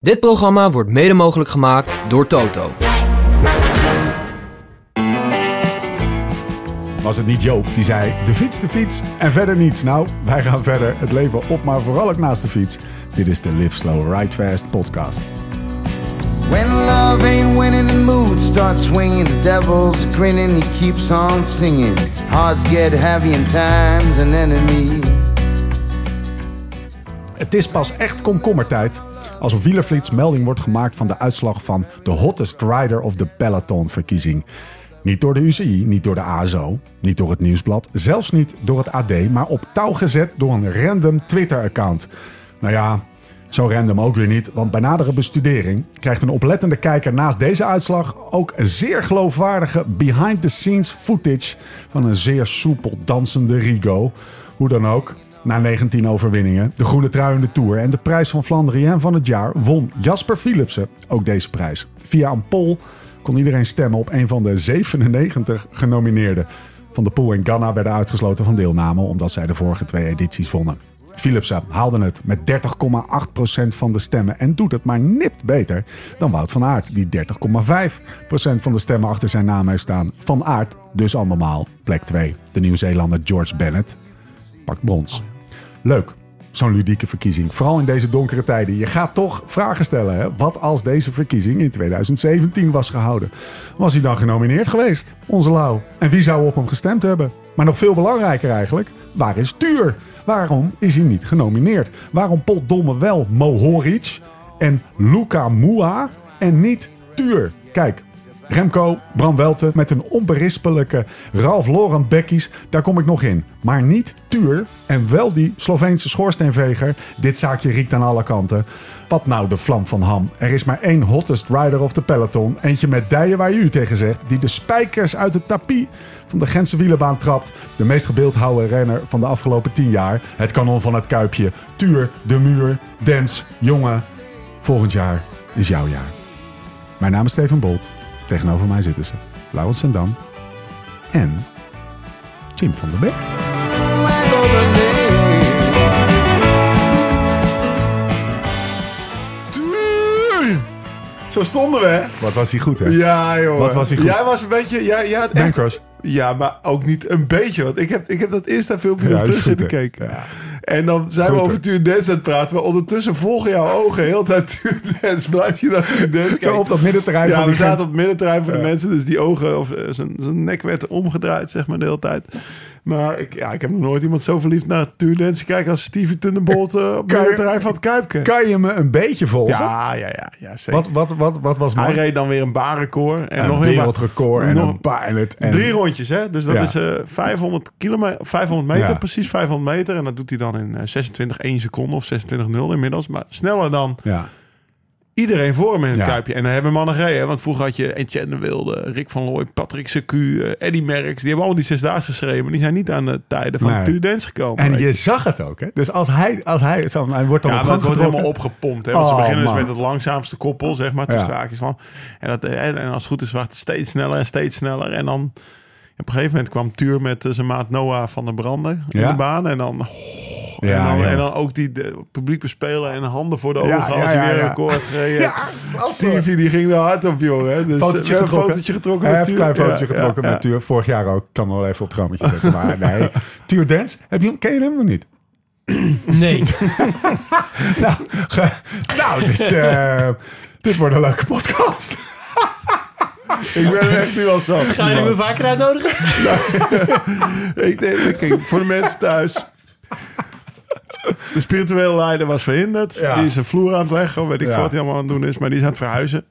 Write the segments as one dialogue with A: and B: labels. A: Dit programma wordt mede mogelijk gemaakt door Toto.
B: Was het niet Joop die zei: de fiets, de fiets en verder niets? Nou, wij gaan verder. Het leven op, maar vooral ook naast de fiets. Dit is de Live Slow Ride Fast podcast.
C: When love ain't winning, the mood starts swinging. The devil's grinning, he keeps on singing. Hearts get heavy, and time's an enemy.
B: Het is pas echt komkommertijd als op Wielerflits melding wordt gemaakt van de uitslag van de Hottest Rider of the Peloton verkiezing. Niet door de UCI, niet door de ASO, niet door het Nieuwsblad, zelfs niet door het AD, maar op touw gezet door een random Twitter-account. Nou ja, zo random ook weer niet, want bij nadere bestudering krijgt een oplettende kijker naast deze uitslag ook een zeer geloofwaardige behind-the-scenes footage van een zeer soepel dansende Rigo. Hoe dan ook, na 19 overwinningen, de groene trui in de Tour en de prijs van Flandrien van het jaar won Jasper Philipsen ook deze prijs. Via een poll kon iedereen stemmen op een van de 97 genomineerden. Van de Poel en Ganna werden uitgesloten van deelname omdat zij de vorige twee edities wonnen. Philipsen haalde het met 30,8% van de stemmen en doet het maar nipt beter dan Wout van Aert, die 30,5% van de stemmen achter zijn naam heeft staan. Van Aert dus andermaal plek 2. De Nieuw-Zeelander George Bennett pakt brons. Leuk, zo'n ludieke verkiezing. Vooral in deze donkere tijden. Je gaat toch vragen stellen. Hè? Wat als deze verkiezing in 2017 was gehouden? Was hij dan genomineerd geweest? Onze Lau. En wie zou op hem gestemd hebben? Maar nog veel belangrijker eigenlijk, waar is Tuur? Waarom is hij niet genomineerd? Waarom potdomme wel Mohoric en Luca Mua en niet Tuur? Kijk, Remco, Bram Welten met hun onberispelijke Ralf Loren bekkies, daar kom ik nog in. Maar niet Tuur en wel die Sloveense schoorsteenveger. Dit zaakje riekt aan alle kanten. Wat nou de vlam van ham? Er is maar één hottest rider of the peloton. Eentje met dijen waar je u tegen zegt, die de spijkers uit het tapie van de Gentse wielerbaan trapt. De meest gebeeldhouwen renner van de afgelopen tien jaar. Het kanon van het kuipje. Tuur, de muur, Dens, jongen. Volgend jaar is jouw jaar. Mijn naam is Steven Bolt. Tegenover mij zitten ze Laurens Sendam en Jim van der Beek.
C: Back over there.
D: Zo stonden we, hè?
B: Wat was hij goed, hè?
D: Ja, joh.
B: Wat was hij goed?
D: Jij was een beetje... Jij, jij had echt-
B: Bankers.
D: Ja, maar ook niet een beetje. Want ik heb, ik heb dat Insta-filmpje
B: Ja,
D: nog
B: dat is
D: terug
B: goed,
D: zitten
B: hè?
D: kijken. En dan zijn we
B: Goed,
D: over
B: hè?
D: Tuurdens aan het praten. Maar ondertussen volgen jouw ogen heel de tijd Tuurdens. Blijf je naar Tuurdens kijken.
B: op dat middenterrein
D: Ja,
B: van
D: we
B: die
D: zaten
B: Gent.
D: op het middenterrein van de
B: Ja.
D: mensen. Dus die ogen of eh, zijn, zijn nek werd omgedraaid, zeg maar, de hele tijd. Maar ik, ja, ik heb nog nooit iemand zo verliefd naar Tuurdens kijken als Steven Tundenbolt eh, op
B: Kan
D: het
B: je-
D: middenterrein van het Kuipke.
B: Kan je me een beetje volgen?
D: Ja, ja, ja, ja, zeker.
B: Wat, wat, wat, wat was
D: Hij
B: mooi?
D: reed dan weer een baanrecord. En
B: Een
D: nog een ba-
B: wereldrecord en
D: nog-
B: een pilot. En...
D: Drie rondjes, hè? Dus dat
B: Ja.
D: is eh 500, kilometer, 500 meter,
B: Ja.
D: precies 500 meter. En dat doet hij dan in eh, 26 1 seconde of 26-0 inmiddels. Maar sneller dan
B: Ja.
D: iedereen voor hem in het
B: Ja.
D: kuipje. En daar hebben mannen gereden. hè, Want vroeger had je Etienne de Wilde, Rick van Looy, Patrick Secu, eh, Eddie Merckx. Die hebben allemaal die zesdaagse geschreven. Maar die zijn niet aan de tijden van
B: Nee.
D: nee. gekomen.
B: En
D: weet
B: je zag het ook, hè? Dus als hij, als hij, zo, hij wordt dan
D: ja,
B: op gang
D: maar het wordt
B: getrokken.
D: helemaal opgepompt. Hè? Want ze
B: Oh,
D: beginnen
B: man.
D: dus met het langzaamste koppel, zeg maar, tussen
B: Ja.
D: haakjes dan. En, dat, eh, en, en als het goed is, wordt het steeds sneller en steeds sneller. En dan op een gegeven moment kwam Tuur met eh, zijn maat Noah van der Branden in
B: Ja.
D: de baan. En dan, oh,
B: Ja,
D: en, dan
B: ja.
D: en dan ook die de, publiek bespelen en handen voor de ogen
B: Ja,
D: als
B: ja,
D: hij
B: ja,
D: weer
B: ja.
D: een record had gereden.
B: Ja, als we-
D: Stevie die ging er hard op, jongen. hè. Dus, eh,
B: Fotootje
D: met een
B: getrokken.
D: fotootje getrokken
B: Hij
D: met
B: heeft een
D: Tuur.
B: klein fotootje
D: Ja,
B: getrokken
D: ja,
B: met
D: ja.
B: Tuur. Vorig jaar ook. Ik kan wel even op het rammetje zetten. Maar nee. Tuur Dance. Heb je hem, ken je hem of niet?
E: Nee,
B: Nou, ge- nou dit, eh, dit wordt een leuke podcast.
D: Ik ben er echt nu al zo.
E: ga je me vaker uitnodigen?
D: Ik denk, kijk, voor de mensen thuis. De spirituele leider was verhinderd.
B: Ja.
D: Die is een vloer aan het leggen. Weet ik
B: Ja.
D: veel wat hij allemaal aan het doen is. Maar die is aan het verhuizen.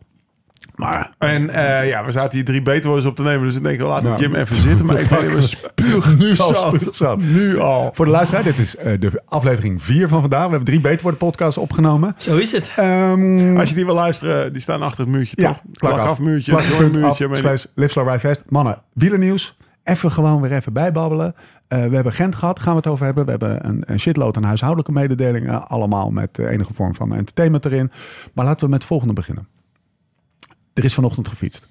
B: Maar
D: En eh, ja, we zaten hier drie beterwoorders op te nemen. Dus ik denk, laat het
B: Nou,
D: Jim even zitten. Maar ik ben helemaal spuug
B: nu al
D: zat.
B: spuug zat.
D: Nu al.
B: Voor de luisteraar, dit is eh, de aflevering 4 van vandaag. We hebben drie Beterwoord podcasts opgenomen.
E: Zo is het.
B: Ehm,
D: Als je die wil luisteren, die staan achter het muurtje,
B: ja,
D: toch? Klak af muurtje,
B: Plak
D: join
B: punt af,
D: muurtje. weet ik.
B: slash Live Slow Ride Fast. Mannen, wielernieuws. Even gewoon weer even bijbabbelen. Eh, we hebben Gent gehad, gaan we het over hebben. We hebben een, een shitload aan huishoudelijke mededelingen. allemaal met eh, enige vorm van entertainment erin. Maar laten we met het volgende beginnen. Er is vanochtend gefietst.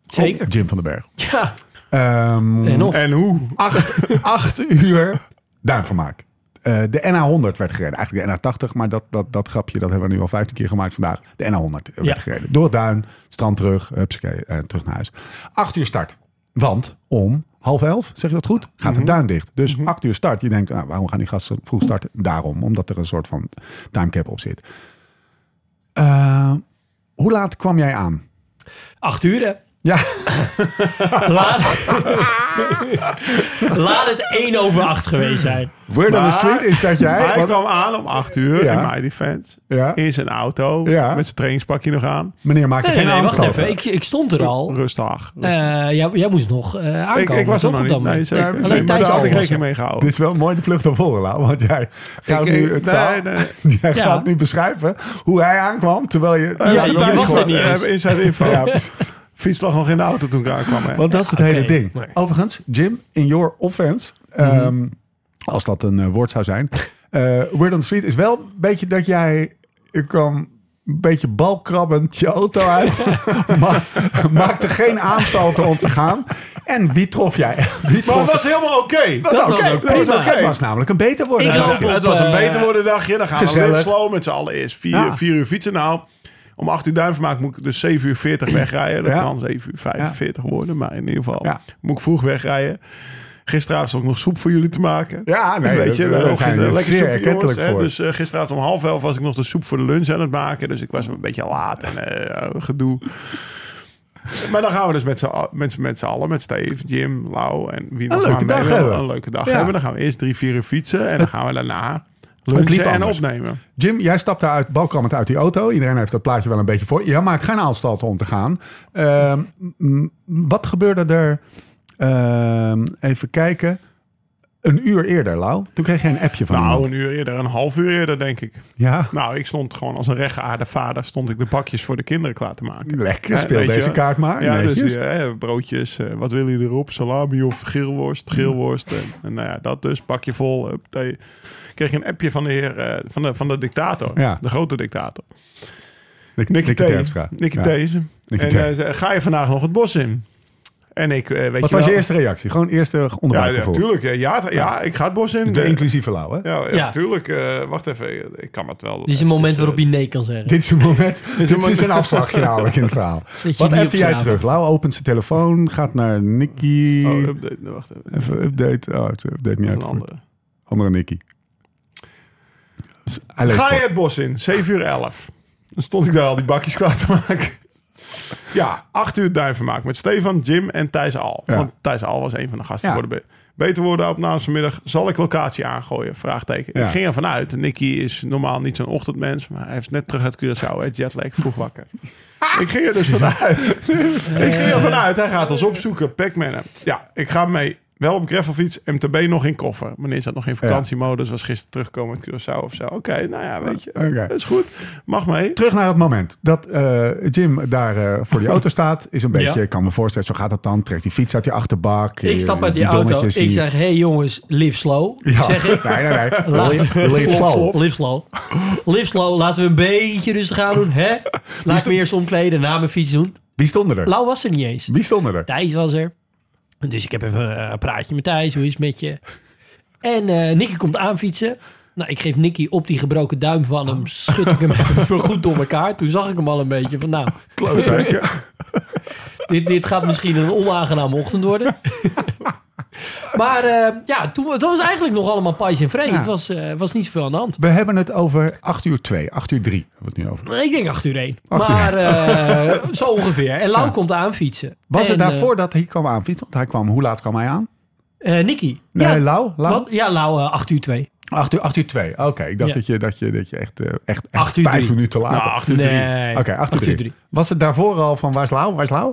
E: Zeker.
B: Op Jim van den Berg.
E: Ja,
B: Ehm,
E: en of.
D: En hoe?
B: Ah, acht, acht uur duimvermaak. Eh, de NA100 werd gereden. Eigenlijk de NA80, maar dat, dat, dat grapje dat hebben we nu al 15 keer gemaakt vandaag. De NA100 werd
E: Ja.
B: gereden. Door het duin, het strand terug, hupsakee, en terug naar huis. Acht uur start. Want om half elf, zeg je dat goed, gaat het
E: Mhm.
B: duin dicht. Dus acht uur start. Je denkt, nou, waarom gaan die gasten vroeg starten? Daarom, omdat er een soort van timecap op zit. Eh, hoe laat kwam jij aan?
E: Acht uur, hè?
B: Ja,
E: Laat, Laat het 1 over 8 geweest zijn.
B: word on the
D: Maar-
B: street is dat jij...
D: Hij
B: want-
D: kwam aan om 8 uur
B: Ja.
D: in mijn defense.
B: Ja.
D: In zijn auto.
B: Ja.
D: Met zijn trainingspakje nog aan.
B: meneer, maak je
E: Nee,
B: geen
E: nee, wacht
B: aanstoot.
E: even. Ik, ik stond er al.
D: Rustig.
E: Eh,
D: rustig.
E: jij, jij moest nog eh, aankomen.
D: ik, ik was er
E: toch,
D: nog
E: op
D: niet.
E: dat
D: Nee,
E: moment?
D: zeker.
B: Nee,
D: Nee,
E: alleen
D: maar
E: Thijs
D: daar had
E: al
D: ik
E: was
D: rekening mee
B: Dit
D: gehouden.
B: is wel mooi de vlucht op Volgela, want jij gaat,
A: Ik-
B: nu, het
D: nee,
B: verhaal-
D: nee.
B: jij
E: Ja.
B: gaat nu beschrijven hoe hij aankwam, terwijl je...
E: Ja,
D: Ja,
E: je
D: Thijs
E: was er
D: gewoon,
E: niet
D: eh,
E: eens.
D: Inside info.
B: Ja,
D: Fiets lag nog in de auto toen ik aankwam. hè.
B: Want dat is het
E: oké,
B: hele ding.
E: maar-
B: Overigens, Jim, in your offense, ehm, als dat een eh, woord zou zijn, eh Word on the Street is wel een beetje dat jij... Ik kwam een beetje balkrabbend je auto uit, maar maakte geen aanstalten om te gaan. En wie trof jij? Wie trof
D: Maar het was helemaal oké.
B: Dat was oké.
E: was ook
B: Dat was
E: prima.
B: oké. Het was namelijk een beter worden.
E: Ik
B: eigenlijk.
E: hoop op,
D: het was een
E: eh,
D: beter worden dagje. Dan gaan
B: gezellig.
D: we live slow met z'n allen eerst. Vier,
B: Ja.
D: vier uur fietsen. Nou, om acht uur duivenmaak moet ik dus 7 uur 40 wegrijden. Dat
B: Ja.
D: kan 7 uur 45 worden. Maar in ieder geval
B: Ja.
D: moet ik vroeg wegrijden. Gisteravond stond ik nog soep voor jullie te maken.
B: Ja, nee,
D: Weet je,
B: dat-
D: daar
B: daar zijn we
D: lekker
B: zeer
D: soepje,
B: erkentelijk
D: jongens, hè.
B: voor.
D: Dus eh, gisteravond om half elf was ik nog de soep voor de lunch aan het maken. Dus ik was een beetje laat en eh, gedoe. Maar dan gaan we dus met z'n al- met, z'n- met z'n allen, met Steve, Jim, Lau en wie nog
B: leuke
D: maar mee
B: dag
D: wil,
B: hebben.
D: Een leuke dag
B: Ja.
D: hebben. Dan gaan we eerst drie, vier uur fietsen en dan gaan we daarna lunchen
B: liep
D: en
B: anders. Oh.
D: opnemen.
B: Jim, jij stapte uit, balkrammend uit die auto. Iedereen heeft dat plaatje wel een beetje voor. Jij maakt geen aanstalten om te gaan. Ehm, m- wat gebeurde er? Ehm, even kijken. Een uur eerder, Lau. Toen kreeg jij een appje van
D: Nou,
B: iemand.
D: een uur eerder, een half uur eerder denk ik.
B: Ja,
D: Nou, ik stond gewoon als een rechtgeaarde vader, stond ik de bakjes voor de kinderen klaar te maken.
B: lekker. Speel
D: Ja, weet
B: deze
D: je.
B: kaart maar.
D: Ja, dus
B: netjes.
D: die, eh, broodjes, eh, wat wil je erop? Salami of geelworst? Geelworst. eh, en nou ja, dat dus, pak je vol. hup, thee. Ik kreeg een appje van de heer, eh, van, de, van de dictator,
B: Ja.
D: de grote dictator.
B: Nick-
D: Nicky,
B: Nicky Terpstra.
D: Terpstra. Nicky
B: Ja.
D: T is hem.
B: Nicky
D: en
B: T.
D: hij zei, ga je vandaag nog het bos in? En ik, eh, weet
B: Wat
D: je
B: was je
D: wel-
B: eerste reactie? Gewoon eerste
D: Ja, ja,
B: onderwijsgevoel.
D: tuurlijk. eh, Ja, ja, ik ga het bos in.
B: de
D: Eh,
B: inclusieve Lau, hè?
D: ja, ja,
E: Ja.
D: tuurlijk. eh, wacht even, ik kan het wel. eh, dus,
E: Dit is een moment waarop je nee kan zeggen.
B: Dit is een moment. Dit
D: een
B: is
D: moment-
B: een afslagje namelijk in het verhaal.
E: Zit je
B: Wat
E: niet
B: appte
E: op
B: jij
E: straat?
B: terug? Lau opent zijn telefoon, gaat naar Nicky.
D: Oh, update, nou, wacht even. Dat
B: Even update. Oh, het update niet
D: is
B: uit.
D: een andere.
B: Andere Nicky. Hij leest
D: Ga je
B: voor.
D: het bos in, 7 uur 11. Dan stond ik daar al die bakjes klaar te maken. Ja, 8 uur duivenmaak met Stefan, Jim en Thijs Al.
B: Ja.
D: Want Thijs Al was een van de gasten
B: Ja.
D: voor de be- Beter worden op naast vanmiddag. Zal ik locatie aangooien? Vraagteken.
B: Ja.
D: Ik ging ervan uit. Nicky is normaal niet zo'n ochtendmens. Maar hij is net terug uit Curaçao. hè, Jetlag, vroeg wakker. Ik ging er dus vanuit. ik ging er
B: Eh.
D: vanuit. Hij gaat ons opzoeken. Pac-Man. Ja, ik ga mee. Wel op gravelfiets. MTB nog in koffer. Meneer zat nog in vakantiemodus. Was gisteren terugkomen uit Curaçao of zo. Oké, nou ja, weet je.
B: Oké.
D: Dat is goed. Mag mee.
B: Terug naar het moment dat eh, Jim daar eh, voor die auto staat. Is een beetje,
E: Ja.
B: ik kan me voorstellen, zo gaat dat dan. Trekt die fiets uit die achterbak. eh,
E: Ik stap uit die auto.
B: bidonnetjes,
E: Ik
B: die-
E: zeg, hey jongens, live slow.
B: Ja.
E: Zeg ik.
B: Nee, nee, nee.
E: Laat-
B: Leef- leef
D: Slof,
B: slow.
D: slof.
E: Live slow. Live slow. Laten we een beetje rustig aan doen. Hè? Laat ik me eerst omkleden, na mijn fiets doen.
B: Wie stonden er?
E: Lau was er niet eens.
B: Wie stonden er?
E: Thijs was er. Dus ik heb even eh, een praatje met Thijs. Hoe is het met je? En eh Nicky komt aanfietsen. Nou, ik geef Nicky op die gebroken duim van
B: Oh.
E: hem. Schud ik hem even goed door elkaar. Toen zag ik hem al een beetje van nou, dit, dit gaat misschien een onaangename ochtend worden. maar eh, ja, toen, dat was eigenlijk nog allemaal pais en vree.
B: Ja.
E: Het was, eh, was niet zoveel aan de hand.
B: We hebben het over 8 uur 2, 8 uur 3. Hebben we het nu over.
E: Ik denk 8 uur 1.
B: Acht uur
E: maar eh, zo ongeveer. En Lau komt aanfietsen.
B: Was
E: en,
B: er daarvoor dat hij kwam aanfietsen? Want hij kwam, hoe laat kwam hij aan?
E: eh, eh, Nicky.
B: Nee,
E: ja,
B: Lau? Lau?
E: Wat? Ja, Lau, eh, 8 uur 2.
B: 8 uur, 8 uur 2. Oké, ik dacht
E: Ja.
B: dat, je, dat, je, dat je echt, eh, echt, echt
E: Acht uur
B: 5
E: drie.
B: minuten later.
D: Nou, 8 uur 3.
E: Nee.
B: Oké, 8 uur 3. Was het daarvoor al van waar is Lau, waar is Lau?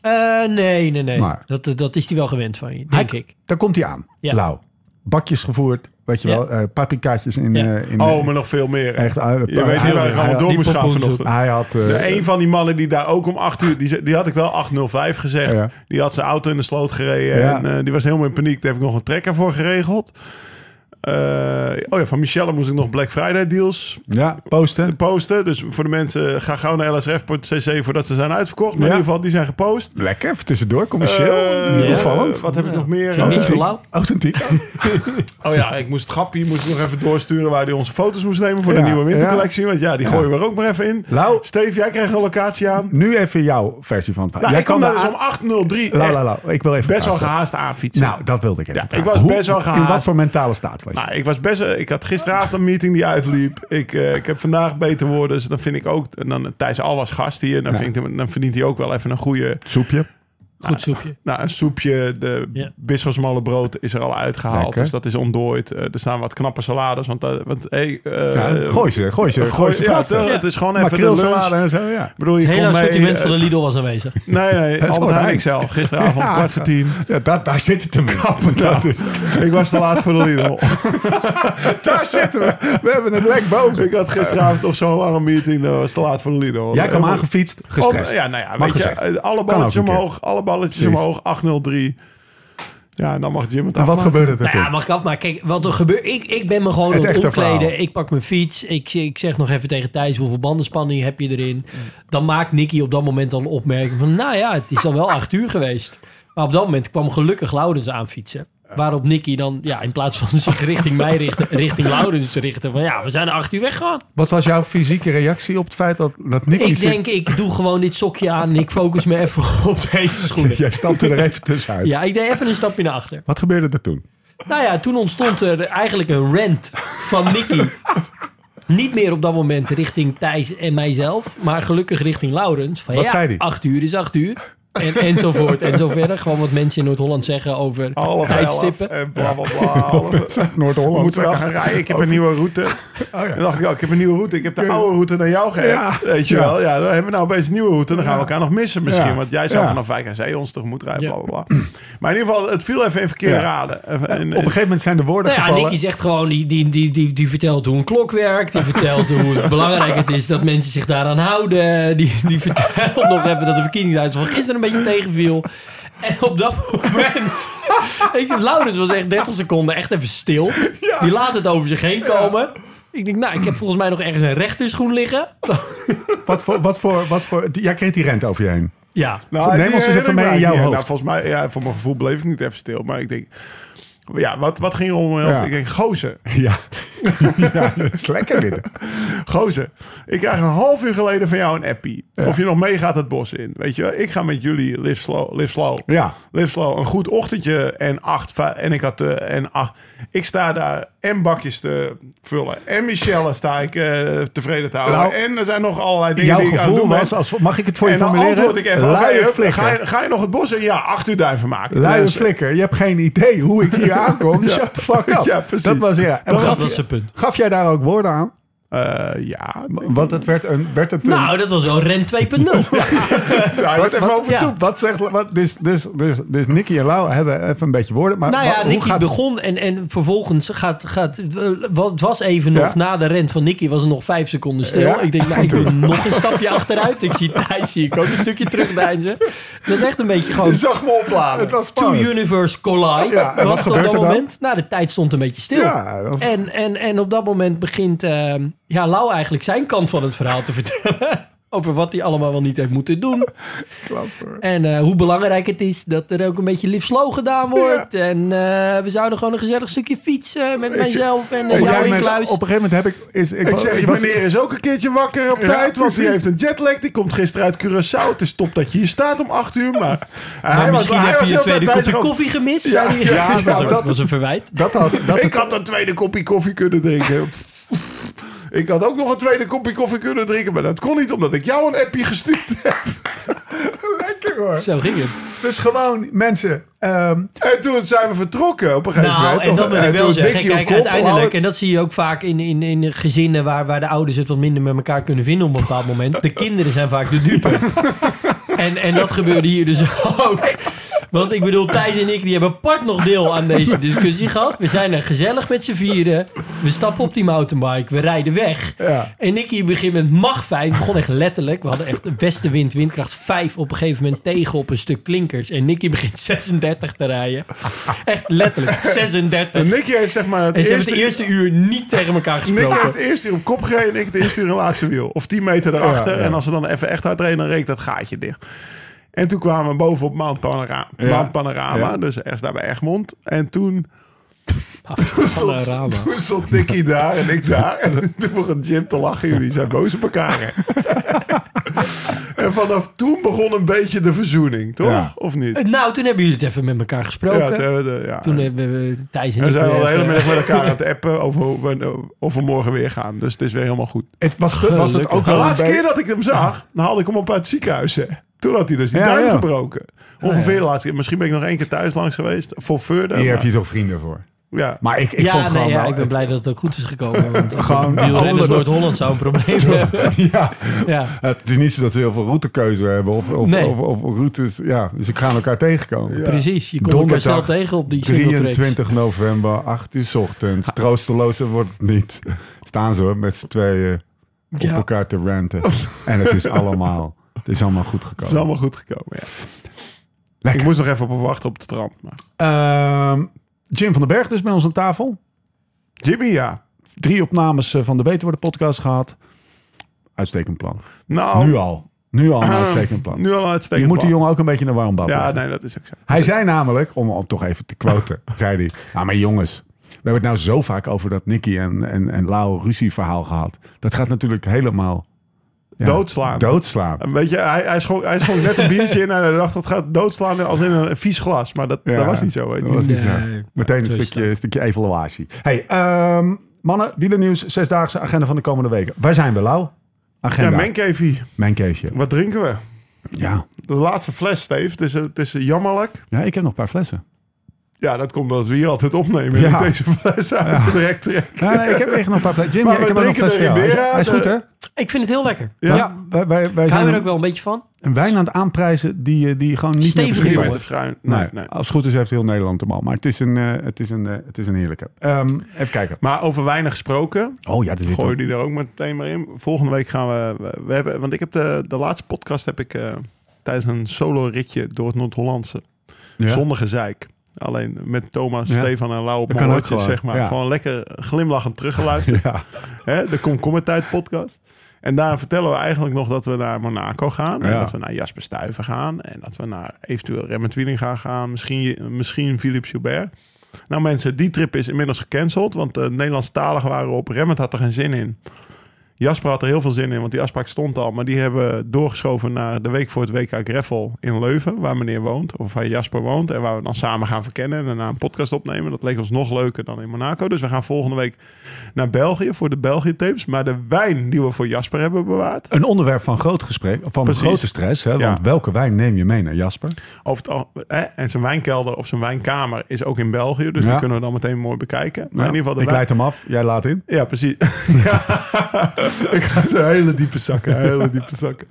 E: Eh, nee, nee, nee.
B: Maar-
E: Dat, eh, dat is hij wel gewend van je, denk
B: Hij-
E: ik.
B: Daar komt hij aan,
E: Ja.
B: Lau. Bakjes gevoerd, weet je
E: Ja.
B: wel, eh, paprikaatjes in...
E: Ja.
B: eh, in
D: Oh, maar nog veel meer.
B: echt, eh,
D: Je weet
B: hij,
D: niet waar ik
B: hij-
D: allemaal door
E: die
D: moest gaan
E: pompoensoep.
D: vanochtend.
B: Hij had... eh,
D: De een van die mannen die daar ook om 8 uur, die, ze- die had ik wel 805 gezegd.
B: Ja.
D: Die had zijn auto in de sloot gereden.
B: Ja.
D: En eh, die was helemaal in paniek. Daar heb ik nog een trekker voor geregeld. Eh, oh ja, van Michelle moest ik nog Black Friday deals
B: Ja, posten.
D: posten. Dus voor de mensen, ga gauw naar lsrf.cc voordat ze zijn uitverkocht. Maar
B: Ja.
D: in ieder geval, die zijn gepost.
B: Lekker, even tussendoor, commercieel.
D: Eh,
B: Niet
E: ja.
B: opvallend.
D: Wat heb ik nog meer?
E: Ging niet
D: Eh,
E: zo lauw.
B: Authentiek.
D: Oh ja, ik moest het grapje moest ik nog even doorsturen waar hij onze foto's moest nemen voor
B: Ja,
D: de nieuwe wintercollectie. Want ja, Nou. die gooien we er ook maar even in.
B: Lau.
D: Steve, jij krijgt een locatie aan.
B: Nu even jouw versie van het verhaal.
D: Nou, ik
B: Jij
D: kwam daar
B: de a-
D: dus om 8.03
B: Lau,
D: echt
B: lau, lau. Ik wil even
D: best wel
B: praten.
D: gehaast aanfietsen.
B: Nou, dat wilde ik even
D: Ja,
B: vragen.
D: ik was best wel
B: In wat
D: gehaast.
B: voor mentale staat was je?
D: Nou, ik was best. eh, Ik had gisteravond een meeting die uitliep. Ik, eh, ik heb vandaag beter worden. Dus dan vind ik ook. En dan Thijs Al was gast hier. Dan, vind ik, dan verdient hij ook wel even een goede.
B: Soepje.
E: Goed soepje.
D: Nou, een soepje. De
E: Ja.
D: bisschopsmolenbrood is er al uitgehaald.
B: Lekker.
D: Dus dat is ontdooid. Eh, er staan wat knappe salades. Want, eh, want hey, eh,
B: Ja, gooi ze, gooi ze, gooi ze.
D: ja,
B: plaatsen.
D: het- het is gewoon even de lunch.
B: Makreelsalade en zo, ja.
D: Ik bedoel, je
E: Het hele
D: komt mee,
E: assortiment
D: eh,
E: van de Lidl was aanwezig.
D: Nee, nee,
B: is
D: Albert
B: gewoon
D: Heijn zelf. Gisteravond,
B: Ja.
D: kwart voor tien.
B: ja dat, daar zit het hem in. Dat is-
D: Ik was te laat voor de Lidl.
B: daar zitten we. We hebben het lek boven.
D: Ik had gisteravond nog zo'n lange meeting. Dat was te laat voor de Lidl.
B: Jij kwam
D: Eh,
B: aangefietst,
D: Om-
B: gestrest.
D: Ja, nou ja,
B: Mag
D: weet
B: gezegd.
D: je, alle
B: Kan ook
D: balletjes
B: een keer.
D: omhoog, alle balletjes
B: Precies.
D: omhoog, 803. Ja, en dan mag Jim het
B: en wat
D: afmaken.
B: gebeurde er
E: Nou ja,
B: toen?
E: mag ik afmaken. Kijk, wat er gebeurt. Ik, ik ben me gewoon
B: Het
E: aan het
B: echte
E: omkleden.
B: verhaal.
E: Ik pak mijn fiets. Ik, ik zeg nog even tegen Thijs hoeveel bandenspanning heb je erin. Dan maakt Nicky op dat moment al een opmerking van... Nou ja, het is al wel acht uur geweest. Maar op dat moment kwam gelukkig Laurens aanfietsen. Waarop Nicky dan ja, in plaats van zich richting mij richten, richting Laurens richten. Van ja, we zijn acht uur weggegaan.
B: Wat was jouw fysieke reactie op het feit dat, dat Nicky...
E: Ik
B: zit-
E: denk, ik doe gewoon dit sokje aan en ik focus me even op deze schoenen.
B: Jij stapte er even tussenuit.
E: Ja, ik deed even een stapje naar achter.
B: Wat gebeurde er toen?
E: Nou ja, toen ontstond er eigenlijk een rant van Nicky. Niet meer op dat moment richting Thijs en mijzelf, maar gelukkig richting Laurens. Van,
B: Wat
E: ja,
B: zei die?
E: Acht uur is acht uur. En, enzovoort en zo verder. Gewoon wat mensen in Noord-Holland zeggen over
D: Half elf
E: tijdstippen.
D: en bla bla bla. half- We
B: Noord-Holland.
D: moeten wel gaan rijden. Ik heb een nieuwe route. Dan dacht ik, oh, ik heb een nieuwe route. Ik heb de oude route naar jou geappt.
B: Ja.
D: Weet je
B: Ja.
D: wel. Ja, dan hebben we nou opeens een nieuwe route. Dan gaan we elkaar nog missen misschien.
B: Ja.
D: Want jij zou
B: Ja.
D: vanaf Wijk aan Zee ons tegemoet rijden.
E: Ja.
D: Bla, bla, bla. Maar in ieder geval, het viel even in verkeerde
B: Ja.
D: raden. En- en-
B: Op een gegeven moment zijn de woorden
E: Nou ja,
B: gevallen.
E: Nicky zegt gewoon, die, die, die, die, die vertelt hoe een klok werkt. Die vertelt hoe belangrijk het is dat mensen zich daaraan houden. Die, die vertelt nog even dat de verkiezingsuitslag van gisteren een beetje tegenviel. En op dat moment... Ik, Laurens was echt 30 seconden echt even stil. Die laat het over zich heen komen. Ik denk, nou, ik heb volgens mij nog ergens een rechterschoen liggen.
B: Wat voor, wat voor, wat voor, die- jij kreeg die rent over je heen.
E: Ja.
B: Neem
D: Nou, die
B: ons eens even mee in
D: herinner ik
B: jouw
D: me.
B: hoofd.
D: Nou, volgens mij, ja, voor mijn gevoel bleef ik niet even stil. Maar ik denk, ja, wat, wat ging er om? mijn hoofd?
B: Ja.
D: Ik denk, gozer,
B: Ja. ja, dat is lekker dit.
D: gozer. Ik krijg een half uur geleden van jou een appie. Of je nog meegaat het bos in. Weet je, wel? ik ga met jullie live slow. Live slow.
B: Ja.
D: Live slow. Een goed ochtendje en acht. va- En ik had eh, en acht. Ik sta daar en bakjes te vullen. En Michelle sta ik eh, tevreden te houden.
B: Nou,
D: en er zijn nog allerlei dingen
B: Jouw
D: die ik aan het
B: gevoel
D: doen ben.
B: was, als, mag ik het voor je
D: En dan
B: formuleren?
D: antwoord ik even. oké,
B: Luie
D: hup,
B: flikker.
D: ga, je, ga je nog het bos in? Ja, acht uur duiven maken.
B: Luie
D: Dus-
B: flikker. Je hebt geen idee hoe ik hier aankom. Dus Shut the fuck up.
D: Ja, precies.
B: Dat was ja. En
E: Dat
B: gaf,
E: was
B: je-
E: zijn punt.
B: gaf jij daar ook woorden aan?
D: Eh, ja,
B: Want het werd een... Werd het een
E: Nou, dat was wel Ren 2.0.
D: ja,
B: wat,
D: even
B: wat-
D: over
E: ja.
D: toe.
B: wat, zegt... Wat, dus, dus, dus, dus Nicky en Lau hebben even een beetje woorden. Maar
E: Nou ja,
B: wat- hoe
E: Nicky
B: gaat het
E: begon en, en vervolgens gaat, gaat... eh, wat- Het was even nog,
B: Ja.
E: na de rent van Nicky was het nog vijf seconden stil.
B: Ja.
E: Ik denk, nou, ik doe nog een stapje achteruit. Ik zie Thijs, zie ik ook een stukje terugdeinzen. Het was echt een beetje gewoon...
D: Je zag me opladen.
B: Het was
E: Two
B: spannend.
E: universe collide.
B: Ja, en wat
E: was het op
B: gebeurt
E: dat
B: er dan?
E: moment? Nou, de tijd stond een beetje stil.
B: Ja, dat is-
E: en, en, en op dat moment begint ehm, ja, Lau eigenlijk zijn kant van het verhaal te vertellen. Over wat hij allemaal wel niet heeft moeten doen.
B: Klasse, hoor.
E: En eh, hoe belangrijk het is dat er ook een beetje live slow gedaan wordt. En eh, we zouden gewoon een gezellig stukje fietsen met mijzelf en eh,
B: Op een,
E: jou
B: gegeven
E: in
B: moment,
E: kluis.
B: op een gegeven moment heb ik... Is, ik,
D: Ik zeg, je
B: was-
D: meneer is ook een keertje wakker op
B: Ja,
D: tijd, want hij
B: precies.
D: heeft een jetlag. Die komt gisteren uit Curaçao. Het is top dat je hier staat om acht uur, maar...
E: Maar
D: hij was-
E: misschien
D: hij
E: heb
D: was
E: je
D: heel
E: een tweede
D: tijd
E: kopje
D: bezig om-
E: koffie gemist.
D: Ja,
E: zei hij.
D: ja,
E: dat, was
D: nou,
E: een,
D: dat-
E: was een verwijt.
B: Dat had... Dat
D: Ik had een tweede kopje koffie kunnen drinken. Ik had ook nog een tweede kopje koffie kunnen drinken, maar dat kon niet omdat ik jou een appje gestuurd heb.
B: lekker hoor.
E: Zo ging het.
B: Dus gewoon, mensen. ehm,
D: En toen zijn we vertrokken op een gegeven
E: Nou,
D: moment.
E: en dat
D: Nog-
E: wil ik wel
D: toen
E: zeggen.
D: Dickie op
E: Kijk,
D: kop,
E: uiteindelijk,
D: Lauwert-
E: en dat zie je ook vaak in, in, in gezinnen waar, waar de ouders het wat minder met elkaar kunnen vinden op een bepaald moment. De kinderen zijn vaak de dupe. En, en dat gebeurde hier dus ook. Want ik bedoel, Thijs en ik die hebben part nog deel aan deze discussie gehad. We zijn er gezellig met z'n vieren. We stappen op die mountainbike. We rijden weg.
B: Ja.
E: En Nicky begint met mag 5. Begon echt letterlijk. We hadden echt een westenwind, windkracht 5 op een gegeven moment tegen op een stuk klinkers. En Nicky begint 36 te rijden. Echt letterlijk 36.
D: En Nicky heeft zeg maar het
E: En ze hebben
D: eerste...
E: het eerste uur niet tegen elkaar
D: Nicky heeft het
E: gesproken.
D: eerste uur op kop gereden en ik het eerste uur in laatste wiel. Of 10 meter daarachter.
B: Ja, ja.
D: En als ze dan even echt hard reden, dan reek dat gaatje dicht. En toen kwamen we boven op Mount Panorama.
B: Ja.
D: Mount Panorama
B: Ja.
D: Dus echt daar bij Egmond. En toen
E: Panorama.
D: Toen stond Nicky daar en ik daar. En toen begon Jim te lachen. Jullie zijn boos op elkaar. hè? en vanaf toen begon een beetje de verzoening, toch?
B: Ja.
D: Of niet?
E: Nou, toen hebben jullie het even met elkaar gesproken.
D: Ja, toen, eh, ja.
E: Toen hebben we Thijs en
D: we
E: ik...
D: zijn al de
E: weer
D: hele
E: even-
D: middag met elkaar aan het appen over hoe we- of we morgen weer gaan. Dus het is weer helemaal goed.
B: Het was, was het
E: Gelukkig.
B: ook
D: De
B: wel een
D: laatste
B: beetje-
D: keer dat ik hem zag, dan haalde ik hem op uit het ziekenhuis. hè. Toen had hij dus die
B: Ja,
D: duim
B: ja.
D: gebroken. Ongeveer de laatste keer. Misschien ben ik nog één keer thuis langs geweest. Voor Furden.
B: Hier heb
D: maar-
B: je toch vrienden voor.
D: Ja.
B: Maar ik, ik
E: ja,
B: vond gewoon
E: nee, ja,
B: wel-
E: ik ben blij dat het ook goed is gekomen. Want
B: Gewoon
E: wielrenners
B: alles-
E: Noord-Holland zou een probleem hebben.
B: ja,
E: Ja.
B: het is niet zo dat ze heel veel routekeuze hebben of, of,
E: Nee.
B: of, of routes. Ja, Dus ze gaan elkaar tegenkomen.
E: Precies, je komt elkaar
B: Donderdag,
E: zelf tegen op die single tracks.
B: 23 november, 8 uur 's ochtends. Troostelozer wordt het niet. Staan ze hoor, met z'n tweeën op
E: Ja.
B: elkaar te ranten. En het is allemaal, het is allemaal goed
D: Het
B: gekomen.
D: is allemaal goed gekomen. Ja.
B: Lekker.
D: Ik moest nog even op hem wachten op het strand. Maar.
B: Ehm, Jim van den Berg dus bij ons aan tafel.
D: Jimmy, ja.
B: Drie opnames eh, van de Beter Worden podcast gehad. Uitstekend plan.
D: Nou,
B: Nu al. Nu al een
D: Ah,
B: uitstekend plan.
D: Nu al een
B: Je
D: uitstekend
B: moet die
D: plan.
B: jongen ook een beetje naar warm bad
D: Ja, dus-
B: leggen.
D: nee, dat is ook zo.
B: Hij zei namelijk, om, om toch even te quoten, zei hij... Nou, maar jongens, we hebben het nou zo vaak over dat Nicky en, en, en Lau ruzieverhaal gehad. Dat gaat natuurlijk helemaal... ja,
D: Doodslaan.
B: Doodslaan.
D: Een beetje, hij, hij, schonk, hij schonk net een biertje in en hij dacht dat gaat doodslaan als in een vies glas. Maar dat,
B: Ja,
D: dat was niet zo. Weet
B: dat
D: je.
B: was niet
E: Nee.
B: zo. Meteen een
E: Zo is
B: stukje, een stukje evaluatie. hey, ehm, mannen, wielernieuws, zesdaagse agenda van de komende weken. Waar zijn we, Lau?
D: Ja,
B: Agenda.
D: Menkevi,
B: Mijn keesje.
D: wat drinken we?
B: Ja.
D: De laatste fles, Steve. Het is, het is jammerlijk.
B: ja, ik heb nog een paar flessen.
D: Ja, dat komt omdat we hier altijd opnemen. En
B: Ja.
D: ik deze fles uit het rek trek.
B: Ja, nee, ik heb echt nog een paar flessen. Jim,
D: Maar
B: ja, ik
D: we
B: heb ook nog een
D: drinken
B: fles voor
D: de
B: jou. Hij is-
D: Ribera,
B: Hij is goed,
D: de-
B: hè?
E: Ik vind het heel lekker.
D: eh, Ja.
B: wij, wij, wij
E: Ik hou
B: zijn
E: er ook wel een beetje van.
B: een wijn aan het aanprijzen die, eh, die gewoon niet
E: Stevig
B: meer
D: Niet
B: beschikbaar
E: jongen.
D: meer
B: is.
D: te fruin. Nee,
B: Nee,
D: nee.
B: Als het goed is heeft heel Nederland hem al. Maar het is een, eh, het is een, eh, het is een heerlijke. Ehm, even kijken.
D: Maar over weinig gesproken,
B: Oh ja, er zit
D: gooi
B: ook-
D: die er ook meteen maar in. Volgende week gaan we, we, we hebben, want ik heb de, de laatste podcast heb ik eh, tijdens een solo ritje door het Noord-Hollandse
B: Ja.
D: Zonder gezeik. Alleen met Thomas,
B: Ja.
D: Stefan en Lau op
B: Dat
D: mijn
B: kan ook
D: oortjes,
B: gewoon,
D: zeg maar.
B: ja.
D: Gewoon lekker glimlachend teruggeluisterd.
B: Ja.
D: Hè? De Komkommertijd podcast. En daar vertellen we eigenlijk nog dat we naar Monaco gaan. En
B: Ja.
D: dat we naar Jasper Stuyven gaan. En dat we naar eventueel Remmert Wielinga gaan. Misschien, misschien Philippe Joubert. Nou mensen, die trip is inmiddels gecanceld. Want de Nederlandstaligen waren op. Remmert had er geen zin in. Jasper had er heel veel zin in, want die afspraak stond al. Maar die hebben doorgeschoven naar de week voor het WK Greffel in Leuven, waar meneer woont. Of waar Jasper woont. En waar we dan samen gaan verkennen en daarna een podcast opnemen. Dat leek ons nog leuker dan in Monaco. Dus we gaan volgende week naar België voor de België-tapes. Maar de wijn die we voor Jasper hebben bewaard.
B: Een onderwerp van groot gesprek, van
D: Precies.
B: grote stress. Hè, want
D: Ja. Nou,
B: welke wijn neem je mee naar Jasper?
D: Over het, al- hè, en zijn wijnkelder of zijn wijnkamer is ook in België. Dus
B: Ja.
D: die kunnen we dan meteen mooi bekijken. Maar in ieder geval de
B: ik
D: wijn-
B: leid hem af, jij laat in.
D: Ja, precies. ja. ik ga ze hele diepe zakken, hele diepe zakken.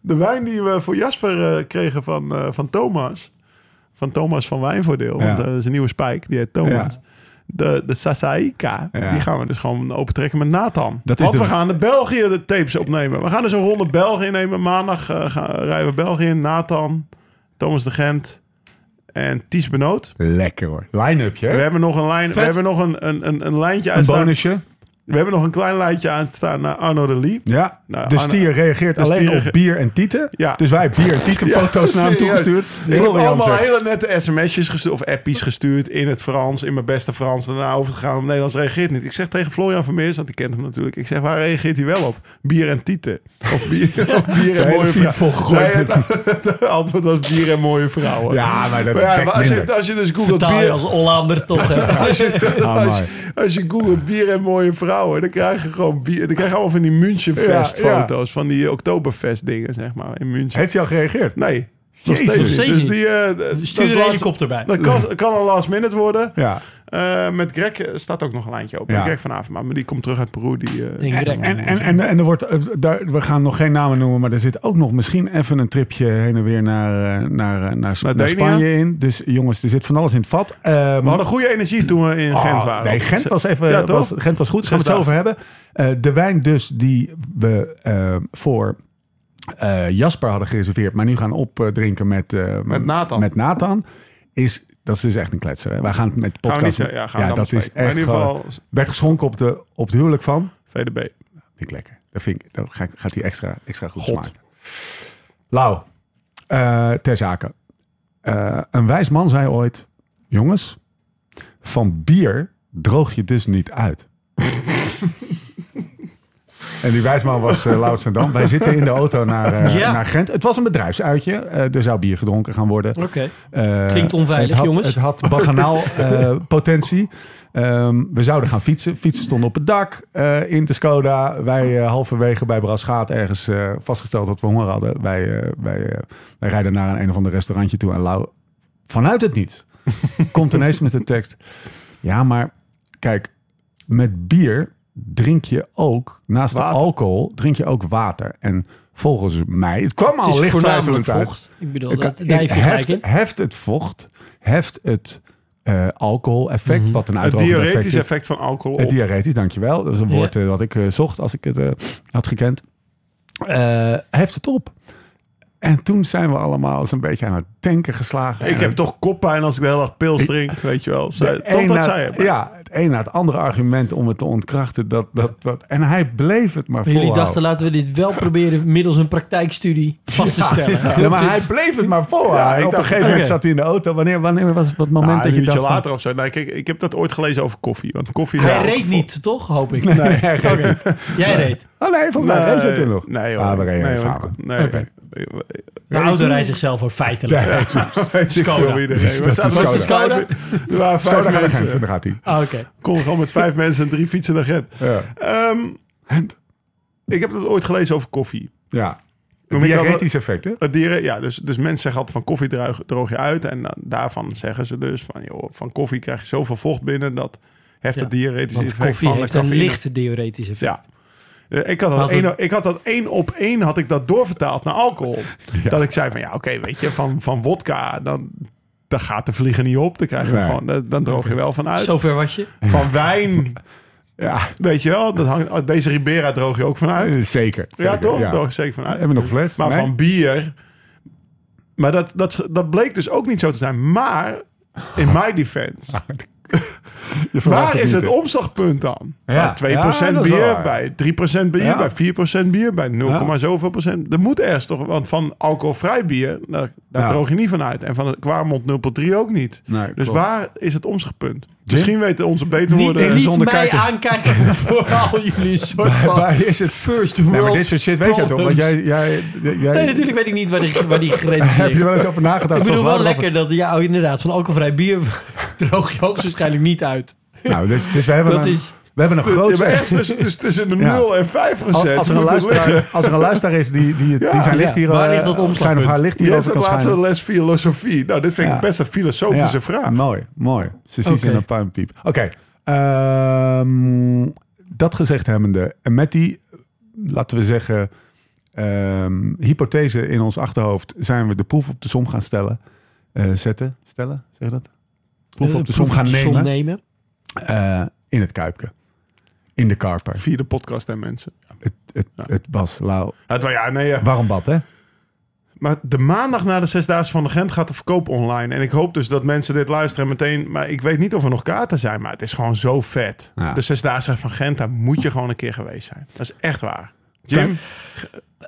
D: De wijn die we voor Jasper eh, kregen van, eh, van Thomas. Van Thomas van Wijnvoordeel.
B: Ja.
D: Want eh, dat is een nieuwe spijk, die heet Thomas.
B: Ja.
D: De, de Sasaika,
B: Ja.
D: die gaan we dus gewoon opentrekken met Nathan.
B: Dat is
D: Want
B: de-
D: we gaan de België de tapes opnemen. We gaan dus een ronde België nemen. Maandag eh, gaan, rijden we België in. Nathan, Thomas de Gent en Ties Benoot.
B: Lekker hoor. Line-upje,
D: We
B: hè?
D: hebben nog een, lijn, we
E: Vet.
D: hebben nog een, een, een, een lijntje
B: Een
D: uitstaan.
B: bonusje.
D: We hebben nog een klein lijntje aan het staan naar Arno de Lee.
B: Ja,
D: Nou,
B: de
D: Arne-
B: stier reageert
D: de
B: alleen
D: stier
B: op
D: ge-
B: bier en tieten.
D: Ja.
B: Dus wij hebben bier en tieten foto's naar hem
D: serieus.
B: toegestuurd.
D: Ik heb
B: Florian
D: allemaal
B: zegt,
D: hele nette sms'jes gestuurd of appies gestuurd in het Frans, in mijn beste Frans. Daarna overgegaan op Nederlands reageert niet. Ik zeg tegen Florian Vermeers, want die kent hem natuurlijk. Ik zeg, waar reageert hij wel op? Bier en tieten. Of bier, of bier
B: Zijn
D: en
B: hele
D: mooie
B: fiets
D: vrouwen.
B: volgegooid
D: Zij het- Het antwoord was bier en mooie vrouwen.
B: Ja, maar dat
D: ja,
B: dekt
D: als, je,
B: minder.
D: als je dus googelt
E: Taal je
D: bier,
E: als Hollander toch. hè?
D: als je,
B: Ah,
D: als,
B: maar.
D: je, als je googelt bier en mooie vrouwen, dan krijg je gewoon bier. Dan krijg je allemaal van die Münchenfest
B: Ja, ja.
D: foto's. Van die Oktoberfest dingen, zeg maar. In München.
B: Heeft hij al gereageerd?
D: Nee. Nog steeds
B: Jezus.
D: niet.
E: Nog
D: Dus
E: steeds
D: die, eh, dat is
E: Stuur een
D: laatst-
E: helikopter bij.
D: Dat kan, kan een last minute worden.
B: Ja.
D: Eh, met Greg eh, staat ook nog een lijntje open.
B: Ja.
D: Greg vanavond, maar die komt terug uit Peru. Die, eh,
E: Denk direct.
B: En, en, en, en er wordt, eh, daar, we gaan nog geen namen noemen, maar er zit ook nog misschien even een tripje heen en weer naar, eh, naar, eh, naar, S-
D: Naar
B: naar
D: Denia?
B: Spanje in. Dus jongens, er zit van alles in het vat. Eh,
D: we hadden goede energie toen we in
B: Oh,
D: Gent waren.
B: Nee, Gent was, even,
D: Ja, toch?
B: was, Gent was goed. Gaan we het zo over hebben. Eh, de wijn dus die we eh, voor eh, Jasper hadden gereserveerd, maar nu gaan opdrinken met, eh,
D: Met Nathan.
B: met Nathan, is... Dat is dus echt een kletser. hè? Wij gaan het met de
D: Gaan
B: podcast...
D: we niet zeggen. Ja, gaan we dan
B: dat is
D: bespreken. Maar
B: echt...
D: in ieder
B: gewoon-
D: geval,
B: werd geschonken op, de, op het huwelijk van...
D: VDB.
B: Vind ik lekker. Dat, vind ik, dat ga ik- gaat hij extra, extra goed
D: God.
B: smaken. Lau, eh, ter zake. Eh, een wijs man zei ooit... Jongens, van bier droog je dus niet uit. en die wijsman was uh, Lau Sandam. Wij zitten in de auto naar, eh,
E: Ja.
B: naar Gent. Het was een bedrijfsuitje. Eh, er zou bier gedronken gaan worden.
E: Oké.
B: Eh,
E: Klinkt onveilig,
B: het had,
E: jongens.
B: Het had baganaal eh, potentie. Ehm, we zouden gaan fietsen. Fietsen stonden op het dak eh, in de Skoda. Wij eh, halverwege bij Braschaat ergens eh, vastgesteld dat we honger hadden. Wij, eh, wij, eh, wij rijden naar een, een of ander restaurantje toe. En Lau, vanuit het niet, komt ineens met de tekst. Ja, maar kijk, met bier drink je ook, naast de
D: Water.
B: alcohol, drink je ook water. En volgens mij, het kwam
E: Het
B: al
E: is
B: licht
E: voornamelijk
B: twijfelend uit.
E: vocht. Ik bedoel,
B: Het
E: dat,
B: kan-
E: daar heeft
B: het
E: je gelijk
B: heft,
E: in.
B: heft het vocht, heft het eh alcohol-effect,
E: Mhm.
B: wat een
D: Het
B: uitdrogend effect
D: diuretisch
B: is.
D: effect van alcohol
B: Het
D: op.
B: diuretisch, dankjewel. Dat is een
E: Ja.
B: woord eh, wat ik eh, zocht als ik het eh, had gekend. Eh, heft het op. En toen zijn we allemaal eens een beetje aan het denken geslagen.
D: Ik
B: En
D: heb
B: het-
D: toch koppijn als ik de hele dag pils drink, weet je wel. Zij,
B: de
D: toch
B: een
D: dat
B: na-
D: zij hebben.
B: Ja, het een na het andere argument om het te ontkrachten. Dat, dat, dat, en hij bleef het maar
E: Maar jullie
B: volhouden.
E: dachten, laten we dit wel proberen middels een praktijkstudie vast te stellen.
B: Ja, maar hij bleef het maar volhouden.
D: Ja, ik
B: op een
D: dacht-
B: gegeven moment
E: Oké.
B: zat hij in de auto. Wanneer, wanneer was het dat moment
D: Nou,
B: dat je
D: een uurtje
B: dacht... van-
D: later of zo. Nee, kijk, ik heb dat ooit gelezen over koffie. Want koffie
E: Hij
D: Ja.
E: reed niet, toch? Hoop ik.
B: Nee, hij reed
E: Oké. Jij reed.
B: Oh nee, volgens mij reed je toen nog.
D: Nee, hoor.
B: Ah, we reden
D: nee, hoor.
B: samen.
D: Nee,
E: Oké.
D: nee.
E: De auto rijdt zichzelf ook feitelijk.
D: Weet ik
E: Skoda.
D: veel wie er
B: Dus
D: reed.
B: dat
D: We zaten
B: is
D: met
E: Skoda.
D: vijf- Er waren
B: Zo, daar
D: vijf
B: gaat hij.
D: mensen.
B: Daar gaat hij.
E: Ah, Oké.
D: Kon gewoon met vijf mensen en drie fietsen naar Gent.
B: Ja.
D: Ehm, ik heb dat ooit gelezen over koffie.
B: Ja.
D: Noem ik
B: Diarretisch effect, hè?
D: Het dieren, ja, dus, dus mensen zeggen altijd van koffie droog, droog je uit. En dan daarvan zeggen ze dus van, joh, van koffie krijg je zoveel vocht binnen. Dat heft
E: Ja,
D: het diuretisch
E: Want
D: effect
E: koffie
D: van de
E: heeft een
D: cafeïne.
E: licht theoretisch effect.
D: Ja. Eh, Ik had, dat
E: Had het-
D: één- ik had dat één op één had ik dat doorvertaald naar alcohol. Dat ik zei van ja, oké, weet je, van, van wodka, dan, dan gaat de vliegen niet op. Dan krijg je
B: Nee.
D: gewoon, dan, dan droog je wel van uit.
E: Zover was je.
D: Van wijn,
B: Ja,
D: weet je wel, dat hangt, oh, deze Ribera droog je ook van uit.
B: eh, zeker.
D: Ja,
B: Zeker,
D: toch? Daar Droog je zeker van uit.
B: Hebben we nog een fles?
D: Maar
B: Nee?
D: van bier. Maar dat, dat, dat bleek dus ook niet zo te zijn. Maar in mijn
B: Ah,
D: defense.
B: Je verwacht
D: Waar is
B: niet,
D: het
B: hè?
D: omslagpunt dan?
B: Ja.
D: Bij 2%
B: Ja, dat is wel
D: bier,
B: waar.
D: bij 3% bier,
B: Ja.
D: bij 4% bier, bij 0,
B: Ja.
D: zoveel procent. Er moet ergens toch, want van alcoholvrij bier, daar, daar
B: Ja.
D: droog je niet van uit. En van het Kwarmond 0,3 ook niet.
B: Nee,
D: dus
B: klopt.
D: waar is het omslagpunt? Misschien weten onze beter
E: Niet,
D: worden.
E: niet mij
B: zonder kijkers.
E: aankijken voor al jullie soort van
B: Waar is het...
E: first world
B: Nee, maar dit soort shit weet je toch? Want jij... jij, jij
E: Nee, natuurlijk weet ik niet waar die, waar die grens
B: Heb je
E: ligt.
B: wel eens over nagedacht?
E: Ik
B: zoals
E: bedoel
B: we
E: wel
B: hadden over-
E: lekker dat, ja, oh, inderdaad, van alcoholvrij bier droog je hoogstwaarschijnlijk niet uit.
B: Nou, dus, dus we hebben
E: Dat
B: een...
E: is-
B: We hebben een groot...
D: Ja, maar ergens tussen, tussen- dus tussen de
B: Ja.
D: 0 en 5
B: Als,
D: procent.
B: als er een
D: moet het liggen.
B: luisteraar, als er een luisteraar is die, die, die
D: Ja.
B: zijn licht hier...
E: Ja, waar
B: eh,
E: ligt dat
B: Zijn of
E: omslagpunt?
B: haar licht
D: Jij
B: hierover kan
D: zat laatst
B: schijnen.
D: een les filosofie. Nou, dit vind
B: Ja.
D: ik best een filosofische vraag.
B: Mooi, mooi. Ze ziet
E: Oké.
B: in een puinpiep. Oké. ehm, dat gezegd hebbende. En met die, laten we zeggen, ehm, hypothese in ons achterhoofd... zijn we de proef op de som gaan stellen. eh, zetten, stellen, zeg je dat? Proef
E: Eh,
B: op de som gaan nemen.
E: som nemen.
B: eh, in het Kuipke. In de Karper.
D: Via de podcast en mensen. Nou,
B: Het, het, het was lauw.
D: Het, wa- ja, nee, ja.
B: Warm bad, hè?
D: Maar de maandag na de Zesdaagse van de Gent gaat de verkoop online. En ik hoop dus dat mensen dit luisteren meteen. Maar ik weet niet of er nog kaarten zijn. Maar het is gewoon zo vet.
B: Ja.
D: De Zesdaagse van Gent, daar moet je gewoon een keer geweest zijn. Dat is echt waar. Jim,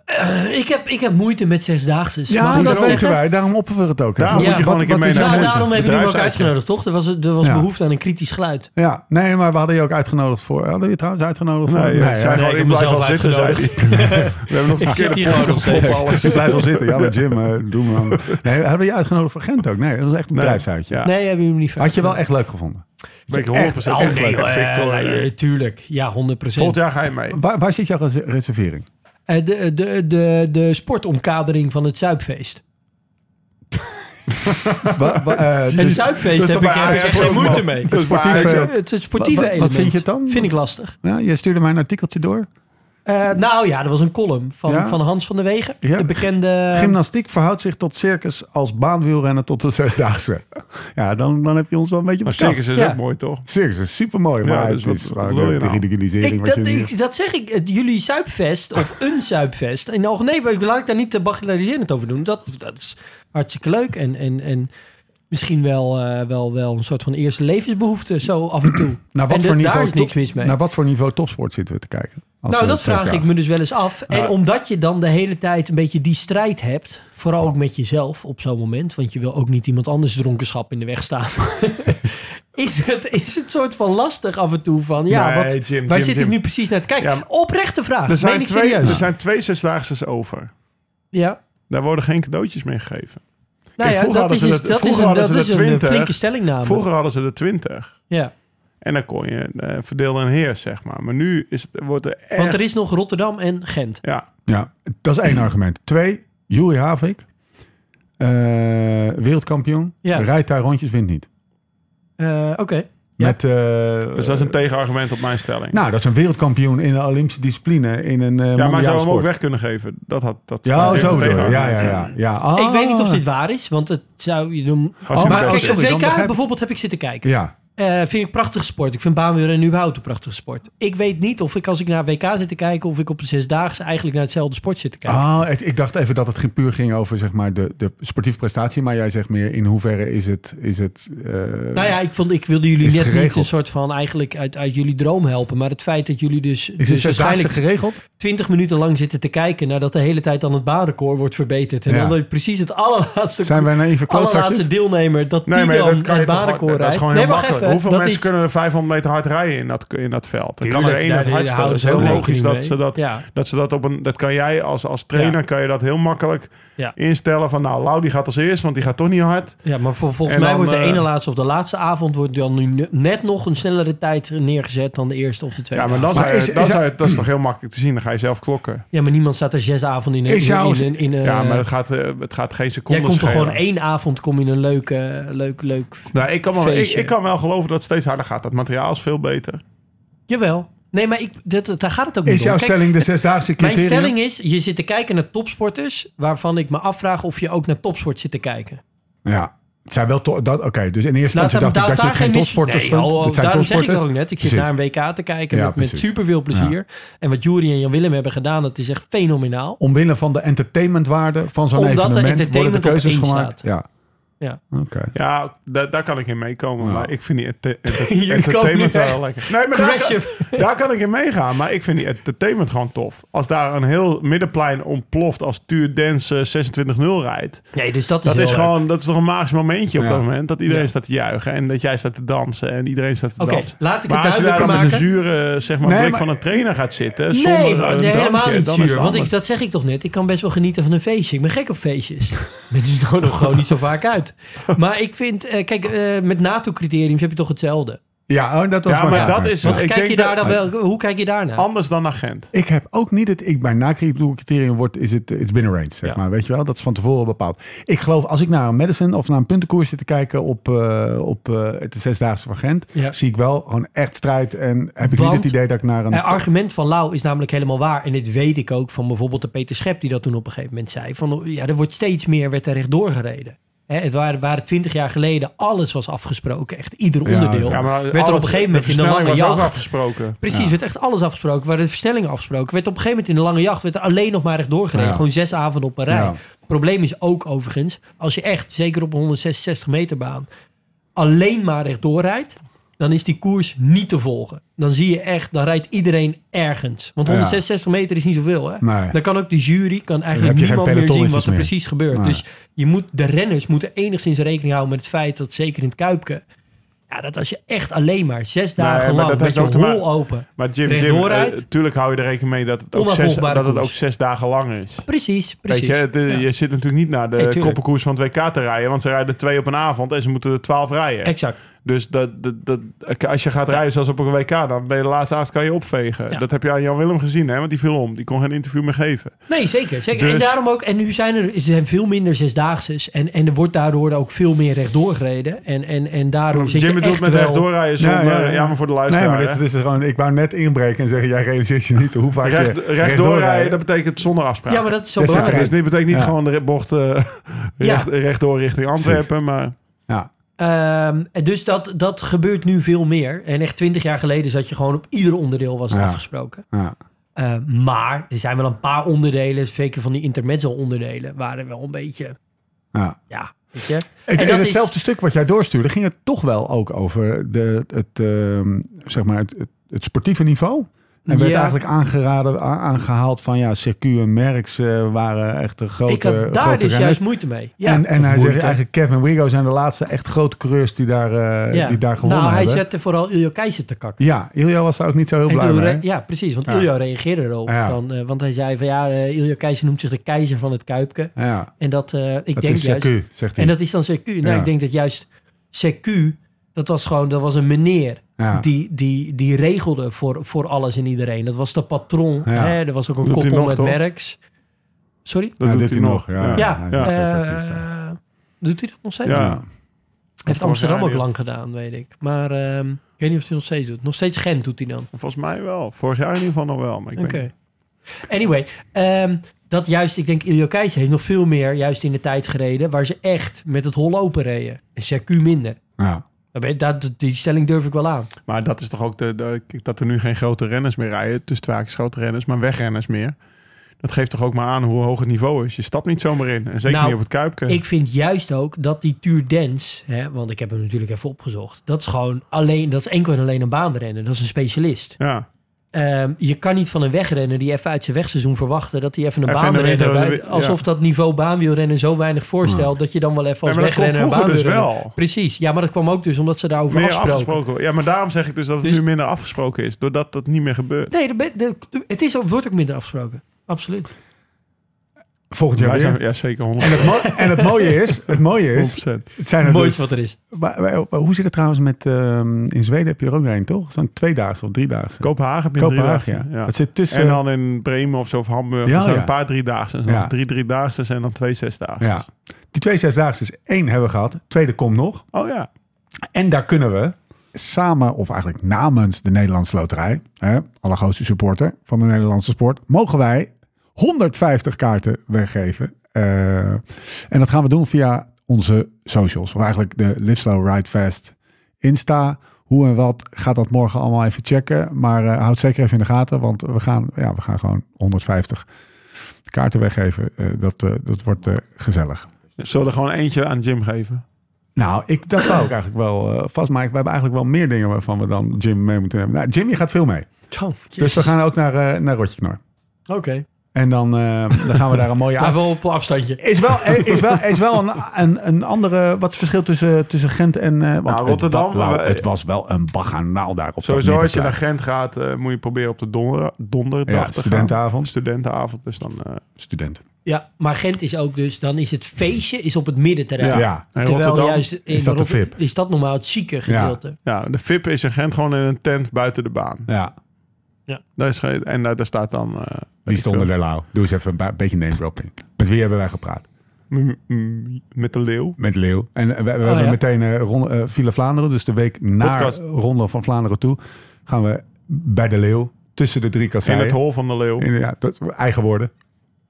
E: Eh, Ik heb, ik heb moeite met zesdaagse.
B: Ja, dat
D: zeggen?
B: weten wij. Daarom oppen we het ook. hè?
D: Daarom
E: Ja,
D: moet je gewoon
B: wat-
D: een keer
B: wat
D: mee
B: is
D: naar
B: nou-
E: Ja,
D: Gent.
E: daarom hebben jullie me ook
D: Bedrijfsuitje.
E: uitgenodigd, toch? Er was, er was
B: Ja.
E: behoefte aan een kritisch geluid.
B: Ja, nee, maar we hadden je ook uitgenodigd voor. Hadden we je trouwens uitgenodigd voor?
D: Nee, ik zei
E: nee,
D: gewoon,
E: ik
D: ik
E: heb
D: blijf
E: mezelf
D: al zitten. zei hij.
E: uitgenodigd.
D: We hebben nog de
E: Ik zit
D: verkeerde
E: hier gewoon nog
D: podcast op
E: steeds.
D: alles.
B: Ik blijf wel zitten. Ja, maar Jim, eh, doe maar. Nee, hadden we je uitgenodigd voor Gent ook? Nee, dat was echt een bedrijfsuitje.
D: Ja.
E: Nee, hebben jullie niet
B: Had je wel echt leuk gevonden.
D: Ben ik 100%
E: Echt, oh
D: echt
E: nee,
D: leuk.
E: eh,
D: Victor, eh,
E: eh, tuurlijk. Ja, 100%.
D: Volgend jaar ga je mee.
B: Waar, waar zit jouw res- reservering?
E: Eh, de, de, de, de sportomkadering van het Zuipfeest.
B: Wa- wa- eh,
E: Het
B: dus-
E: zuipfeest
B: dus
E: heb
B: dan
E: ik
B: bij
E: eh,
B: Ajax
E: echt geen
B: Portugal.
E: moeite mee.
B: Dus
D: Ajax-
B: sportieve,
E: Het, het sportieve
B: Wat- wat
E: element
B: vind je het dan?
E: Vind ik lastig.
B: ja, je stuurde mij een artikeltje door.
E: Eh, nou ja, dat was een column van,
B: Ja?
E: van Hans van der Wegen.
B: Ja.
E: De bekende...
B: Gymnastiek verhoudt zich tot circus als baanwielrennen tot de zesdaagse. Ja, dan, dan heb je ons wel een beetje
D: Maar
B: verrast.
D: circus is
E: Ja.
D: ook mooi, toch?
B: Circus is supermooi,
D: Ja,
B: maar
D: dus
B: het
D: wat-
B: is
D: wat
B: gewoon
D: wil je
B: de
D: nou?
B: ridiculisering
E: Ik,
B: wat
E: dat,
B: je nu-
E: ik, dat zeg ik. Het, jullie zuipfest of een zuipfest. En nou, nee, maar laat ik daar niet te bagatelliserend over doen. Dat, dat is hartstikke leuk. En, en, en misschien wel, eh, wel, wel een soort van eerste levensbehoefte. Zo af en toe.
B: Naar
E: en
B: Nou, wat
E: de-
B: voor
E: daar
B: niveau
E: is niks mis mee.
B: Naar wat voor niveau topsport zitten we te kijken? Als
E: nou,
B: we
E: dat
B: het
E: vraag ik
B: zesdaagse-
E: me dus wel eens af.
D: Nou,
E: En omdat je dan de hele tijd een beetje die strijd hebt. Vooral ook met jezelf op zo'n moment. Want je wil ook niet iemand anders dronkenschap in de weg staan. is, het, is het soort van lastig af en toe van... Ja,
D: Nee,
E: wat,
D: Jim, Jim,
E: waar zit
D: Jim.
E: ik nu precies naar te kijken?
D: Ja, maar-
E: Oprechte vraag.
D: Er zijn,
E: Meen ik
D: twee,
E: serieus.
D: er zijn twee zesdaagses over.
E: Ja.
D: Daar worden geen cadeautjes meer gegeven.
B: Ah,
E: Nou ja,
D: vroeger
E: dat
D: hadden
E: is,
D: ze
E: iets-
D: het-
E: dat is
D: vroeger
E: een,
D: hadden
E: dat
D: ze
E: is
D: de
E: een
D: 20.
E: flinke stellingname.
D: Vroeger hadden ze er twintig.
E: Ja.
D: En dan kon je eh verdeel en heers, zeg maar. Maar nu is het, wordt er echt...
E: Want er is nog Rotterdam en Gent.
D: Ja,
B: Ja, dat is één argument. Twee, Juri Havik, eh, wereldkampioen,
E: Ja.
B: rijdt daar rondjes, wint niet.
E: Eh, Oké. Ja.
B: Met, eh,
D: dus dat is een tegenargument op mijn stelling.
B: nou, dat is een wereldkampioen in de Olympische discipline in een eh
D: ja, maar
B: mondiale
D: zou hem ook
B: sport.
D: weg kunnen geven? Dat had dat
B: Ja,
D: dat
B: zo
D: heeft
B: bedoel
D: een
B: je. Ja, ja,
D: tegenargument.
B: ja. ja. Ah.
E: Ik weet niet of dit waar is, want het zou je doen.
D: Als je
B: Oh,
D: hem
E: Maar
D: belt,
E: kijk,
B: sorry,
E: het
B: dan
E: WK
B: begrijp ik.
E: bijvoorbeeld heb ik zitten kijken.
B: Ja,
E: Eh, vind ik een prachtige sport. Ik vind baanwielrennen überhaupt een prachtige sport. Ik weet niet of ik als ik naar WK zit te kijken... of ik op de Zesdaagse eigenlijk naar hetzelfde sport zit te kijken.
B: Ah, het- ik dacht even dat het ging- puur ging over zeg maar, de, de sportieve prestatie. Maar jij zegt meer in hoeverre is het... Is het eh,
E: nou ja, ik, vond, ik wilde jullie
B: is
E: net niet
B: geregeld.
E: een soort van... eigenlijk uit, uit jullie droom helpen. Maar het feit dat jullie dus,
B: is het
E: dus
B: zesdaagse
E: waarschijnlijk
B: geregeld?
E: 20 minuten lang zitten te kijken... nadat de hele tijd dan het baanrecord wordt verbeterd. En
B: Ja.
E: dan dat precies het allerlaatste...
B: Zijn wij naïeve
E: allerlaatste
B: klootzakjes?
E: deelnemer dat die
D: Nee, maar
E: dan
D: dat, kan je
E: het
D: toch, gewoon-
E: baanrecord
D: dat is
E: rijdt.
D: gewoon heel
E: Nee, wacht
D: makkelijk.
E: even.
D: Hoeveel
E: dat
D: mensen
E: is,
D: kunnen er 500 meter hard rijden in dat, in dat veld? Dan kan er
E: Tuurlijk,
D: één
E: daar-
D: het
E: daar
D: hardst. Dat
E: houden
D: is
E: ze
D: heel
E: ook
D: logisch
E: rekening
D: dat
E: mee.
D: ze dat,
E: Ja.
D: dat ze dat op een... Dat kan jij als, als trainer
E: Ja.
D: kan je dat heel makkelijk
E: Ja.
D: instellen. Van nou, Lau die gaat als eerst, want die gaat toch niet hard.
E: Ja, maar vol- volgens
D: En
E: mij
D: dan,
E: wordt de
D: eh,
E: ene laatste of de laatste avond wordt dan nu ne- net nog een snellere tijd neergezet dan de eerste of de tweede.
D: Ja, maar dan
B: Maar
D: zou je-
B: is-
D: dan
B: is-
D: zou je- dat is toch heel makkelijk te zien. Dan ga je zelf klokken.
E: Ja, maar niemand staat er zes avonden in. een-
B: Is
E: in,
B: jouw-
E: in, in, in, eh,
D: Ja, maar het gaat, eh, het gaat geen seconde
E: jij komt er
D: schelen.
E: gewoon één avond kom in een leuke, leuk, leuk.
D: Nou, ik, kan wel, ik,
E: feestje.
D: ik kan wel geloven dat het steeds harder gaat. Dat materiaal is veel beter.
E: Jawel. Nee, maar ik, dat, dat- daar gaat het ook niet
B: Is
E: om.
B: jouw
E: Kijk,
B: stelling de zesdaagse
E: mijn
B: criteria?
E: stelling is, je zit te kijken naar topsporters, waarvan ik me afvraag of je ook naar topsport zit te kijken.
B: Ja. Het zijn wel to- dat Oké, dus in eerste
E: Laat
B: instantie
E: hem
B: Nou, dacht ik
E: daar,
B: dat je
E: daar
B: het geen
E: geen mis-
B: topsporters
E: nee,
B: vindt.
E: joh,
B: Het zijn
E: daarom zeg ik
B: topsporters.
E: dat ook net. Ik zit
B: Precies.
E: naar een WK te kijken
B: Ja,
E: met, met
B: precies.
E: superveel plezier. En wat Jury en Jan-Willem hebben gedaan, dat is echt fenomenaal.
B: Omwille van de entertainmentwaarde van zo'n
E: Omdat er
B: evenement worden de
E: entertainment
B: keuzes
E: op één
B: gemaakt.
E: staat.
B: Ja.
E: Ja.
B: Oké.
D: Ja, daar, daar kan ik in meekomen. Maar ik vind die ente- ente-
E: Nou. Je kan
D: entertainment
E: nu
D: wel
E: echt
D: lekker. Nee, maar daar,
E: Crashen.
D: kan- daar kan ik in meegaan. Maar ik vind die entertainment gewoon tof. Als daar een heel middenplein ontploft als Tuur Dance 26-0 rijdt.
E: Nee, dus dat is
D: Dat
E: heel
D: is,
E: leuk.
D: gewoon, dat is toch een magisch momentje op
B: Ja.
D: dat moment. Dat iedereen
E: Ja.
D: staat te juichen en dat jij staat te dansen en iedereen staat te
E: Oké,
D: dansen.
E: laat ik
D: maar
E: het
D: als je daar
E: duidelijker
D: dan
E: maken.
D: met een zure zeg maar,
B: Nee,
D: blik
B: maar-
D: van een trainer gaat zitten...
E: Nee,
D: Zonder
E: maar-
D: een
E: nee,
D: drankje,
E: helemaal niet
D: dan is
E: zuur.
D: het
E: Want ik,
D: anders.
E: dat zeg ik toch net. Ik kan best wel genieten van een feestje. Ik ben gek op feestjes. Mensen nodigen gewoon niet zo vaak uit. Maar ik vind, eh, kijk, eh, met NATO-criteriums heb je toch hetzelfde.
B: Ja, oh, dat was
D: Ja,
B: mijn
D: maar
B: vraag.
D: dat is...
B: Ja.
D: ik
E: Kijk je
D: denk
E: daar
D: dat-
E: dan wel, hoe kijk je daarnaar?
D: Anders dan agent.
B: Ik heb ook niet het. Ik bij nacriterium wordt is het it's binnen range zeg
D: Ja.
B: maar, weet je wel? Dat is van tevoren bepaald. Ik geloof als ik naar een medicine of naar een puntenkoers zit te kijken op eh, op eh, het zesdaagse van Gent,
E: Ja.
B: zie ik wel gewoon echt strijd en heb ik
E: Want-
B: niet het idee dat ik naar een.
E: Het Eh, argument van Lau is namelijk helemaal waar. En dit weet ik ook van bijvoorbeeld de Peter Schep, die dat toen op een gegeven moment zei. Van, ja, er wordt steeds meer werd er rechtdoor gereden. Hè, het waren, waren twintig jaar geleden, alles was afgesproken. Echt ieder
B: Ja,
E: onderdeel.
B: ja,
E: werd er op een gegeven moment in een lange
D: was ook
E: jacht.
D: afgesproken.
E: Precies, werd echt alles afgesproken. Waren de versnellingen afgesproken. Werd op een gegeven moment in de lange jacht werd er alleen nog maar recht doorgereden.
B: Ja.
E: Gewoon zes avonden op een rij.
B: Ja.
E: Probleem is ook overigens, als je echt, zeker op een 166 meter baan, alleen maar rechtdoor rijdt, dan is die koers niet te volgen. Dan zie je echt, dan rijdt iedereen ergens. Want
B: Ja.
E: 166 meter is niet zoveel. Hè?
B: Nee.
E: Dan kan ook de jury, kan eigenlijk
B: heb je geen
E: niemand meer zien wat
B: pelotonnetjes
E: er
B: meer.
E: precies gebeurt.
B: Nee.
E: Dus je moet, de renners moeten enigszins rekening houden met het feit dat zeker in het Kuipke, ja, dat als je echt alleen maar zes dagen
D: maar dat
E: lang met
D: heeft
E: je
D: ook te maken-
E: hol open
D: Maar Jim, Jim
E: rechtdoor rijdt.
D: natuurlijk hou je er rekening mee dat het ook, zes,
E: Onafvolgbare
D: dat het ook
E: koers.
D: zes dagen lang is.
E: Precies, precies.
D: Weet je, het, eh,
E: Ja.
D: je zit natuurlijk niet naar de
E: Nee, tuurlijk.
D: koppenkoers van het WK te rijden, want ze rijden twee op een avond en ze moeten er twaalf rijden.
E: Exact.
D: Dus dat, dat, dat, als je gaat rijden zoals op een WK, dan ben je de laatste aas kan je opvegen.
E: Ja.
D: Dat heb je aan Jan Willem gezien, hè? want die viel om. Die kon geen interview meer geven.
E: Nee, zeker. zeker. En
D: Dus-
E: daarom ook. En nu zijn er, er zijn veel minder zesdaagses. En, en er wordt daardoor ook veel meer rechtdoor gereden. En, en, en daarom
D: Jim
E: zit Dus je
D: bedoelt
E: echt
D: met
E: wel-
D: rechtdoorrijden zonder... eh, Ja, maar voor de luisteraar.
B: Nee, maar
D: hè?
B: dit, dit is gewoon... Ik wou net inbreken en zeggen... Jij realiseert je niet hoe vaak je
D: Recht, rechtdoor rijden, dat betekent zonder afspraak.
E: Ja, maar dat is zo
B: Ja,
E: belangrijk.
D: Dus dit betekent niet
B: Ja.
D: gewoon de re- bocht eh,
E: Ja.
D: recht, rechtdoor richting Antwerpen, maar...
B: Ja,
E: Ehm, en dus dat, dat gebeurt nu veel meer. En echt twintig jaar geleden zat je gewoon op ieder onderdeel was het
B: Ja.
E: afgesproken.
B: ja.
E: Eh, maar er zijn wel een paar onderdelen, zeker van die intermezzo-onderdelen, waren wel een beetje,
B: ja.
E: ja, weet je.
B: Ik,
E: en
B: in
E: dat
B: hetzelfde stuk wat jij doorstuurde, ging het toch wel ook over de, het, ehm, zeg maar het, het, het sportieve niveau. En werd
E: Ja.
B: eigenlijk aangeraden, a- aangehaald van ja, Circuit en Merckx eh, waren echt de
E: is,
B: grote.
E: ik had daar
B: grote
E: dus
B: renners.
E: juist moeite mee. Ja.
B: en en
E: Of
B: hij
E: moeite.
B: zegt eigenlijk Kevin Wigo zijn de laatste echt grote coureurs die daar, eh,
E: Ja.
B: die daar gewonnen
E: Nou, hij
B: hebben.
E: zette vooral Iljo Keizer te kakken.
B: Ja, Ilja was daar ook niet zo heel
E: En
B: blij
E: toen
B: mee.
E: re- ja, precies. Want
B: Ja.
E: Iljo reageerde erop.
B: Ja.
E: Van, eh, want hij zei van ja, eh, Iljo Keizer noemt zich de keizer van het Kuipke.
B: Ja,
E: En dat, eh, ik
B: dat
E: denk
B: is
E: juist...
B: Circuit, zegt hij.
E: En dat is dan CQ. Nou,
B: Ja.
E: ik denk dat juist CQ, dat was gewoon, dat was een meneer.
B: Ja.
E: Die, die, die regelde voor, voor alles en iedereen. Dat was de patron.
B: Ja.
E: Hè? Er was ook een
D: Doet hij
E: koppel
D: nog,
E: met
D: toch?
E: Merks. Sorry?
D: Dat
B: Ja,
D: doet hij nog. Ja.
E: Ja.
B: dat is
E: eh,
B: wat hij staat.
E: doet hij dat nog steeds?
D: Ja.
E: Heeft
D: jaar
E: Amsterdam ook
D: niet.
E: lang gedaan, weet ik. Maar ehm, ik weet niet of hij het nog steeds doet. Nog steeds Gent doet hij dan.
D: Volgens mij wel. Vorig jaar in ieder geval nog wel. Maar ik
E: Oké.
D: weet niet.
E: Anyway, ehm, dat juist, ik denk, Iljo Keijs heeft nog veel meer juist in de tijd gereden... waar ze echt met het hol open reden. En CQ minder.
B: Ja.
E: Daar ben je- dat- Die stelling durf ik wel aan.
D: Maar dat is toch ook de, de- kijk, dat er nu geen grote renners meer rijden. Tussen twaakjes grote renners, maar wegrenners meer. Dat geeft toch ook maar aan hoe hoog het niveau is. Je stapt niet zomaar in. En zeker
E: Nou,
D: niet op het Kuipke.
E: Ik vind juist ook dat die Tour Dance, hè, want ik heb hem natuurlijk even opgezocht. Dat is gewoon alleen, dat is enkel en alleen een baanrenner. Dat is een specialist.
D: ja.
E: Ehm, je kan niet van een wegrenner die even uit zijn wegseizoen verwachten dat hij even een
D: Even
E: baanrenner
D: een-
E: bij,
D: ja. Hmm.
E: alsof dat niveau baanwielrennen zo weinig voorstelt dat je dan wel even als
D: Nee, maar dat kwam
E: wegrenner een
D: vroeger dus
E: baanwielrenner-
D: wel.
E: Precies. Ja, maar dat kwam ook dus omdat ze daarover
D: Meer
E: afsproken.
D: afgesproken. Ja, maar daarom zeg ik dus dat het
E: Dus-
D: nu minder afgesproken is. Doordat dat niet meer gebeurt.
E: Nee, de, de, de- het is, ook- wordt ook minder afgesproken. Absoluut.
B: Volgend jaar
D: Wij
B: weer.
D: zijn, ja, zeker 100%.
B: En het, mo- en het mooie is, het mooie is, het zijn er
E: Het
B: dus-
E: mooiste wat er is.
B: Maar, maar- maar hoe zit het trouwens met... ehm, in Zweden heb je er ook een, toch? Zo'n tweedaagse of driedaagse.
D: Kopenhagen heb je
B: Kopenhagen,
D: drie dagen.
B: ja.
D: Ja.
B: Het zit tussen...
D: En dan in Bremen of zo, of Hamburg.
B: Ja,
D: er zijn
B: ja.
D: een paar driedaagse. En dan
B: Ja.
D: Drie driedaagse en dan twee zesdaagse.
B: ja. Die twee zesdaagse is één hebben we gehad. Tweede komt nog.
D: Oh ja.
B: En daar kunnen we samen, of eigenlijk namens de Nederlandse Loterij... Hè, allergrootste supporter van de Nederlandse sport... mogen wij 150 kaarten weggeven. Eh, en dat gaan we doen via onze socials. Of eigenlijk de Live Slow Ride Fast Insta. Hoe en wat gaat dat morgen allemaal even checken. Maar eh, houd zeker even in de gaten, want we gaan, ja, we gaan gewoon 150 kaarten weggeven. Eh, dat, eh, dat wordt eh, gezellig.
D: Zullen we er gewoon eentje aan Jim geven?
B: Nou, ik, dat wou ik eigenlijk wel eh vast. Maar we hebben eigenlijk wel meer dingen waarvan we dan Jim mee moeten nemen. Nou, Jim, je gaat veel mee.
E: Oh,
B: Dus
E: jezus.
B: we gaan ook naar, eh naar Rotjeknor.
E: Oké.
B: En dan, eh, dan gaan we daar een mooie
E: Blijf wel op afstandje.
B: Is wel, eh, is wel, is wel een, een, een andere. Wat is het verschil tussen, tussen Gent en. eh, want het
D: Rotterdam,
B: wa- wauw,
D: eh,
B: het was wel een baganaal daar op
D: Sowieso
B: dat
D: als je naar
B: middenplein.
D: Gent gaat, eh, moet je proberen op de donder, donderdag
B: Ja,
D: te gaan.
B: studentenavond.
D: Studentenavond, dus dan... eh,
B: Student.
E: Ja, maar Gent is ook dus, dan is het feestje is op het middenterrein.
B: Ja.
D: En
E: Terwijl
D: Rotterdam
E: juist in
B: is dat de
E: Rotter-
B: VIP.
E: Is dat normaal het zieke gedeelte?
D: Ja, de VIP is in Gent gewoon in een tent buiten de baan.
B: Ja,
D: Daar is geen- en daar, daar staat dan... eh, weet
B: wie
D: ik
B: stonden
D: veel,
B: er nou? Doe eens even een ba- beetje name dropping. Met wie hebben wij gepraat?
D: m- m- Met de leeuw.
B: Met Leeuw. En we, we hebben
E: Oh, ja.
B: meteen eh ronde, eh, Villa Vlaanderen. Dus de week na
D: Podcast.
B: Ronde van Vlaanderen toe gaan we bij de Leeuw. Tussen de drie
D: In
B: kasseien.
D: het hol van de leeuw.
B: In- ja, dat, eigen woorden.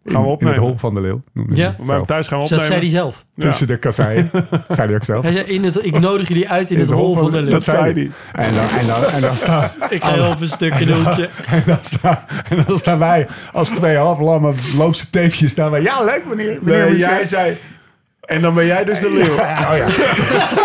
D: Gaan we
B: In- In
D: opnemen.
B: het hol van de Leeuw. noemde
E: Ja.
B: hij het
D: Maar
B: zelf.
D: thuis gaan we
E: Dus dat
D: opnemen.
E: zei hij zelf.
D: Ja.
B: Tussen de kasseien. Dat zei hij ook zelf.
E: Hij zei, in het, ik nodig jullie uit in, het hol van de
B: Dat
E: lucht.
B: zei hij. En dan, en dan, en dan, staan,
E: Ik ga heel even een stukje doen.
B: en, dan staan, en dan staan wij als twee halflamme loopse teefjes. Staan wij, ja, leuk meneer. meneer
D: Nee,
B: Museum."
D: jij zei... En dan ben jij dus de leeuw.
B: Ja, oh ja.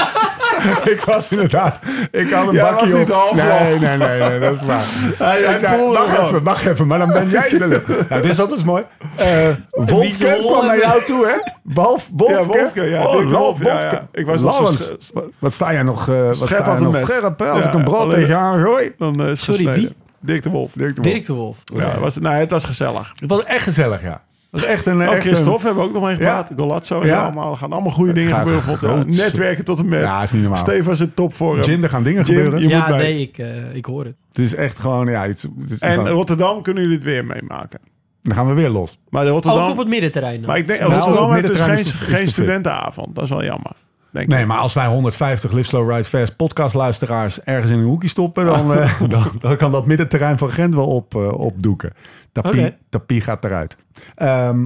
B: ik was inderdaad. Ik had een
D: Jij
B: bakje
D: was niet
B: op.
D: de halflam.
B: nee, nee, nee, nee, dat is waar.
D: Hij- hij
B: Ik zei,
D: poelde
B: wacht
D: gewoon.
B: even, wacht even, maar dan ben jij de lul. Nou, dit is altijd mooi. Eh
E: Wie
B: Wolfke
E: is
B: kwam naar
E: Wolfke?
B: jou toe, hè? Wolf, Wolfke.
D: Ja, Wolfke, ja,
B: Oh,
D: Dick Wolf, ja,
B: Wolfke.
D: ja. Ik was nog zo
B: Lallens,
D: sche-
B: wat, wat sta jij nog, eh wat
D: Scherp
B: sta jij
D: als een
B: nog
D: mes.
B: scherp, hè? Als
D: Ja,
B: ik een brood
D: alleen-
B: tegen je aangooi.
D: Dan, eh, is
E: Sorry,
D: gesneden. Dick de Wolf.
B: Dirk de Wolf.
E: Dirk de Wolf.
D: Ja, was, nou, het was gezellig.
B: Het was echt gezellig, ja. Het Dat is echt een...
D: Ook
B: echt een-
D: Christophe hebben we ook nog mee gepraat.
B: Ja.
D: Golazzo en
B: Ja.
D: allemaal. Er gaan allemaal goede dingen
B: Gaat
D: gebeuren. volgend
B: groot.
D: jaar. Netwerken tot en met.
B: Ja, is niet normaal.
D: Stefan is in topvorm.
B: Jim, er gaan dingen
D: Jim,
B: gebeuren.
D: je moet
E: ja,
D: bij.
E: nee, ik, eh, ik hoor het.
B: Het is echt gewoon... Ja, het, is- het is
D: En
B: gewoon-
D: Rotterdam kunnen jullie het weer meemaken.
B: dan gaan we weer los.
D: Maar de
E: Ook
D: Rotterdam...
E: op het middenterrein. dan.
D: Maar ik denk,
B: Nou,
D: Rotterdam heeft dus
B: middenterrein
D: geen,
B: is te- is te
D: geen
B: fit.
D: studentenavond. Dat is wel jammer. Denk
B: Nee,
D: ik.
B: maar als wij 150 Live Slow Ride Fast podcastluisteraars ergens in een hoekje stoppen... dan, eh, dan, dan kan dat middenterrein van Gent wel op, eh, opdoeken. Tapie,
E: Oké.
B: tapie gaat eruit. Ehm,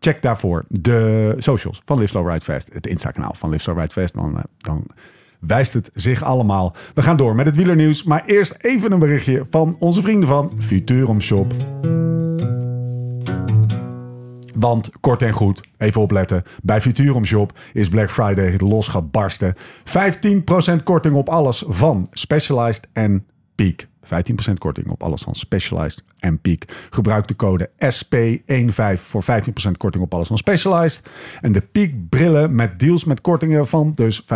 B: check daarvoor de socials van Live Slow Ride Fast. Het Insta-kanaal van Live Slow Ride Fast. Dan, eh, dan wijst het zich allemaal. We gaan door met het wielernieuws. Maar eerst even een berichtje van onze vrienden van Futurum Shop. Want kort en goed, even opletten. Bij Futurum Shop is Black Friday het los gaat barsten. 15% korting op alles van Specialized en Peak. 15% korting op alles van Specialized en Peak. Gebruik de code SP15 voor 15% korting op alles van Specialized. En de Peak brillen met deals met kortingen van dus 15%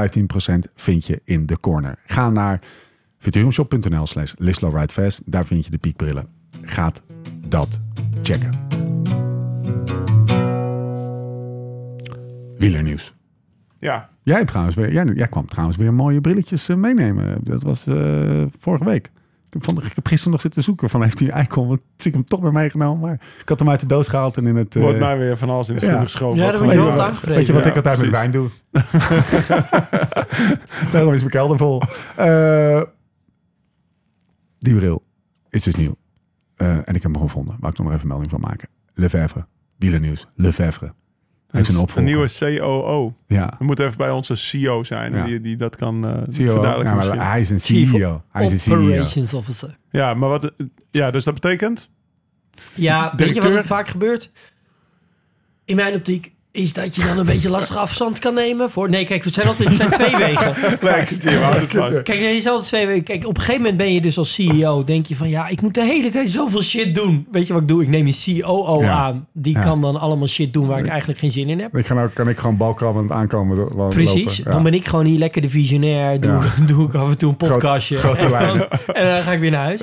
B: vind je in de corner. Ga naar futurumshop.nl slash Lislo Ride Fast. Daar vind je de Peak brillen. Gaat dat checken. Wielernieuws.
D: Ja.
B: Jij, hebt trouwens weer, jij, jij kwam trouwens weer mooie brilletjes eh, meenemen. Dat was eh, vorige week. Ik heb, van, ik heb gisteren nog zitten zoeken van heeft hij icon. Want ik heb hem toch weer meegenomen. Maar ik had hem uit de doos gehaald en in het. eh,
D: Wordt mij weer van alles in de
B: ja.
D: schoenen geschoven.
E: Ja,
D: Wat
E: dat
D: gewoon
E: word je
D: waar
E: wel
D: is.
E: aangevreden.
B: weet je wat
D: Ja,
B: ik altijd met wijn
D: precies.
B: doe? Daarom is mijn kelder vol. Eh, die bril is dus nieuw. Eh, en ik heb hem gevonden. Waar ik nog maar even melding van maken. Lefevre. Wielernieuws. Lefevre. Heeft een opvolger.
D: Een nieuwe COO.
B: Ja.
D: We moeten even bij onze CO zijn.
B: Ja.
D: Die, die dat kan eh
B: CEO.
D: verduidelijken
B: Nou, maar
D: misschien.
B: hij is een
E: Chief
B: CEO. Hij is een E CEO.
E: Operations Officer.
D: Ja, maar wat... Ja, dus dat betekent...
E: Ja, weet je
D: Directeur.
E: wat er vaak gebeurt? In mijn optiek is dat je dan een beetje lastig afstand kan nemen. Voor... Nee, kijk, het zijn altijd het zijn twee wegen.
D: Nee, ik zit hier, we houden het vast.
E: Kijk, nee, het zijn altijd twee wegen. Kijk, op een gegeven moment ben je dus als CEO. Denk je van, ja, ik moet de hele tijd zoveel shit doen. Weet je wat ik doe? Ik neem een COO
B: Ja.
E: aan. Die
B: Ja.
E: kan dan allemaal shit doen waar ik eigenlijk geen zin in heb.
B: Ik ga nou, kan ik gewoon balkrabbend aankomen. lo- lo-
E: Precies.
B: lopen. Ja.
E: Dan ben ik gewoon hier lekker de visionair. Doe, doe ik af en toe een podcastje.
B: grote
E: en, dan,
B: lijnen.
E: en dan ga ik weer naar huis.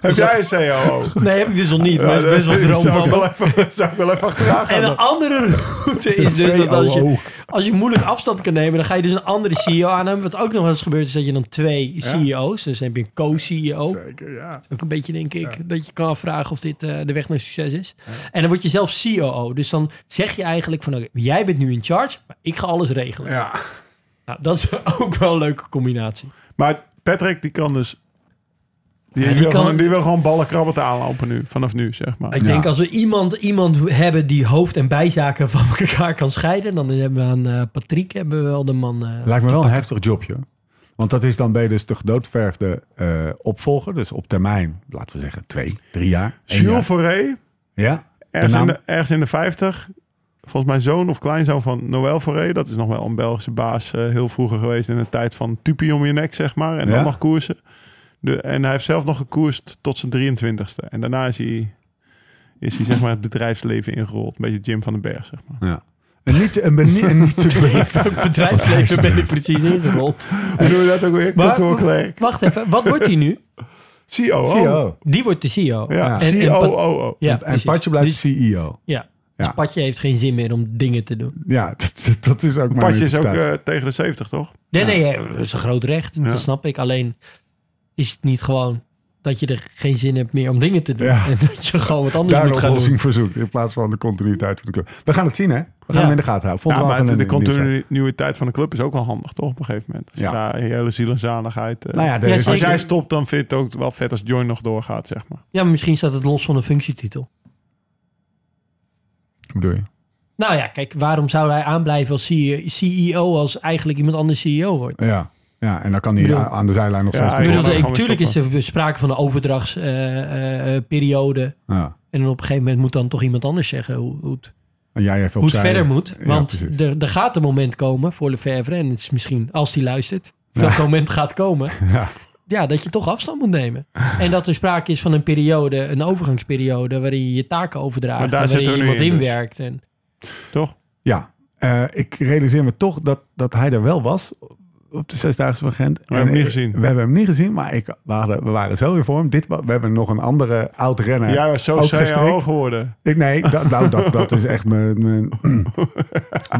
D: Heb jij een E COO?
E: Nee, heb ik dus nog niet. Maar het is best wel
D: dat
E: droom
D: zou ik
E: van me.
D: wel even, zou ik wel even achteraan gaan.
E: En een andere route is dus dat als
B: COO.
E: je, als je moeilijk afstand kan nemen, dan ga je dus een andere CEO aannemen. Wat ook nog wel eens gebeurt, is dat je dan twee CEO's, dus dan heb je een co-CEO.
B: Zeker, ja.
E: Ook een beetje, denk ik, dat je kan afvragen of dit eh, de weg naar succes is. En dan word je zelf COO. Dus dan zeg je eigenlijk van, oké, jij bent nu in charge, maar ik ga alles regelen.
B: ja.
E: Nou, dat is ook wel een leuke combinatie.
D: Maar Patrick, die kan dus... Die,
E: Ja, die
D: wil,
E: kan-
D: gewoon, die wil gewoon ballen krabbelt aanlopen nu. Vanaf nu, zeg maar.
E: Ik denk als we iemand, iemand hebben die hoofd- en bijzaken van elkaar kan scheiden, dan hebben we aan eh Patrick hebben we wel de man. eh,
B: Lijkt me wel een heftig jobje. Want dat is dan ben je dus de gedoodverfde eh, opvolger. Dus op termijn, laten we zeggen twee, drie jaar. één
D: Jules
B: jaar.
D: Fauré,
B: Ja,
D: ergens,
B: De naam?
D: in de, ergens in de 50. Volgens mij zoon of kleinzoon van Noël Fauré. Dat is nog wel een Belgische baas. eh, heel vroeger geweest in de tijd van tupie om je nek, zeg maar. En
B: Ja.
D: dan nog koersen. De, en hij heeft zelf nog gekoerst tot zijn 23ste. En daarna is hij, is hij zeg maar het bedrijfsleven ingerold. Een beetje Jim van den Berg, zeg maar.
B: ja. En niet, en ben, niet- en niet te
E: bedrijfsleven ben ik precies ingerold.
D: Hoe doen we dat ook weer?
E: Maar-
D: Kantoorklerk. E
E: Wacht even, wat wordt die nu?
D: COO.
B: CEO.
E: Die wordt de CEO.
D: Ja,
E: En- en Pat-
D: COO.
E: Ja,
B: E en
E: precies.
B: Patje blijft E
E: Dus-
B: CEO. Ja.
E: ja. Dus Patje heeft geen zin meer om dingen te doen.
B: Ja, dat, dat is ook mijn
D: Patje is ook
B: interpretatie.
D: eh, tegen de 70, toch?
E: Nee, nee, ja, dat is een groot recht.
D: Ja.
E: Dat snap ik. Alleen is het niet gewoon dat je er geen zin hebt meer om dingen te doen.
B: Ja.
E: En dat je gewoon wat anders
B: Daar een
E: moet gaan doen.
B: oplossing verzoekt. In plaats van de continuïteit van de club. We gaan het zien, hè? We gaan
E: Ja.
B: hem in de gaten houden.
D: Ja,
B: Volgende
D: maar
B: week
D: de
B: een- een nieuwsbrev.
D: continuïteit van de club is ook wel handig, toch? Op een gegeven moment. Als
B: Ja.
D: je daar je hele ziel en zaligheid... eh,
B: Nou ja, er
E: Ja,
B: is-
E: zeker.
D: als jij stopt, dan vindt het ook wel vet als Join nog doorgaat, zeg maar.
E: Ja, maar misschien staat het los van een functietitel.
B: Hoe bedoel je?
E: Nou ja, kijk, waarom zou hij aanblijven als E CEO als eigenlijk iemand anders CEO wordt?
B: Ja, ja en dan kan hij
E: Bedoel-
B: a- aan de zijlijn nog
D: Ja,
B: steeds
D: ik
E: Ik
B: mee
E: bedoel,
D: Ja,
B: doorgaan.
E: ik-
D: gaan we
E: tuurlijk is er sprake van een overdrachtsperiode.
B: Ja.
E: en dan op een gegeven moment moet dan toch iemand anders zeggen hoe, hoe, het,
B: En jij even
E: hoe het
B: opzij.
E: verder moet.
B: Ja,
E: Want
B: precies.
E: er, er gaat een moment komen voor Lefebvre. En het is misschien, als die luistert, dat moment gaat komen.
B: Ja.
E: Ja, dat je toch afstand moet nemen. En dat er sprake is van een periode, een overgangsperiode... waarin je je taken overdraagt
D: Maar daar
E: en waarin
D: zitten
E: je
D: we
E: iemand
D: nu in, dus.
E: inwerkt. En,
D: Toch?
B: Ja, eh, ik realiseer me toch dat, dat hij er wel was. op de Zesdaagse van Gent. We
D: hebben hem niet gezien.
B: We hebben hem niet gezien, maar ik, we, hadden- we waren zo weer voor hem. Dit, wa- we hebben nog een andere oud renner.
D: Jij was zo
B: ook gestrikt.
D: CAO geworden.
B: Ik, nee, dat, nou, dat, dat is echt mijn, mijn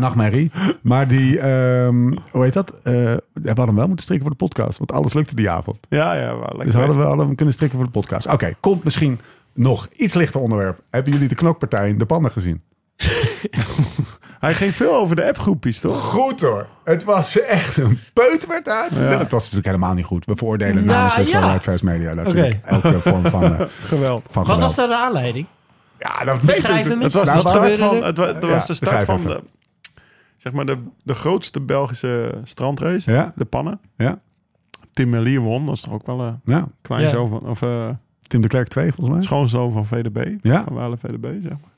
B: nachtmerrie. Maar die, ehm, hoe heet dat? Eh, we hadden hem wel moeten strikken voor de podcast, want alles lukte die avond.
D: Ja, ja, maar lekker.
B: Dus hadden we, hadden we hem kunnen strikken voor de podcast. Oké, komt misschien nog iets lichter onderwerp. Hebben jullie de knokpartij in de pannen gezien?
D: Hij ging veel over de appgroepjes, toch?
B: Goed hoor. Het was echt een peutpartij. Nou, het was natuurlijk helemaal niet goed. We veroordelen
E: Nou,
B: namens Red
E: ja.
B: Velvet Fast Media natuurlijk elke vorm van, eh,
D: Geweld.
B: van
E: Wat
B: geweld.
E: was daar de aanleiding?
B: Ja, dat
E: Beschrijf hem
D: Het
E: eens.
D: was,
E: Nou,
D: de
E: wat
D: start
E: gebeurde
D: van,
E: er?
D: het wa- het
B: Ja,
D: was de start
B: beschrijf
D: van
B: even.
D: de, zeg maar de, de grootste Belgische strandrace,
B: Ja.
D: de pannen.
B: Ja,
D: Tim Melier won, dat is toch ook wel een
B: nou,
D: klein
E: Ja.
D: zoon van, of eh
B: Tim de Klerk 2 volgens mij.
D: schoonzoon van VDB.
B: Ja.
D: Van Wale VDB, zeg maar.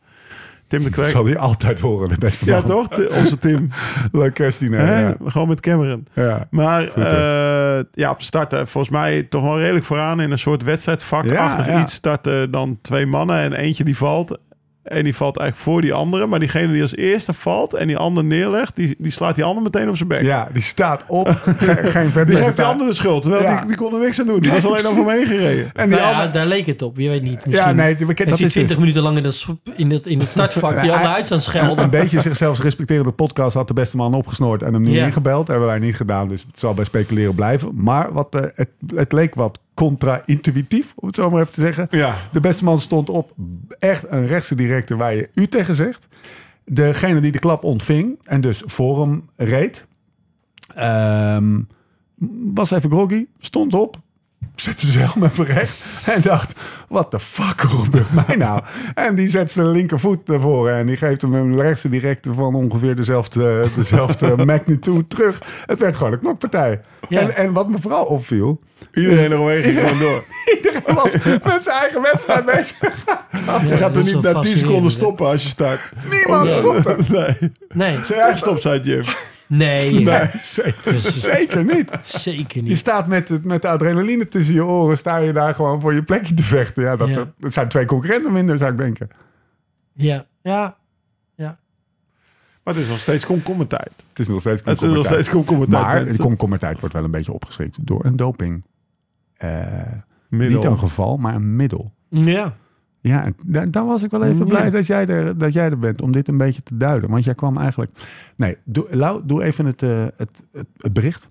D: Tim de
B: Dat
D: Klerk.
B: zal hij altijd horen, de beste man.
D: Ja, toch? De- onze Tim.
B: Leuk kerstdiner.
D: Hè?
B: Ja.
D: Gewoon met Cameron.
B: Ja.
D: Maar
B: hè?
D: eh, ja, op starten, volgens mij toch wel redelijk vooraan in een soort wedstrijdvakachtig
B: Ja, ja.
D: iets. Starten dan twee mannen en eentje die valt. En die valt eigenlijk voor die andere. Maar diegene die als eerste valt en die ander neerlegt, die, die slaat die ander meteen op zijn bek.
B: Ja, die staat op. Geen, geen vet
D: Die
B: met
D: geeft die
B: elkaar.
D: andere de schuld, terwijl
B: Ja.
D: die, die kon er niks aan doen. Die
B: Nee,
D: was alleen over hem heen gereden.
B: En die
E: Nou ja,
B: andere...
E: daar leek het op. Je weet niet. Misschien.
B: Ja, nee, die- we kennen-
E: dat
B: dat
E: zit
B: is
E: 20
B: dus.
E: minuten lang in dat, soep- in dat, in het startvak die
B: Ja,
E: allemaal uit aan het
B: Een,
E: schelden.
B: beetje zichzelf respecterende podcast had de beste man opgesnoord en hem nu
E: Ja.
B: ingebeld. hebben wij niet gedaan, dus het zal bij speculeren blijven. Maar wat, eh, het, het leek wat contra-intuïtief, om het zo maar even te zeggen.
D: Ja.
B: De beste man stond op echt een rechtse directe waar je u tegen zegt. Degene die de klap ontving en dus voor hem reed, ehm, was even groggy, stond op. Zette zelf even recht en dacht: wat de fuck hoe gebeurt mij nou? En die zet zijn linkervoet naar voren en die geeft hem een rechtse directe van ongeveer dezelfde, dezelfde magnitude terug. Het werd gewoon een knokpartij.
E: Ja.
B: En, en wat me vooral opviel,
D: Iedereen eromheen ging gewoon door.
B: iedereen was met zijn eigen wedstrijd bezig.
D: je gaat er
E: dat is
D: niet
E: wel
D: na 10 seconden
E: fascinerend, hè?
D: stoppen als je start.
B: Niemand stopte.
D: Nee.
E: Nee,
D: Zijn eigen stop, zei Jim.
E: nee,
B: Nee, zeker,
E: Dus,
B: zeker niet.
E: zeker
B: Je
E: niet.
B: staat met, het, met de adrenaline tussen je oren, sta je daar gewoon voor je plekje te vechten. Ja, dat,
E: Ja.
B: dat zijn twee concurrenten minder, zou ik denken.
E: Ja, ja, ja.
D: Maar het is nog steeds komkommertijd.
B: Het is nog steeds
D: Het is
B: komkommertijd.
D: nog steeds komkommertijd.
B: Maar de
D: mensen.
B: komkommertijd wordt wel een beetje opgeschrikt door een doping. Eh,
D: Middel.
B: niet een geval, maar een middel.
E: ja.
B: Ja, en da- dan was ik wel even
D: Ja.
B: blij dat jij, er, dat jij er bent om dit een beetje te duiden. Want jij kwam eigenlijk... Nee, doe, Lau, doe even het, eh, het, het, het bericht.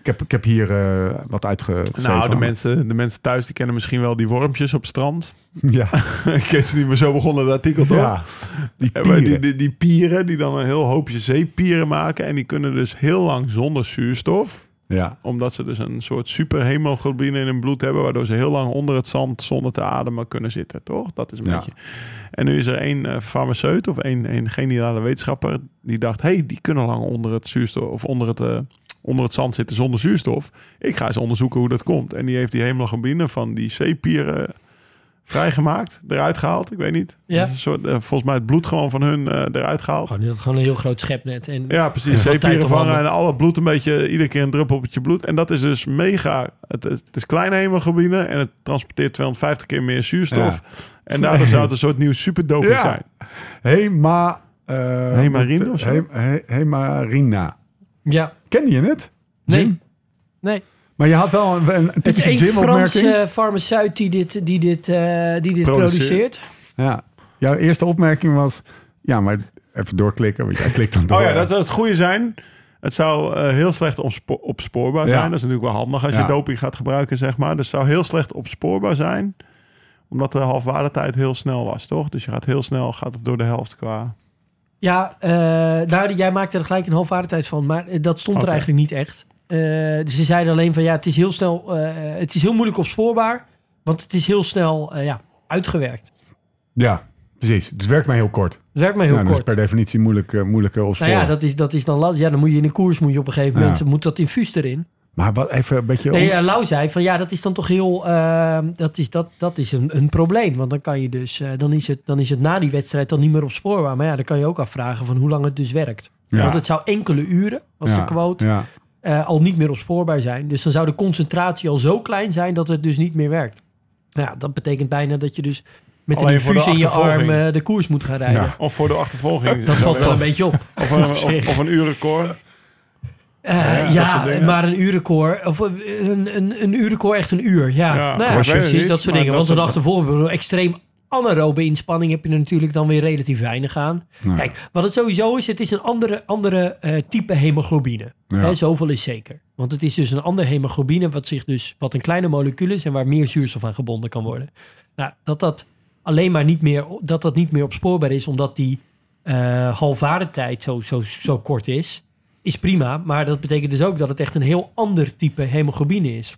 B: Ik heb, ik heb hier eh, wat uitgeschreven.
D: Nou, de mensen, de mensen thuis die kennen misschien wel die wormpjes op het strand.
B: Ja,
D: Ik ken ze niet meer zo begonnen het artikel, toch?
B: ja. die
D: En wij-
B: pieren.
D: Die, die, die pieren die dan een heel hoopje zeepieren maken. En die kunnen dus heel lang zonder zuurstof.
B: Ja,
D: Omdat ze dus een soort superhemoglobine in hun bloed hebben. Waardoor ze heel lang onder het zand zonder te ademen kunnen zitten, toch? Dat is een
B: Ja.
D: beetje. En nu is er één eh, farmaceut of één, één geniale wetenschapper. Die dacht, hé, hey, die kunnen lang onder het zuurstof of onder het. eh, onder het zand zitten zonder zuurstof. Ik ga eens onderzoeken hoe dat komt. En die heeft die hemoglobine van die zeepieren vrijgemaakt, eruit gehaald. Ik weet niet.
E: Ja.
D: Dat is Een soort, eh, volgens mij het bloed gewoon van hun eh, eruit gehaald.
E: Gewoon, dat- gewoon een heel groot schepnet. En,
D: Ja, precies.
E: Van tijd
D: Zeepieren
E: tot
D: vangen en
E: ander.
D: al het bloed een beetje, iedere keer een druppeltje bloed. En dat is dus mega. Het is, het is kleine hemoglobine en het transporteert 250 keer meer zuurstof. En daardoor zou het een soort nieuw superdoping
B: Ja.
D: zijn.
B: Hema... eh,
D: Hemarine
B: wat-
D: of zo?
B: Hem- he- Hemarina.
E: ja.
B: Ken je het?
E: Nee.
B: Jim?
E: Nee.
B: Maar je had wel een, een
E: Het is
B: typische
E: één
B: gym-opmerking.
E: Franse eh, farmaceut die dit, die dit, eh, die dit
D: Produceert.
E: produceert.
B: Ja. Jouw eerste opmerking was... Ja, maar even doorklikken. Want jij klikt dan door.
D: Oh ja, dat zou het goede zijn. Het zou eh, heel slecht opspo- opspoorbaar
B: Ja.
D: zijn. Dat is natuurlijk wel handig als
B: Ja.
D: je doping gaat gebruiken, zeg maar. Dus het zou heel slecht opspoorbaar zijn. Omdat de halfwaardetijd heel snel was, toch? Dus je gaat heel snel, gaat het door de helft qua...
E: Ja, eh, daar, jij maakte er gelijk een halfwaardigheid van, maar eh, dat stond
D: Oké.
E: er eigenlijk niet echt. Eh, dus ze zeiden alleen van ja, het is heel snel, eh, het is heel moeilijk opspoorbaar, want het is heel snel eh, ja, uitgewerkt.
B: Ja, precies. Dus het werkt mij heel kort.
E: Het werkt maar heel
B: ja, Dat is
E: kort.
B: per definitie moeilijk, eh, moeilijker op
E: Nou ja, dat is, dat is dan lastig. Ja, dan moet je in een koers moet je op een gegeven
B: Ja.
E: moment moet dat infuus erin.
B: Maar wat even een beetje...
E: Nee,
B: om-
E: eh, Lau zei van ja, dat is dan toch heel, eh, dat is, dat, dat is een, een probleem. Want dan kan je dus, eh, dan, is het, dan is het na die wedstrijd dan niet meer opspoorbaar. Maar ja, dan kan je ook afvragen van hoe lang het dus werkt.
B: Ja.
E: Want het zou enkele uren, was
B: ja,
E: de quote,
B: Ja.
E: eh, al niet meer opspoorbaar zijn. Dus dan zou de concentratie al zo klein zijn dat het dus niet meer werkt. Nou ja, dat betekent bijna dat je dus met
D: Alleen
E: een
D: voor de
E: infuus in je arm
D: achtervolging.
E: eh, de koers moet gaan rijden.
B: Ja.
D: Of voor de achtervolging.
E: Dat valt wel een
D: Of
E: beetje op.
D: een, of, of een uurrecord.
E: Eh,
D: Ja, dat soort
E: ja,
D: dingen.
E: maar een uurrecord. Of eh, een, een, een uurrecord, echt een uur.
D: Ja,
E: Ja, nou ja,
D: ik weet het
E: precies,
D: niet,
E: dat soort
D: maar
E: dingen. Want
D: dat-
E: een dag ervoor, bedoel, extreem anaerobe inspanning heb je er natuurlijk dan weer relatief weinig aan. Kijk, wat het sowieso is, het is een andere, andere eh, type hemoglobine.
B: Ja.
E: Hè, zoveel is zeker. Want het is dus een andere hemoglobine, wat, zich dus, wat een kleine molecuul is en waar meer zuurstof aan gebonden kan worden. Nou, dat dat alleen maar niet meer, dat dat niet meer opspoorbaar is, omdat die eh halfwaardetijd zo, zo, zo kort is, is prima. Maar dat betekent dus ook dat het echt een heel ander type hemoglobine is.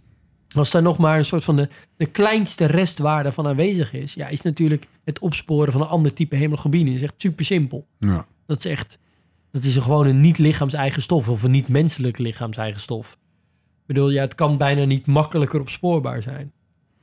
E: Als daar nog maar een soort van de, de kleinste restwaarde van aanwezig is, ja, is natuurlijk het opsporen van een ander type hemoglobine is echt super simpel.
B: Ja.
E: Dat is echt, dat is een gewoon een niet-lichaams-eigen stof of een niet-menselijk lichaams-eigen stof. Ik bedoel, ja, het kan bijna niet makkelijker opspoorbaar zijn.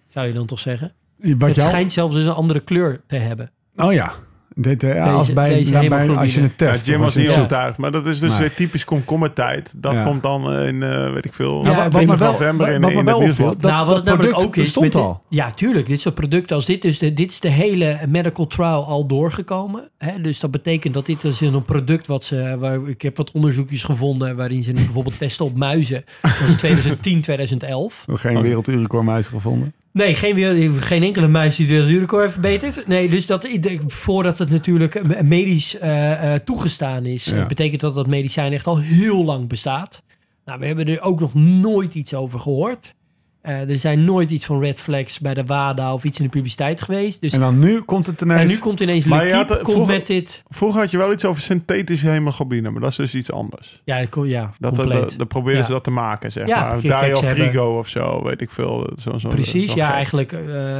E: Zou je dan toch zeggen?
B: Wat
E: het
B: jou...
E: schijnt zelfs eens een andere kleur te hebben.
B: Oh ja. Dit, eh, ja, als,
E: Deze-
B: bij,
E: deze
B: nou, bij-
E: hemoglobine.
B: als je een
D: Ja,
B: test...
D: Jim
B: of als
D: was
B: je
D: niet
B: een-
E: Ja.
D: overtuigd. Maar dat is dus
B: Nee.
D: weer typisch komkommertijd. Dat
B: Ja. komt
D: komt dan eh, in, weet ik veel,
E: Ja,
B: Ja, wat
E: ik weet
B: me
E: niet
B: wel,
D: november in,
B: wat me
D: in
B: wel
D: het nieuwsblad.
B: opvalt, dat,
E: nou, wat het
B: dat
E: namelijk
B: product
E: ook is.
B: bestond
E: met-
B: al.
E: Ja, tuurlijk. Dit soort producten. Als dit, dus de, dit is de hele medical trial al doorgekomen. Hè? Dus dat betekent dat dit is een product wat ze. Waar, ik heb wat onderzoekjes gevonden. waarin ze bijvoorbeeld testen op muizen. Dat is 2010, 2011.
F: Geen oh. wereldrecordmuis gevonden.
E: Nee, geen, weer- geen enkele muis die het wereldrecord heeft verbeterd. Nee, dus dat, voordat het natuurlijk medisch eh, eh, toegestaan is,
B: Ja.
E: eh, betekent dat dat medicijn echt al heel lang bestaat. Nou, we hebben er ook nog nooit iets over gehoord. Eh, er zijn nooit iets van red flags bij de WADA of iets in de publiciteit geweest. Dus,
F: En
E: en,
F: dan nu komt het ineens...
E: nu komt ineens
D: Maar je
E: Lekiep
D: had, eh,
E: komt
D: vroeger-
E: met dit.
D: Vroeger had je wel iets over synthetische hemoglobine, maar dat is dus iets anders.
E: Ja, ik- ja
B: eh,
D: Dat, dat,
E: compleet.
D: dat, dat proberen
E: Ja.
D: ze dat te maken, zeg
E: Ja,
D: maar.
E: gek-
D: Dario
E: geks hebben.
D: Frigo of zo, weet ik veel. Zo, zo,
E: Precies,
D: zo'n
E: ja,
D: gek.
E: eigenlijk eh,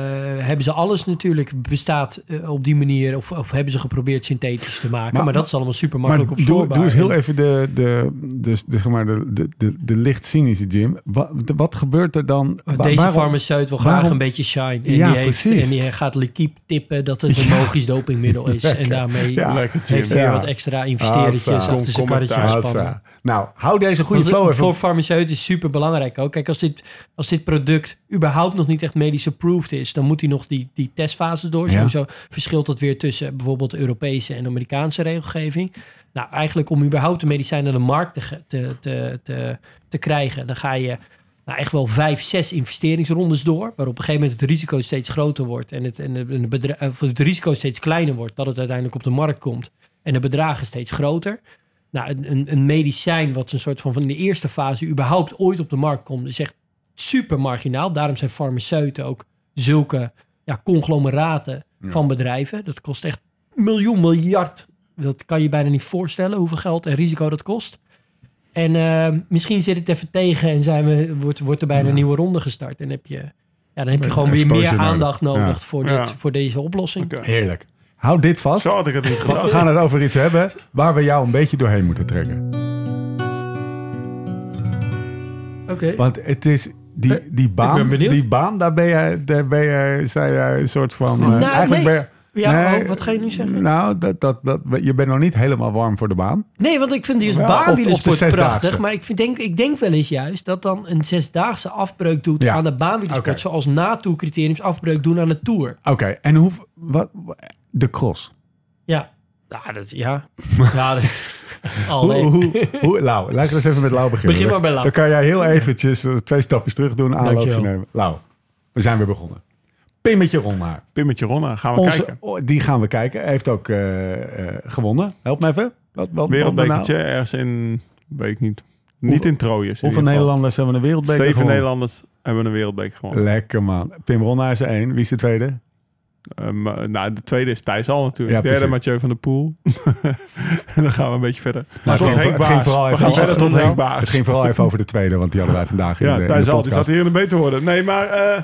E: hebben ze alles natuurlijk bestaat eh, op die manier, of, of hebben ze geprobeerd synthetisch te maken,
B: Maar-
E: maar, dat is allemaal super
B: Maar
E: makkelijk
B: doe,
E: opspoorbaar.
B: doe eens heel even de, de, de, de, zeg maar de, de, de, de licht cynische Jim. Wat, de- wat gebeurt er dan?
E: Oh, Deze
B: Wa- waarom-
E: farmaceut wil graag
B: waarom-
E: een beetje shine. En,
B: Ja,
E: die heeft,
B: precies.
E: en die gaat Lekiep tippen dat het een magisch dopingmiddel is. En daarmee
B: Ja,
D: Lekker, Jim.
E: heeft hij
B: Ja.
E: wat extra investeertjes
B: Hatsa.
E: achter zijn karretje
B: Ah,
E: gespannen.
B: zo. Nou, hou deze goede
E: Want
B: flow even.
E: Voor farmaceuten is super belangrijk ook. Kijk, als dit, als dit product überhaupt nog niet echt medisch approved is, dan moet hij nog die, die testfase door.
B: Ja.
E: Sowieso verschilt dat weer tussen bijvoorbeeld Europese en Amerikaanse regelgeving. Nou, eigenlijk om überhaupt de medicijn naar de markt te, ge- te, te, te, te krijgen, dan ga je nou, echt wel vijf, zes investeringsrondes door. Waar op een gegeven moment het risico steeds groter wordt en het, en het, en het bedra- of het risico steeds kleiner wordt dat het uiteindelijk op de markt komt. En de bedragen steeds groter. Nou, een, een, een medicijn wat een soort van, van in de eerste fase überhaupt ooit op de markt komt, is echt super marginaal. Daarom zijn farmaceuten ook zulke ja, conglomeraten van bedrijven. Dat kost echt miljoen miljard. Dat kan je bijna niet voorstellen hoeveel geld en risico dat kost. En eh, misschien zit het even tegen en zijn we, wordt, wordt er bijna een nieuwe ronde gestart. En heb je, ja, dan heb je gewoon weer
B: exposure
E: meer
B: nodig.
E: aandacht nodig voor, dit,
D: Ja.
E: voor deze oplossing.
D: Oké.
B: Heerlijk. Hou dit vast.
D: Zo had ik het niet
B: Want we
D: gedacht.
B: gaan het over iets hebben waar we jou een beetje doorheen moeten trekken.
E: Oké.
B: Want het is
E: Eh,
B: die, die
E: ben
B: baan,
E: benieuwd.
B: die baan, daar ben jij, daar ben jij, zei jij een soort van. eh,
E: Nou, nee.
B: ben je-
E: Ja, oh, wat ga je nu zeggen?
B: Nou, dat, dat, dat, je bent nog niet helemaal warm voor de baan.
E: Nee, want ik vind die
B: Ja,
E: dus
B: of- of
E: baanwielersport
B: de zesdaagse.
E: prachtig. Maar ik, vind- denk, ik denk wel eens juist dat dan een zesdaagse afbreuk doet
B: Ja.
E: aan de baanwielersport.
B: Oké.
E: Zoals NATO-criteriums afbreuk doen aan de Tour.
B: Oké, en hoe, wat, de cross.
E: Ja. Ja, dat... Ja. ja dat,
B: Hoe,
E: Allee.
B: hoe, hoe, Lau, laten we eens even met Lau beginnen.
E: Begin maar bij Lau.
B: Dan kan jij heel eventjes eh, twee stapjes terug doen, aanloopje
E: Dankjewel.
B: nemen. Lau, we zijn weer begonnen. Pimmetje Ronnaar.
D: Pimmetje Ronna, gaan we
B: Onze,
D: kijken.
B: oh, die gaan we kijken. Hij heeft ook eh, eh, gewonnen. Help me even. Wat, wat, wat
D: Wereldbekertje
B: nou?
D: ergens in, weet ik niet. Niet
B: Hoeveel-
D: in Trojes. in
B: Hoeveel
D: ieder geval.
B: Nederlanders hebben een wereldbeker
D: Zeven
B: gewonnen?
D: Nederlanders hebben een wereldbeker gewonnen.
B: Lekker man. Pim Ronnaar is er één. Wie is de
D: Nou,
B: tweede?
D: Ehm, eh, nou, de tweede is Thijs Al natuurlijk.
B: Ja,
D: Derde
B: precies.
D: Mathieu van der Poel. en dan gaan we een beetje verder.
B: Nou, het
D: tot
B: ging-
D: Henk
B: het ging
D: Baars.
B: vooral
D: We
B: even
D: gaan
B: over-
D: verder tot
B: Nou,
D: Henk
B: Het
D: Baars.
B: ging vooral even over de tweede, want die hadden wij vandaag in
D: Ja,
B: de, in
D: Thijs
B: de
D: Al, die
B: podcast.
D: zat hier in de beter worden. Nee, maar eh,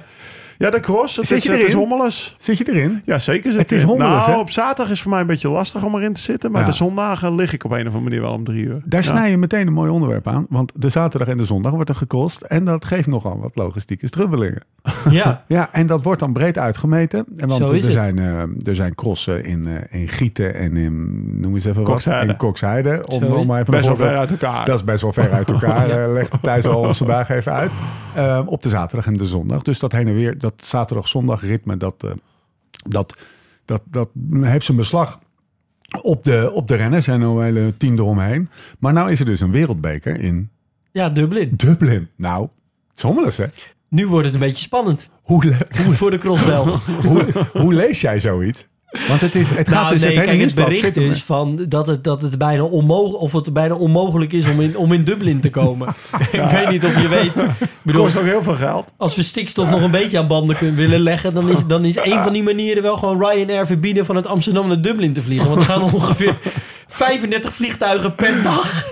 D: ja, de cross. Het
B: Zit
D: is,
B: je
D: het is
B: erin?
D: hommeles.
B: Zit je erin?
D: Ja, zeker. zit
B: Het is
D: erin.
B: hommeles,
D: Nou,
B: hè?
D: op zaterdag is voor mij een beetje lastig om erin te zitten. Maar
B: Ja.
D: de zondagen lig ik op een of andere manier wel om drie uur.
B: Daar
D: Ja.
B: snij je meteen een mooi onderwerp aan. Want de zaterdag en de zondag wordt er gecrossed. En dat geeft nogal wat logistieke strubbelingen.
E: ja.
B: Ja, en dat wordt dan breed uitgemeten. En want
E: Zo is
B: er
E: het.
B: zijn, eh, er zijn crossen in, eh, in Gieten en in, noem eens even wat,
D: Kokshijde.
B: in Kokshijde. Om,
E: Zo is-
B: om maar even
D: Best
B: een
D: wel
B: voorbeeld-
D: ver uit elkaar.
B: Dat is best wel ver uit elkaar. Eh, legde Thijs al ons vandaag even uit. Eh, op de zaterdag en de zondag. Dus dat heen en weer, dat zaterdag-zondag ritme, dat, eh, dat, dat, dat heeft zijn beslag op de, op de renners en een hele team eromheen. Maar nou is er dus een wereldbeker in
E: Ja, Dublin.
B: Dublin. Nou, het is hommeles, hè?
E: Nu wordt het een beetje spannend
B: Hoe, le-
E: voor de crossbel.
B: hoe, hoe lees jij zoiets? Want het, is, het gaat
E: Nou,
B: dus het hele
E: nee, kijk, het
B: nieuwsblad
E: bericht
B: zit er-
E: is van dat het, dat het bijna onmogelijk of het bijna onmogelijk is om in, om in Dublin te komen. Ik weet niet of je weet. Ik bedoel,
D: Kost ook heel veel geld.
E: als we stikstof nog een beetje aan banden kunnen willen leggen, dan is, dan is een van die manieren wel gewoon Ryanair verbieden vanuit Amsterdam naar Dublin te vliegen. Want er gaan ongeveer 35 vliegtuigen per dag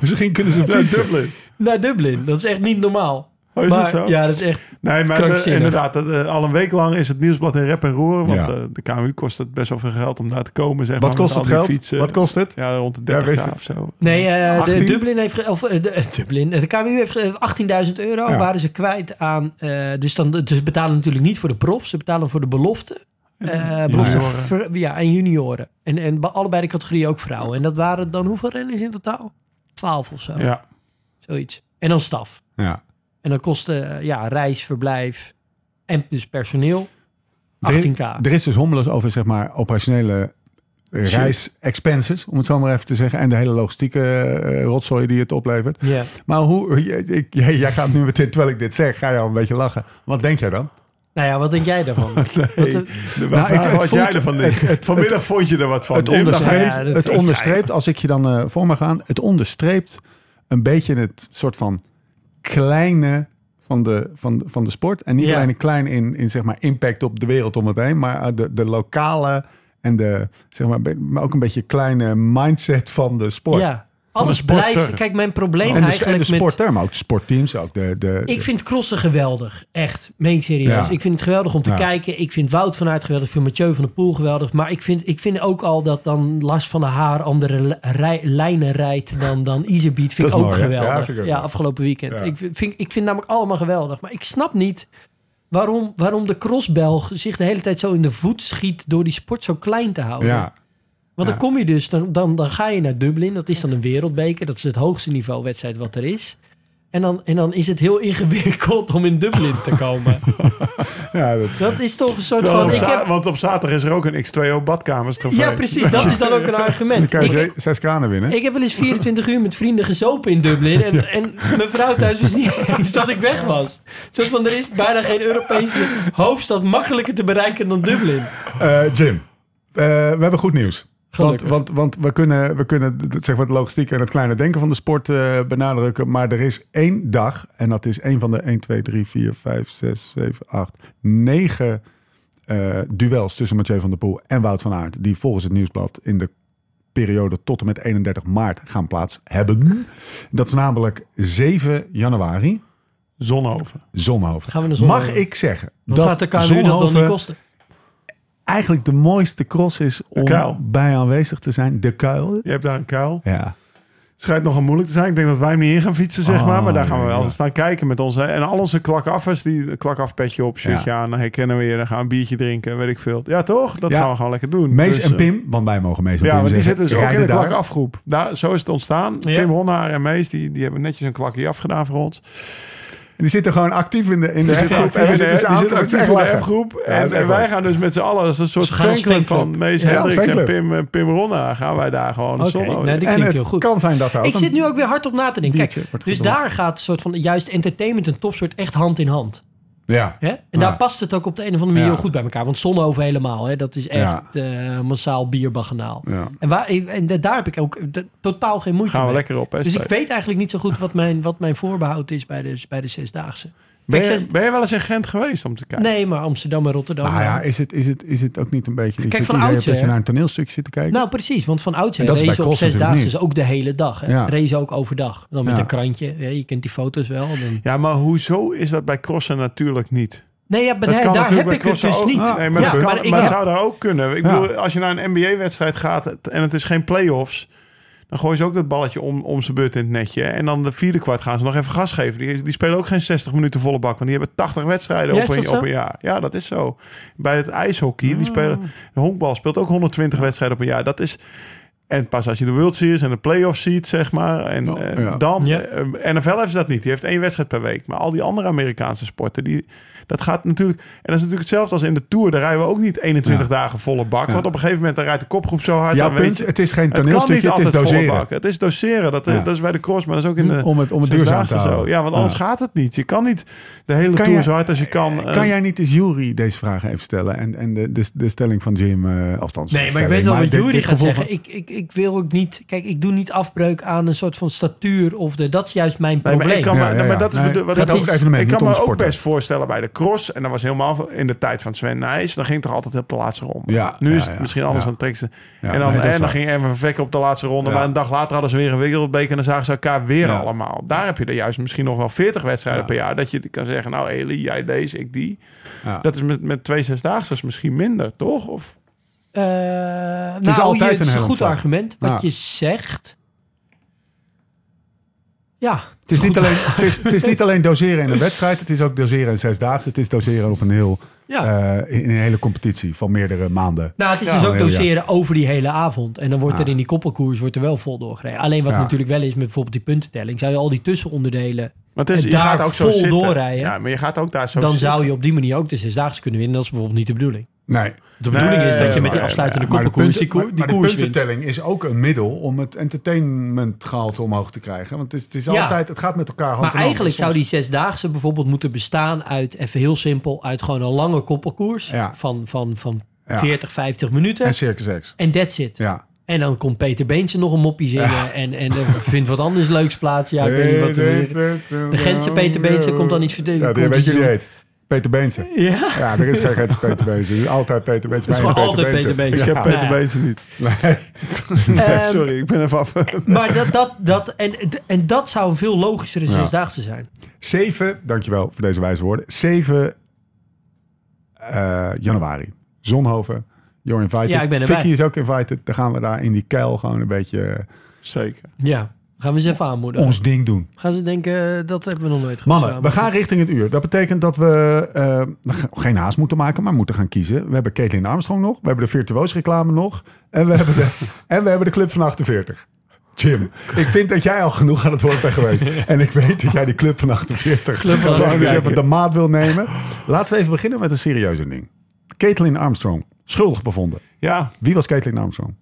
B: Misschien kunnen ze
D: Ja,
B: fietsen.
D: Dublin.
E: naar Dublin. Dat is echt niet normaal.
D: Oh, is
E: maar,
D: dat zo?
E: Ja, dat is echt.
D: Nee, maar
E: Krankzinnig.
D: de- inderdaad, dat, eh, al een week lang is het nieuwsblad in rep en roer. Want
B: Ja.
D: eh, de KMU kost het best wel veel geld om daar te komen. Zeg
B: Wat
D: maar,
B: kost
D: met
B: het
D: al
B: geld?
D: die Fietsen.
B: Wat kost het?
D: Ja, rond de
B: Ja,
D: 30
B: wist
D: of zo.
E: Nee, eh, de
B: 18?
E: Dublin heeft... ge- Of, eh, de, eh, Dublin, de KMU heeft ge- 18.000 euro.
B: Ja.
E: Waren ze kwijt aan... eh, dus dan, dus ze betalen natuurlijk niet voor de prof. Ze betalen voor de belofte. Eh belofte
D: Junioren.
E: ver- ja, en junioren. En, en bij allebei de categorieën ook vrouwen. En dat waren dan hoeveel renners in totaal? 12 of zo.
D: Ja.
E: Zoiets. En dan staf.
B: Ja.
E: En dan kostte eh, ja, reis, verblijf en dus personeel 18k.
B: Er, er is dus hommeles over zeg maar, operationele reisexpenses, om het zo maar even te zeggen. En de hele logistieke eh, rotzooi die het oplevert.
E: Ja.
B: Maar hoe, ik, ik- jij, jij gaat nu meteen, terwijl ik dit zeg, ga je al een beetje lachen. Wat denk jij dan?
E: Nou ja, wat denk jij daarvan? Wat, eh,
B: Nou, ik- het
D: wat
B: voelt-
D: jij ervan denkt. Vanmiddag vond je er wat van.
B: het
D: Jim. Dat
B: onderstreept,
E: Ja, dat-
B: het onderstreept als ik je dan eh, voor me gaan, het onderstreept een beetje het soort van kleine van de, van, de- van de sport. En niet
E: Ja.
B: alleen klein in, in zeg maar impact op de wereld om het heen, maar eh, de, de lokale en de, zeg maar, be- maar ook een beetje kleine mindset van de sport.
E: ja. Alles
B: sporter.
E: blijft... Kijk, mijn probleem
B: En de,
E: eigenlijk
B: en de
E: met...
B: sporter, maar ook de sportteams. Ook de, de,
E: Ik vind crossen geweldig. Echt. Meen ik serieus.
B: Ja.
E: Ik vind het geweldig om te
B: Ja.
E: kijken. Ik vind Wout van Aert geweldig. Ik vind Mathieu van der Poel geweldig. Maar ik vind, ik vind ook al dat dan Lars van der Haar andere li- rij- lijnen rijdt dan, dan Iserbiet. Vind
B: Dat
E: ik
B: is
E: ook
B: mooi, hè? Ja,
E: geweldig.
B: vind ik
E: Ja,
B: ook mooi.
E: afgelopen weekend.
B: Ja.
E: Ik, vind, ik vind namelijk allemaal geweldig. Maar ik snap niet waarom, waarom de crossbelg zich de hele tijd zo in de voet schiet door die sport zo klein te houden.
B: ja.
E: Want dan
B: Ja.
E: kom je dus, dan, dan, dan ga je naar Dublin. Dat is dan een wereldbeker. Dat is het hoogste niveau wedstrijd wat er is. En dan, en dan is het heel ingewikkeld om in Dublin te komen.
B: ja, dat,
E: Dat is toch een soort
D: Terwijl
E: van...
D: op
E: Ik
D: za-
E: heb,
D: Want op zaterdag is er ook een X2O badkamers trofee.
E: ja, precies. Dat is dan ook een
B: dan
E: argument.
B: kan je ze-
E: Ik,
B: zes kranen winnen.
E: ik heb wel eens 24 uur met vrienden gezopen in Dublin. En, en mijn vrouw thuis wist niet eens dat ik weg was. Zo van, er is bijna geen Europese hoofdstad makkelijker te bereiken dan Dublin.
B: Eh, Jim, eh, we hebben goed nieuws. Want,
E: Gelukkig.
B: want, want we kunnen, we kunnen d- zeg maar, de logistiek en het kleine denken van de sport eh, benadrukken. Maar er is één dag, en dat is één van de 1, 2, 3, 4, 5, 6, 7, 8, 9 eh, duels tussen Mathieu van der Poel en Wout van Aert. Die volgens het nieuwsblad in de periode tot en met 31 maart gaan plaats hebben. Dat is namelijk 7 januari.
D: Zonhoven.
B: Zonhoven.
E: Gaan we naar Zonhoven.
B: Mag ik zeggen
E: Wat
B: dat
E: gaat de KMU dat dan niet
B: Zonhoven
E: kosten?
B: eigenlijk de mooiste cross is om
D: kuil.
B: bij aanwezig te zijn? De kuil.
D: Je hebt daar een kuil.
B: Ja.
D: Schijnt nogal moeilijk te zijn. Ik denk dat wij hem niet in gaan fietsen, zeg
B: Oh,
D: maar. Maar daar gaan we wel
B: ja.
D: eens naar kijken met onze... En al onze klakaffers, die een klakafpetje op, shirtje aan. Dan herkennen we je, dan gaan we een biertje drinken, weet ik veel. Ja, toch? Dat
B: Ja.
D: gaan we gewoon lekker doen.
B: Mees
D: Dus,
B: en
D: eh,
B: Pim, want wij mogen Mees en
D: Ja,
B: Pim
D: maar die
B: zeggen,
D: zitten dus ook in de
B: rijden daar.
D: klakafgroep. Daar, zo is het ontstaan.
E: Ja.
D: Pim Honnaar en Mees, die, die hebben netjes een klakje afgedaan voor ons.
B: En die zitten gewoon actief in de, in de
D: Die zitten
B: appgroep. En
D: actief
B: we
D: in
B: zitten
D: de-
B: ze
D: die
B: aan
D: zitten
B: te-
D: actief
B: echt
D: in de
B: lachen.
D: appgroep.
B: Ja, dat
D: En,
B: is echt
D: en wij
B: leuk.
D: gaan dus met z'n allen, als een soort
E: Ze gaan als
D: fanclub van
E: fanclub.
D: Mees
E: Ja,
D: Hendricks en
B: fanclub.
D: Pim, eh, Pim Ronna, gaan wij daar gewoon de
E: Oké,
D: zon over.
E: nou, die
B: En
E: klinkt
B: het
E: heel goed.
B: kan zijn dat er ook
E: Ik
B: een-
E: zit nu ook weer hard op na te denken. Kijk,
B: biertje wordt
E: dus
B: gedronken.
E: daar gaat een soort van juist entertainment en topsport echt hand in hand.
B: Ja.
E: Hè? En daar past het ook op de een of andere manier
B: Ja.
E: heel goed bij elkaar. Want Zonhoven helemaal, hè? dat is echt eh, massaal bierbaganaal.
B: Ja.
E: En, waar, en da- daar heb ik ook eh, d- totaal geen moeite
D: Gaan we
E: mee.
D: lekker op, hè?
E: dus ik
D: Steve?
E: weet eigenlijk niet zo goed wat mijn, wat mijn voorbehoud is bij de, bij de Zesdaagse.
D: Ben
E: Kijk,
D: je,
E: zes-
D: ben je wel eens in Gent geweest om te kijken?
E: nee, maar Amsterdam en Rotterdam.
B: Nou ja, is het, is, het, is het ook niet een beetje...
E: Kijk,
B: dat
E: van
B: idee hebt
E: oudsher-
B: Dat je naar een toneelstukje zit te kijken?
E: Nou, precies. Want van oudsher
B: En dat is bij
E: racen op
B: cross natuurlijk
E: Zesdaagse is ook de hele dag. Hè?
B: Ja.
E: Racen ook overdag. Dan met
B: Ja.
E: een krantje. hè, Je kent die foto's wel. Dan...
D: Ja, maar hoezo is dat bij crossen natuurlijk niet?
E: Nee, ja, maar
D: Dat
E: hè,
D: kan
E: daar
D: natuurlijk
E: heb
D: bij
E: ik het
D: crossen
E: dus
D: ook.
E: niet.
D: Nee, maar
E: ja,
D: dat, kan-
E: maar ik
D: maar
E: heb-
D: dat zou daar ook kunnen. Ik
B: Ja.
D: bedoel, als je naar een NBA-wedstrijd gaat het- en het is geen play-offs... dan gooien ze ook dat balletje om, om zijn beurt in het netje. En dan de vierde kwart gaan ze nog even gas geven. Die, die spelen ook geen 60 minuten volle bak. Want die hebben 80 wedstrijden
E: Ja,
D: op,
E: is
D: een,
E: dat zo? Ah.
D: op een jaar. Ja, dat is zo. Bij het ijshockey, die spelen, de honkbal speelt ook 120 wedstrijden op een jaar. Dat is... En pas als je de World Series en de playoffs ziet, zeg maar. En
B: Oh,
D: eh,
B: ja.
D: dan.
E: Ja.
D: eh, NFL heeft dat niet. Die heeft één wedstrijd per week. Maar al die andere Amerikaanse sporten, die, dat gaat natuurlijk. En dat is natuurlijk hetzelfde als in de Tour. Daar rijden we ook niet 21 dagen volle bak. Want op een gegeven moment dan rijdt de kopgroep zo hard.
B: Jouw
D: dan weet
B: punt,
D: je-
B: het is geen
D: het kan niet
B: toneelstukje, het is
D: altijd volle
B: doseren.
D: bak. Het is doseren. Dat, eh,
B: Ja.
D: dat is bij de cross, maar dat is ook in de.
B: Om het, om het duurzaam te
D: Zesdaagse
B: houden.
D: zo. Ja, want
B: Ja.
D: anders gaat het niet. Je kan niet de hele
B: Kan
D: tour
B: jij-
D: zo hard als je kan. eh,
B: Kan jij niet eens Jury deze vraag even stellen? En, en de, de, de stelling van Jim, eh althans.
E: Nee, maar ik
B: stelling,
E: weet wel wat
B: dit-
E: Jury
B: dit
E: gaat
B: gevoel
E: zeggen. Ik, ik, ik wil ook niet... Kijk, ik doe niet afbreuk aan een soort van statuur of de... Dat is juist mijn
D: Nee, maar
E: probleem.
D: ik kan
B: Ja,
D: me-
B: ja,
D: nee,
B: ja.
D: maar dat is
B: Nee,
D: bedo- wat
B: gaat
D: ik-
B: over het evenement,
D: Ik
B: niet
D: kan
B: om
D: me
B: de
D: ook
B: sporten.
D: best voorstellen bij de cross. En dat was helemaal in de tijd van Sven Nijs. Dan ging het toch altijd op de laatste ronde.
B: Ja,
D: nu
B: ja,
D: is het
B: ja,
D: misschien anders
B: ja.
D: dan teksten.
B: Ja,
D: en dan,
B: nee, dat is
D: en dan
B: waar.
D: ging Erwin van Vekken op de laatste ronde.
B: Ja.
D: Maar een dag later hadden ze weer een wereldbeker. En dan zagen ze elkaar weer
B: Ja.
D: allemaal. Daar heb je er juist misschien nog wel 40 wedstrijden
B: Ja.
D: per jaar. Dat je kan zeggen, nou Eli, jij deze, ik die.
B: Ja.
D: Dat is met, met twee zesdaagsters misschien minder, toch? Of,
E: Eh, nou,
B: is altijd
E: je- het
B: een
E: is een
B: helm
E: goed
B: vlak.
E: argument wat
B: Ja.
E: je zegt. Ja,
B: Het is, niet alleen, het, is, het is niet alleen doseren in een wedstrijd. Het is ook doseren in zesdaagse. Het is doseren op een heel,
E: ja.
B: eh, in een hele competitie van meerdere maanden.
E: Nou, het is
D: Ja.
E: dus
B: Oh,
E: ook
B: heel, ja.
E: doseren over die hele avond. En dan wordt er
B: Ah.
E: in die koppelkoers wordt er wel vol doorgereden. Alleen wat
B: Ja.
E: natuurlijk wel is met bijvoorbeeld die puntentelling. Zou je al die tussenonderdelen...
D: maar het is,
E: En
D: je
E: daar
D: gaat ook zo
E: vol
D: zitten.
E: doorrijden.
D: Ja, maar je gaat ook daar zo
E: dan
D: zitten.
E: zou je op die manier ook de zesdaagse kunnen winnen. Dat is bijvoorbeeld niet de bedoeling.
B: Nee.
E: De bedoeling is dat je met
D: maar-
E: die afsluitende
B: Maar de,
E: koppelkoers die,
B: punten-
E: koer-
B: maar-
E: die
B: maar de
E: koers wint.
B: puntentelling is ook een middel om het entertainmentgehalte omhoog te krijgen. Want het, is, het, is
E: Ja.
B: altijd, het gaat met elkaar hand in
E: Maar
B: hand.
E: eigenlijk
B: Soms-
E: zou die zesdaagse bijvoorbeeld moeten bestaan uit, even heel simpel, uit gewoon een lange koppelkoers
B: Ja.
E: van, van, van
B: Ja.
E: 40, 50 minuten.
B: En Circus X.
E: En that's it.
B: Ja.
E: En dan komt Peter Beentje nog een moppie zingen. En, en eh, vindt wat anders leuks plaats. Ja, ik weet niet wat er weer...
B: De
E: Gentse Peter Beense komt dan iets verdedigen.
B: Ja, die
E: Komt
B: weet je
E: iets
B: die
E: doen.
B: heet. Peter Beense.
E: Ja,
B: Ja, er is geen Gentse Peter Beense. Er is Altijd Peter Beense.
E: het is gewoon altijd Peter Beentje.
D: Ik heb
E: Ja.
D: Peter
E: Nou ja.
D: Beetsen niet.
E: Ehm,
D: Sorry, ik ben even af.
E: Maar dat, dat, dat, en, en dat zou een veel logischere zesdaagse zijn.
B: Zeven, dankjewel voor deze wijze woorden. 7 eh, januari. Zonhoven. You're invited.
E: Ja, ik ben erbij.
B: Vicky is ook invited. Dan gaan we daar in die kuil gewoon een beetje eh,
D: Zeker.
E: Ja, gaan we ze even aanmoedigen.
B: ons ding doen.
E: Gaan ze denken, eh, dat hebben we nog nooit gedaan.
B: Mannen, we gaan richting het uur. Dat betekent dat we eh, ge- geen haast moeten maken, maar moeten gaan kiezen. We hebben Caitlin Armstrong nog. We hebben de virtuoos reclame nog. En we hebben de, en we hebben de Club van 48. Jim, ik vind dat jij al genoeg aan het woord bent geweest. En ik weet dat jij die Club van 48
E: Club
B: gewoon
E: van
B: eens
E: 48.
B: even de maat wil nemen. Laten we even beginnen met een serieuze ding. Caitlin Armstrong, schuldig bevonden.
D: Ja,
B: Wie was Caitlin Armstrong?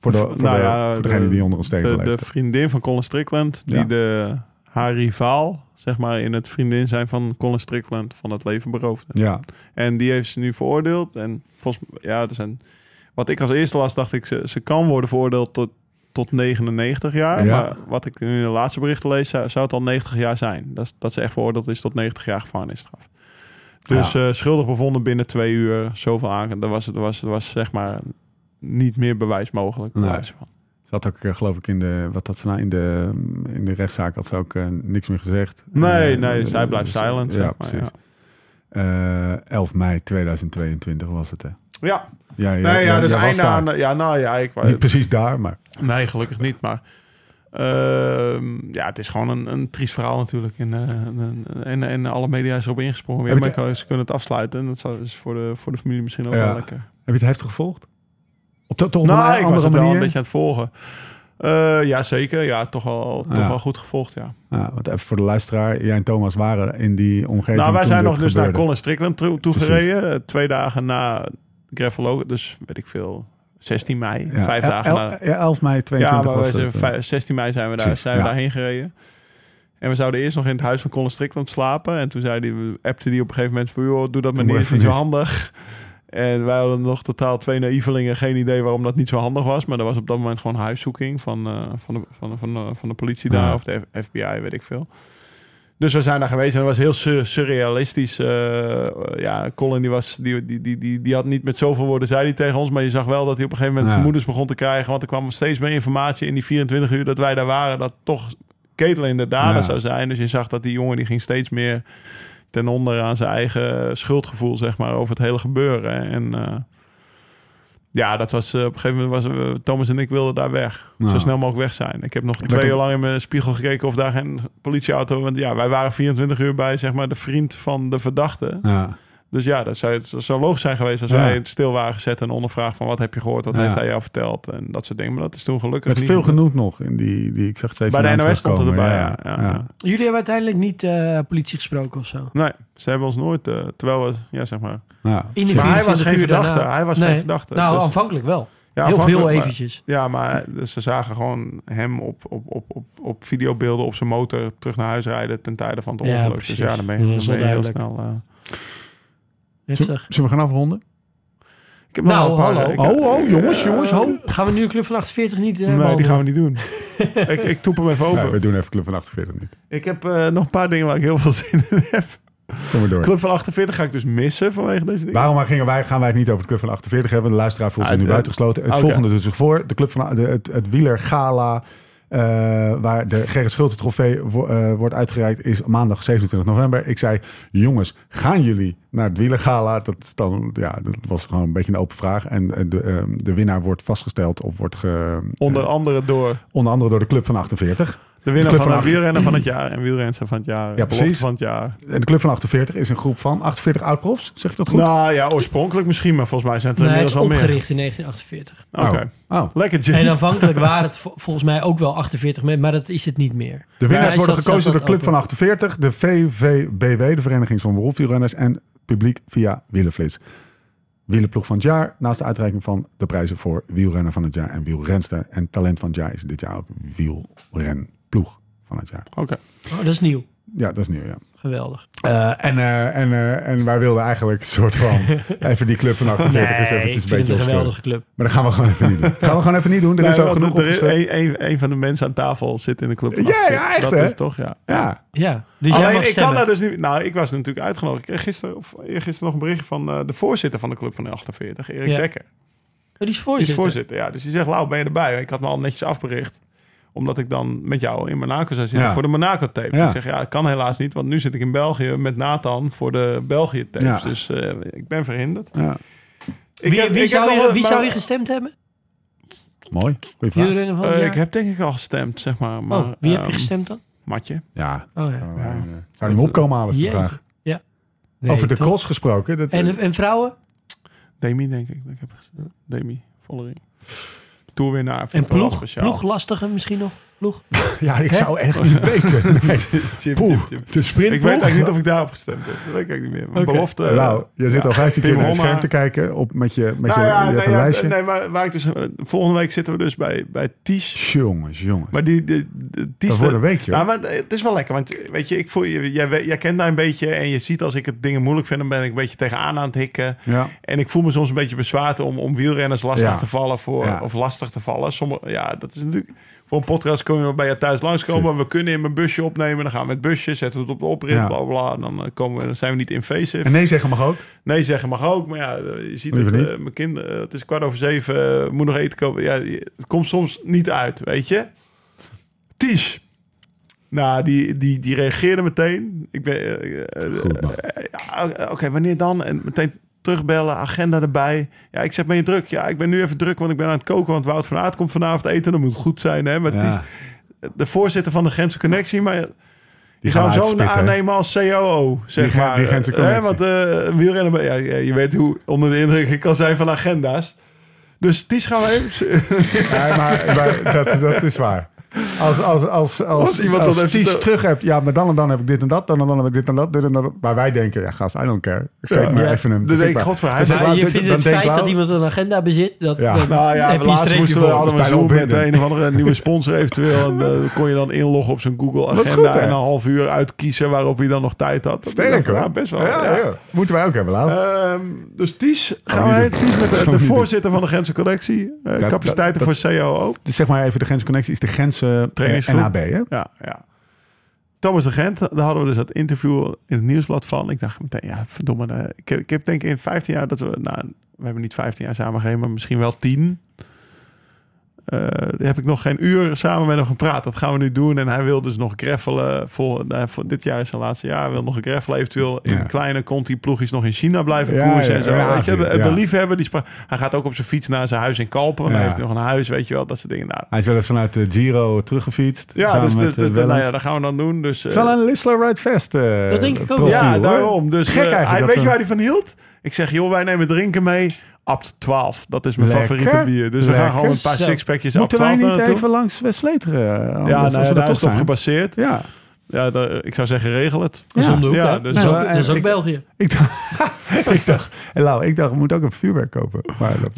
B: Voor, de, voor,
D: Nou
B: de-
D: ja,
B: voor degene
D: de-
B: die onder een steen
D: de,
B: leeft.
D: de vriendin van Colin Strickland, die
B: Ja.
D: de, haar rivaal, zeg maar, in het vriendin zijn van Colin Strickland van het leven beroofde.
B: Ja,
D: En die heeft ze nu veroordeeld. En volgens ja, er zijn, wat ik als eerste las, dacht ik, ze, ze kan worden veroordeeld tot, tot 99 jaar.
B: Ja.
D: Maar wat ik nu in de laatste berichten lees, zou, zou het al 90 jaar zijn. Dat, is- dat ze echt veroordeeld is tot 90 jaar gevangenisstraf. Dus eh, schuldig bevonden binnen twee uur, zoveel aan. Er was, er was, er was zeg maar niet meer bewijs mogelijk.
B: Nee.
D: bij wijze van.
B: Ze had ook, eh, geloof ik, in de, wat had ze nou, in de, in de rechtszaak had ze ook eh, niks meer gezegd.
D: Nee,
B: Eh,
D: nee,
B: eh,
D: zij blijft
B: dus,
D: silent.
B: Ja,
D: zeg maar,
B: precies. Eh, 11 mei 2022 was het, hè?
D: Ja,
B: Ja, ja,
D: nee, ja, dus
B: jij was
D: einde
B: daar.
D: aan. Ja, nou ja, ik
B: Niet precies daar, maar...
D: Nee, gelukkig niet. Maar ehm, ja, het is gewoon een, een triest verhaal natuurlijk. En, eh, en, en, en alle media is erop ingesprongen. Weer.
B: Heb
D: Maar
B: je-
D: ik- ze kunnen het afsluiten. En dat zou- is voor de, voor de familie misschien ook
B: Ja.
D: wel lekker.
B: Heb je het heftig gevolgd? Op de, toch op
D: nou,
B: een
D: ik was
B: andere
D: het wel
B: manier?
D: een beetje aan het volgen. Eh ja, zeker. Ja, toch wel,
B: Ja.
D: toch wel goed gevolgd, ja.
B: Ja, want even voor de luisteraar, jij en Thomas waren in die omgeving
D: nou, wij
B: toen
D: zijn
B: dit
D: nog dus
B: gebeurde.
D: naar Colin Strickland toe,
B: Precies.
D: toegereden. eh, Twee dagen na Greffel Dus weet ik veel, 16 mei.
B: Ja,
D: Vijf
B: el-
D: dagen
B: el-
D: na.
B: ja, 11 mei
D: Ja,
B: 22
D: maar wij
B: was
D: zijn
B: het. eh.
D: vij- 16 mei zijn we, daar,
B: Precies,
D: zijn we
B: ja.
D: daarheen gereden. En we zouden eerst nog in het huis van Colin Strickland slapen. En toen zei die, appte die op een gegeven moment van... joh, doe dat maar
B: Doe
D: niet,
B: maar
D: is niet zo
B: even
D: handig. En wij hadden nog totaal twee naïvelingen. Geen idee waarom dat niet zo handig was. Maar er was op dat moment gewoon huiszoeking van, eh, van, de, van, de, van, de, van de politie daar.
B: Ja.
D: Of de F- FBI, weet ik veel. Dus we zijn daar geweest en dat was heel sur- surrealistisch. Eh, ja, Colin die was, die, die, die, die, die had niet met zoveel woorden, zei hij tegen ons. Maar je zag wel dat hij op een gegeven moment
B: Ja.
D: vermoedens begon te krijgen. Want er kwam steeds meer informatie in die 24 uur dat wij daar waren. Dat toch Caitlin de dader
B: Ja.
D: zou zijn. Dus je zag dat die jongen die ging steeds meer ten onder aan zijn eigen schuldgevoel, zeg maar, over het hele gebeuren. En eh, ja, dat was eh, op een gegeven moment was eh, Thomas en ik wilden daar weg.
B: Nou.
D: Zo snel mogelijk weg zijn. Ik heb nog
B: heb
D: twee
B: het-
D: uur lang in mijn spiegel gekeken of daar geen politieauto. Want ja, wij waren 24 uur bij, zeg maar, de vriend van de verdachte.
B: Ja.
D: Dus ja, dat zou, het zou logisch zijn geweest als
B: Ja.
D: wij stil waren gezet en ondervraag van wat heb je gehoord, wat
B: Ja.
D: heeft hij jou verteld en dat soort dingen. Maar dat is toen gelukkig
B: Met
D: niet
B: veel genoeg nog. In die, die, ik zag steeds
D: Bij de
B: een naam
D: NOS stond het
B: terugkomen.
D: erbij, ja, ja, ja.
E: Jullie hebben uiteindelijk niet eh, politie gesproken of zo?
D: Nee, ze hebben ons nooit, eh, terwijl we, ja zeg maar.
B: Ja.
E: In de
D: Maar hij was
E: 24
D: geen
E: uur daarna.
D: verdachte, hij was geen
E: Nee.
D: verdachte.
E: Nou,
D: Dus-
E: aanvankelijk wel.
D: ja,
E: heel
D: afhankelijk,
E: veel
D: maar-
E: eventjes.
D: Ja, maar dus ze zagen gewoon hem op, op, op, op, op videobeelden op zijn motor terug naar huis rijden ten tijde van het
E: Ja,
D: ongeluk. dus
E: precies.
D: ja, dan ben je,
E: Dat is
D: dan ben je
E: wel
D: heel
E: duidelijk.
D: snel. eh,
E: Heftig.
B: Zullen we gaan afronden?
D: ik heb
E: Nou,
D: nog wel een paar-
E: hallo.
D: ik-
B: Oh, oh, jongens, jongens, ho.
E: Eh, Gaan we nu de Club van 48 niet eh
D: Nee, die
E: behandelen?
D: gaan we niet doen. ik, ik toep hem even over.
B: Nee, we doen even Club van 48 niet.
D: Ik heb eh, nog een paar dingen waar ik heel veel zin in heb.
B: Kom maar door.
D: Club van 48 ga ik dus missen vanwege deze dingen.
B: Waarom gingen wij, gaan wij het niet over de Club van 48 hebben? De luisteraar voelt zich
D: Ah,
B: nu
D: eh,
B: buitengesloten. Het
D: oké.
B: volgende doet zich voor. De Club van, de, het, het wieler gala eh, waar de Gerrit Schulte trofee wo- eh, wordt uitgereikt... is maandag 27 november. Ik zei, jongens, gaan jullie naar het wielergala? Dat, is dan, ja, dat was gewoon een beetje een open vraag. En eh, de, eh, de winnaar wordt vastgesteld of wordt ge, eh,
D: Onder andere door
B: onder andere door de Club van 48.
D: de winnaar
B: Club
D: van
B: van
D: de
B: 48.
D: wielrenner van het jaar en wielrenster van het jaar. en belofte
B: precies.
D: Van het jaar.
B: En de Club van 48 is een groep van 48 oud-profs. Zeg ik dat goed?
D: Nou ja, oorspronkelijk misschien, maar volgens mij zijn het er
E: Nee, het
D: inmiddels
E: is
D: al eh, meer.
E: opgericht in 1948.
D: Oké.
B: Oh.
D: Lekker, Jim.
E: En aanvankelijk waren het vol- volgens mij ook wel 48 mensen, maar dat is het niet meer.
B: De
E: Ja,
B: winnaars
E: is
B: worden
E: dat-
B: gekozen
E: staat
B: door de Club
E: dat
B: van 48, de VVBW, de Vereniging van Beroepswielrenners en publiek via Wielenflits. Wielenploeg van het jaar, naast de uitreiking van de prijzen voor wielrenner van het jaar en wielrenster. En talent van het jaar is dit jaar ook wielrenploeg van het jaar.
D: Oké.
E: Oh, dat is nieuw.
B: Ja, dat is nieuw, ja.
E: Geweldig.
B: Eh, en, eh, en, eh, en wij wilden eigenlijk een soort van even die Club van 48 eens
E: Nee,
B: eventjes
E: ik
B: een
E: vind het
B: beetje
E: een
B: opscheuren.
E: geweldige club.
B: Maar dat gaan we gewoon even niet doen. Gaan we gewoon even niet doen, er is al
D: Nee, want
B: genoeg
D: er is-
B: opgeschreven.
D: een, een, een van de mensen aan tafel zit in de club. van
B: Ja, ja,
D: 48.
B: echt,
D: Dat
B: hè?
D: is toch, ja.
B: Ja,
E: Ja, dus jij
D: Alleen,
E: mag
D: ik kan
E: stemmen.
D: daar dus niet... Nou, ik was natuurlijk uitgenodigd. Ik kreeg gisteren, of eergisteren nog een bericht van eh, de voorzitter van de club van de 48, Erik
E: Ja.
D: Dekker.
E: Oh, die is
D: Die is
E: voorzitter.
D: voorzitter, ja. Dus die zegt, Lau, ben je erbij? Ik had me al netjes afbericht omdat ik dan met jou in Monaco zou zitten
B: Ja.
D: voor de Monaco tape.
B: Ja.
D: Ik zeg ja, dat kan helaas niet, want nu zit ik in België met Nathan voor de België tapes.
B: Ja.
D: Dus eh, ik ben verhinderd.
B: ja.
D: Ik
E: Wie,
D: heb-
E: wie
D: ik
E: zou,
D: heb nog
E: je,
D: wel-
E: wie
D: maar-
E: zou je gestemd hebben?
B: mooi. Goeie vraag.
E: Wielrenner van het
D: Eh,
E: jaar?
D: Ik heb denk ik al gestemd, zeg maar. maar Eh,
E: oh, wie heb
D: ehm,
E: je gestemd dan?
D: Matje.
B: Ja,
E: Oh ja.
B: zou die hem opkomen halen is de
E: Jeetje.
B: vraag.
E: Ja. Nee,
B: Over de
E: toch?
B: cross gesproken. Dat,
E: En, en vrouwen?
D: Demi, denk ik. dat ik heb gestemd. Demi, Vollering. Toerwinnaar. vind
E: En
D: ik wel
E: ploeg?
D: speciaal.
E: Ploeg lastige misschien nog? Ploeg?
B: ja, ik zou echt niet weten.
D: Jim,
B: Poeh,
D: Jim, Jim.
B: de sprint.
D: Ik weet eigenlijk niet of ik daarop gestemd heb. Dat weet ik eigenlijk niet meer. Mijn
E: Oké.
D: belofte... eh,
B: nou, je zit
D: ja.
B: al 15 keer
D: Tim
B: naar het
D: Homma.
B: scherm te kijken op, met je, met
D: Nou
B: je,
D: ja,
B: je hebt
D: nee,
B: een
D: ja,
B: lijstje.
D: nee, maar waar ik dus, eh, volgende week zitten we dus bij, bij Ties.
B: Jongens, jongens.
D: Maar die, die, die Ties...
B: dat wordt een weekje.
D: Ja, maar eh, het is wel lekker, want weet je, ik voel je, jij, weet- jij kent mij een beetje en je ziet als ik het dingen moeilijk vind, dan ben ik een beetje tegenaan aan het hikken.
B: ja.
D: En ik voel me soms een beetje bezwaard om, om wielrenners lastig
B: Ja.
D: te vallen voor.
B: Ja.
D: Of lastig te vallen. Sommige, ja, dat is natuurlijk. Voor een podcast kunnen we bij je thuis langskomen. We kunnen in mijn busje opnemen. Dan gaan we met busje, zetten we het op de oprit,
B: Ja.
D: bla bla. Dan, eh, komen we, dan zijn we niet invasive.
B: En nee zeggen mag ook.
D: Nee zeggen mag ook. Maar ja, eh, je ziet
B: Liever
D: het.
B: niet.
D: eh, mijn kind, eh, het is kwart over zeven. eh, moet nog eten kopen. Ja, je- het komt soms niet uit, weet je. Ties. Nou, die, die, die reageerde meteen. Ik ben, eh, eh,
B: Goed, man.
D: ja, eh, Oké, wanneer dan? En meteen terugbellen, agenda erbij. Ja, ik zeg, ben je druk? Ja, ik ben nu even druk, want ik ben aan het koken. Want Wout van Aert komt vanavond eten. Dat moet goed zijn, hè? Met
B: Ja,
D: die- de voorzitter van de Gentse Connectie. Maar die
B: gaan
D: gaan
B: we
D: zo
B: uitspitten, hè?
D: aannemen als COO, zeg
B: Die Gen-
D: maar.
B: die Gentse
D: Eh,
B: Connectie.
D: want eh, wielrennen... Ja, ja, je weet hoe onder de indruk ik kan zijn van agenda's. Dus Ties gaan we even...
B: Ja, maar, maar dat, dat is waar. Als, als, als, als,
D: Als iemand
B: als
D: dat heeft
B: Ties
D: verteld.
B: terug hebt, ja, maar dan en dan heb ik dit en dat, dan en dan heb ik dit en dat, dit en dat. Maar wij denken, ja, gast, I don't care. Geef maar even een.
D: Dan denk ik,
B: maar-
D: godver, hij
B: Dus
D: is-
B: ik wou-
E: Maar je
B: dit-
E: vindt
B: dan
E: het
B: denk
E: feit
B: ik
E: dat
B: wel-
E: iemand een agenda bezit, dat,
B: Ja.
E: dat
D: Nou
E: heb
D: ja,
E: je een
D: laatst
E: streepje
D: moesten we
E: voor.
D: allemaal een
B: Bijna
D: Zoom met
B: onbindend.
D: een of andere nieuwe sponsor eventueel. En eh, kon je dan inloggen op zijn Google
B: is
D: agenda
B: goed, hè?
D: en een half uur uitkiezen waarop hij dan nog tijd had. Dat
B: Sterk
D: dacht ik,
B: hoor.
D: ja, best wel.
B: Ja,
D: ja.
B: ja. Moeten wij ook hebben, Lau.
D: Ehm, dus Ties, gaan
B: niet
D: wij,
B: doen.
D: Ties met
B: Gaan
D: de,
B: we
D: de
B: niet
D: voorzitter van de Gentse Collectie, eh,
B: dat-
D: capaciteiten
B: dat-
D: voor COO.
B: Dus zeg maar even, de Gentse Connectie is de eh, Gentse
D: Trainingsgroep.
B: NAB, hè?
D: Ja, ja. Thomas de Gent, daar hadden we dus dat interview in het nieuwsblad van. Ik dacht meteen, ja, verdomme. eh, Ik heb, ik heb denk ik in 15 jaar dat we, nou, we hebben niet 15 jaar samen gereden, maar misschien wel 10. Eh, eh, daar heb ik nog geen uur samen met hem gepraat. Dat gaan we nu doen. En hij wil dus nog greffelen. Vol, nou, voor dit jaar is zijn laatste jaar. Hij wil nog greffelen. Eventueel in
B: Ja.
D: kleine Conti-ploegjes nog in China blijven
B: Ja,
D: koersen.
B: ja,
D: en zo.
B: ja,
D: weet je, de,
B: ja.
D: de liefhebber. Die spra- hij gaat ook op zijn fiets naar zijn huis in Kalpen. Maar
B: Ja.
D: hij heeft nog een huis, weet je wel. Dat soort dingen. Nou,
B: Hij is wel eens vanuit de Giro teruggefietst.
D: ja,
B: samen
D: dus,
B: met,
D: dus, dus-
B: eh,
D: nou
B: Wellens.
D: ja, dat gaan we dan doen. Dus,
B: Het
D: eh,
B: is wel een Lisla Ride Fest eh,
E: Dat denk ik ook.
B: profiel,
D: ja,
B: hoor.
D: daarom. Dus
B: Gek
D: eh, hij-
B: eigenlijk dat
D: weet je
B: we-
D: waar hij van hield? Ik zeg, joh, wij nemen drinken mee. Abt 12, dat is mijn
B: Lekker.
D: favoriete bier. Dus we
B: Lekker.
D: gaan gewoon een paar
E: Zo.
D: sixpackjes Abt
B: Moeten
D: 12
B: wij
D: daar
B: niet
D: naartoe.
B: even langs West-Vleteren? eh,
D: Ja,
B: anders,
D: nou,
B: als we dat
D: daar is het
B: toch
D: op
B: zijn?
D: gebaseerd.
B: Ja,
D: Ja, daar- ik zou zeggen, regel het.
E: Dat is
B: Ja.
E: om de hoek,
D: Ja,
E: hè?
D: dus
E: dat is ook,
B: wel,
E: dat is Nou, ook
B: ik-
E: België.
B: ik dacht, ik dacht, en Lau, ik dacht, we moeten ook een vuurwerk kopen. Maar dat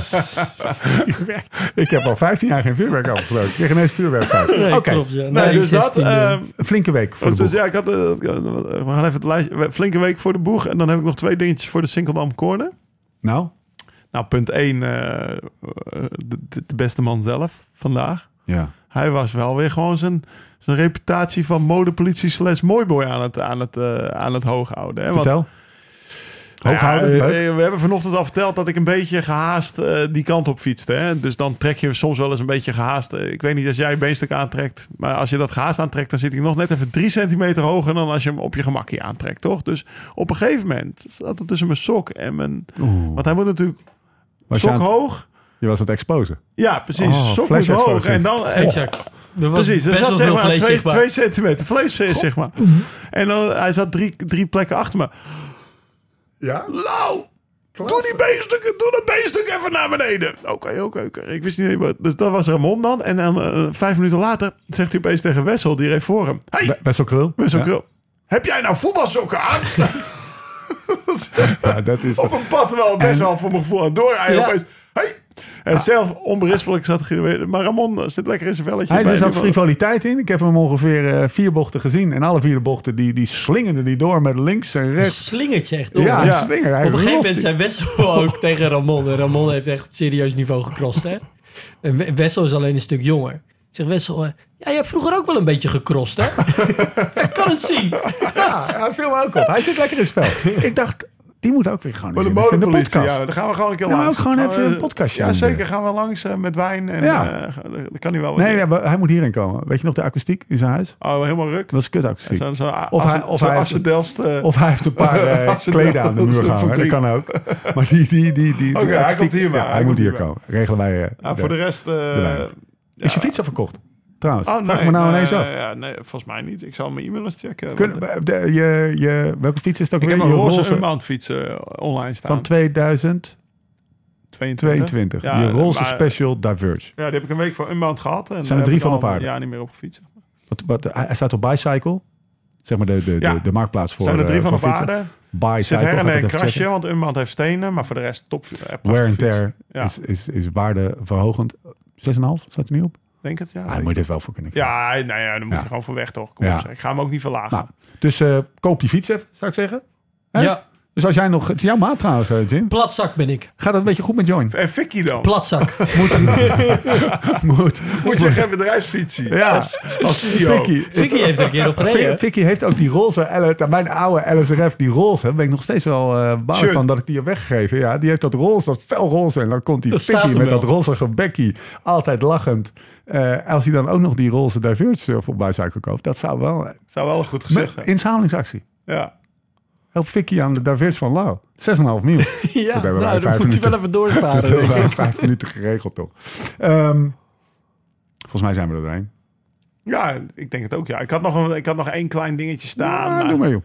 B: ik heb al 15 jaar geen vuurwerk afgesproken. Ik kreeg ineens vuurwerk uit.
E: Nee,
B: Oké.
E: klopt. Ja.
D: Nee,
E: Nee,
D: dus dat...
E: 16e.
D: eh,
B: Een flinke week voor de
D: dus
B: boeg.
D: ja, ik had, eh, we gaan even het lijstje. Flinke week voor de boeg. En dan heb ik nog twee dingetjes voor de Sinkeldam Corner.
B: Nou,
D: Nou, punt 1. de, de- de beste man zelf vandaag.
B: ja.
D: Hij was wel weer gewoon zijn, zijn reputatie van modepolitie slash mooiboy aan het, aan het, eh, aan het hoog houden. Hè? Want
B: Vertel.
D: Nou ja,
B: Hooghouden, leuk.
D: eh, we hebben vanochtend al verteld dat ik een beetje gehaast eh, die kant op fietste. Hè? Dus dan trek je soms wel eens een beetje gehaast. eh, ik weet niet, als jij je beenstuk aantrekt. Maar als je dat gehaast aantrekt, dan zit hij nog net even drie centimeter hoger dan als je hem op je gemakje aantrekt, toch? Dus op een gegeven moment zat het tussen mijn sok en mijn...
B: Oeh.
D: Want hij moet natuurlijk
B: Was je,
D: sok
B: aan-
D: hoog.
B: je was aan het exposen.
D: Ja, precies.
B: Oh,
D: sok moet hoog.
B: flesexplosie.
D: En dan... en-
E: Exact. Er was
D: Precies, er
E: best
D: zat
E: wel
D: zeg
E: veel
D: maar aan
E: vlees
D: twee,
E: zichtbaar. Mhm.
D: twee centimeter vlees, eh, zeg maar. En dan, hij zat drie, drie plekken achter me.
B: Ja?
D: Lau! Doe die beenstuk, doe dat beenstuk even naar beneden. Oké, oké, oké. Ik wist niet helemaal. Dus dat was Ramon dan. En dan, eh, vijf minuten later zegt hij opeens tegen Wessel, die reed voor hem. hey,
B: Best wel krul.
D: Wessel
B: Ja.
D: Krul, heb jij nou voetbalsokken aan?
B: Ja, dat is...
D: Op een pad wel best wel voor mijn gevoel aan het doorrijden.
E: Ja. Ah.
D: Opeens, hey! En zelf onberispelijk zat hij er weer. Maar Ramon eh, zit lekker in zijn velletje.
B: Hij
D: bij
E: dus
B: er zat
D: die-
B: frivoliteit in. Ik heb hem ongeveer eh, vier bochten gezien. En alle vier de bochten, die, die slingerden die door met links en rechts.
E: Slingert ze echt door.
B: Ja,
D: ja.
B: slinger. Hij
E: Op een
B: rost
E: gegeven moment
B: die.
E: zijn Wessel ook tegen Ramon. En Ramon heeft echt serieus niveau gecrossed, hè? En We- Wessel is alleen een stuk jonger. Ik zeg, Wessel, eh, ja, je hebt vroeger ook wel een beetje gecrossed, hè? ja, ik kan het zien.
B: Ja, hij viel me ook op. Hij zit lekker in het spel. Ik dacht, die moet ook weer gewoon
D: Maar
B: eens
D: de
B: in de- in de
D: modepolitie,
B: podcast.
D: ja, daar gaan we gewoon een keer
B: Ja, maar
D: langs.
B: ook gewoon
D: Gaan
B: even
D: we-
B: een podcastje
D: Ja,
B: aan
D: zeker.
B: doen.
D: Gaan we langs eh, met wijn en
B: Ja.
D: eh, dat kan hij wel. wat
B: Nee,
D: doen.
B: nee, maar hij moet hierin komen. Weet je nog de akoestiek in zijn huis?
D: Oh, helemaal ruk.
B: Dat was kut akoestiek.
D: Zo, zo,
B: Of
D: als,
B: hij-
D: hij,
B: of
D: zo,
B: hij-
D: als je Delft... eh,
B: Of hij heeft een paar eh,
D: Als het
B: kleden
D: wel-
B: aan de
D: als
B: muur
D: het
B: gaan. hoor. Dat
D: fabriek.
B: kan ook. Maar die, die, die, die, die
D: Oké, hij
B: akoestiek-
D: komt hier maar.
B: Ja, hij,
D: Hij komt
B: moet hier
D: hier maar.
B: komen. Regelen wij. eh,
D: ja,
B: de-
D: voor de rest... eh,
B: wijn. Is je fiets al verkocht? Trouwens,
D: oh, nee,
B: vraag me nou
D: eh,
B: ineens af.
D: ja, nee, volgens mij niet. Ik zal mijn e-mail eens checken.
B: Kunnen-
D: want,
B: de, je, je, welke fiets is het ook
D: ik
B: weer?
D: heb een
B: Je
D: roze Unbound fiets eh, online staan.
B: van 2022.
D: 22. Ja,
B: je roze
D: maar-
B: Special Diverge.
D: Ja, die heb ik een week voor Unbound gehad. En
B: Zijn er
D: daar
B: drie
D: heb ik
B: van op
D: al een
B: aarde?
D: jaar niet meer op gefietst.
B: Wat, wat, hij hij staat op Bicycle. Zeg maar de, de,
D: Ja.
B: de, de marktplaats voor
D: Zijn er drie
B: eh,
D: van op
B: voor fietsen.
D: aarde. Er
B: Bicycle.
D: zit her en
B: ga ik
D: een
B: even checken.
D: krasje, want Unbound heeft stenen. Maar voor de rest top. eh, prachtige
B: Wear and
D: fiets.
B: tear
D: Ja.
B: is, is, is waardeverhogend. 6,5 staat er nu op?
D: Denk het, ja.
B: Ah, dan moet je dit wel voor kunnen krijgen.
D: Ja, nou ja, dan moet
B: Ja.
D: je gewoon voor weg toch. Kom
B: Ja.
D: op, zeg. ik ga hem ook niet verlagen.
B: Nou, dus eh, koop die fiets even, zou ik zeggen. Hè?
E: Ja,
B: Dus als jij nog... Het is jouw maat trouwens, eh, Jim.
E: platzak ben ik.
B: Gaat dat een beetje goed met Join?
D: En Vicky dan?
E: Platzak.
B: Moet.
D: Moet je geen bedrijfsfietsie?
B: Ja.
D: Als
E: E
D: CEO.
B: Vicky.
E: Vicky heeft er een keer op gereden.
B: Vicky-
E: hè?
B: Vicky heeft ook die roze, L- mijn oude LSRF, die roze. Daar ben ik nog steeds wel eh bang
D: Shirt.
B: van dat ik die heb weggegeven. Ja, die heeft dat roze, dat felroze. En dan komt die
E: Dat staat
B: Vicky
E: hem
B: met
E: wel.
B: dat rozige bekkie. Altijd lachend. Eh, als hij dan ook nog die roze eh, Diverge op Bicycle koopt. Dat zou wel...
D: Zou wel goed gezegd zijn.
B: Inzamelingsactie.
D: Ja.
B: Help Vicky aan de Diverge van Lau. 6,5 miljoen.
E: Ja,
B: hebben wij vijf
E: nou, dan moet je
B: minuten.
E: wel even doorsparen.
B: Dat
E: denk ik.
B: hebben we vijf minuten geregeld, toch? Ehm, volgens mij zijn we er doorheen.
D: ja, ik denk het ook. Ja. Ik, had nog een, ik had nog één klein dingetje staan.
B: Ah,
D: maar-
B: doe maar, joh.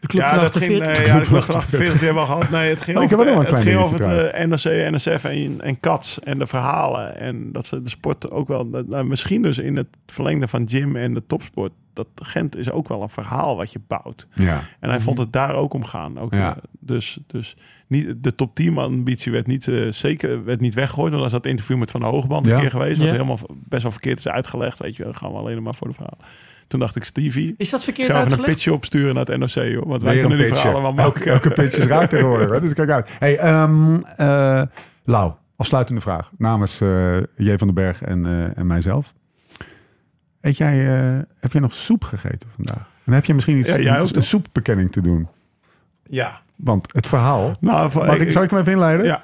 E: De club
D: ja,
E: van
D: dat ging,
E: 48.
D: eh, ja, de Club van 48 hebben we al gehad. Nee, het ging
B: Oh, ik
D: over,
B: heb ook nog
D: de-
B: een
D: het,
B: klein
D: ging over
B: dingetje
D: de NRC, NSF en, en Cats en de verhalen. En dat ze de sport ook wel... dat- nou, misschien dus in het verlengde van gym en de topsport. Dat Gent is ook wel een verhaal wat je bouwt.
B: Ja.
D: En hij vond het daar ook om gaan. Ook,
B: Mhm. Ja.
D: eh, dus dus niet, de top 10 ambitie werd niet, eh, zeker werd niet weggegooid. Want dat is dat interview met Van Hoogband
B: Ja.
D: een keer geweest. Wat
E: Ja.
D: helemaal v- best wel verkeerd is uitgelegd. Weet je, dan gaan we alleen maar voor de verhaal. Toen dacht ik, Stevie,
E: Is dat
D: ik
E: verkeerd
D: zou even een
E: uitgelegd?
D: pitje opsturen naar het NOC. Hoor, want wij
B: Weer
D: kunnen
B: een
D: die
B: pitje.
D: verhalen wel maken.
B: Elke pitch is raar tegenwoordig. Hè? Dus kijk uit. Hey, ehm eh, Lau, afsluitende vraag. Namens eh, J van den Berg en, eh, en mijzelf. Eet jij, eh, heb jij nog soep gegeten vandaag? En heb je misschien iets,
D: Ja, jij ook,
B: een
D: toch?
B: soepbekenning te doen?
D: Ja.
B: Want het verhaal...
D: Nou, van-
B: Mag ik, zal ik hem even inleiden?
D: Ja.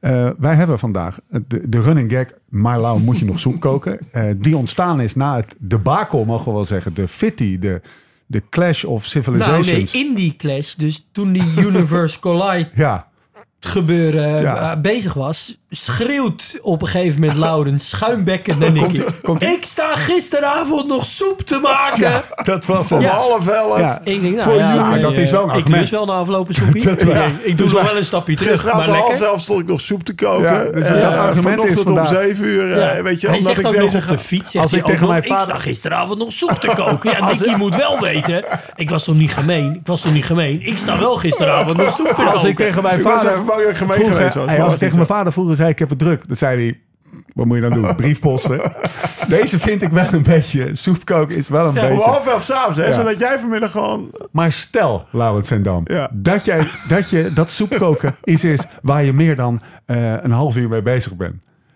B: Eh, wij hebben vandaag de, de running gag Marlau moet je nog zoek koken. eh, die ontstaan is na het debakel, mogen we wel zeggen. De fitty, de, de clash of
E: Nou,
B: civilizations.
E: nee, in die clash, dus toen die Universe Collide
B: Ja,
E: gebeuren
B: Ja.
E: eh, bezig was, schreeuwt op een gegeven moment Lauren schuimbekken naar Nicky. ik sta gisteravond nog soep te maken.
B: dat was het.
E: Ja.
D: Half elf.
B: Ja.
E: Ik denk, nou,
B: Voor
E: ja,
B: jullie.
E: oké,
B: Dat is wel een
E: eh, Ik
B: argument.
E: lust wel na aflopen soepie. ik, denk, ik doe nog wel een stapje terug, maar
D: Dus Gisteravond om half
E: lekker.
D: elf stond ik nog soep te koken.
B: Ja, dus
D: Eh,
B: dat argument is
D: vanochtend
B: vandaag-
D: om zeven uur. eh,
E: Ja.
D: weet je, wel,
E: hij
D: omdat
E: zegt
D: ik
E: ook nog
D: deze...
E: op de fiets, zegt
B: Als
E: hij
B: ik
E: ook
B: tegen
E: nog,
B: mijn vader-
E: ik sta gisteravond nog soep te koken. Ja, Nicky moet wel weten. Ik was toch niet gemeen? Ik was toch niet gemeen? Ik sta wel gisteravond nog soep te koken.
B: Als ik tegen mijn
D: Oh, Ik was
B: vader
D: even bang dat ik gemeen
B: vroeger-
D: geweest was.
B: hey, als ik tegen mijn vader vroeger zei ik heb het druk, dan zei hij, wat moet je nou doen? Briefposten. Deze vind ik wel een beetje, soepkoken is wel een
E: Ja,
D: Om
B: beetje.
D: half elf s'avonds, hè?
B: Ja.
D: Zodat jij vanmiddag gewoon...
B: Maar stel, Laurens en Dam,
D: Ja.
B: dat, jij, dat, je, dat soepkoken iets is waar je meer dan eh, een half uur mee bezig bent.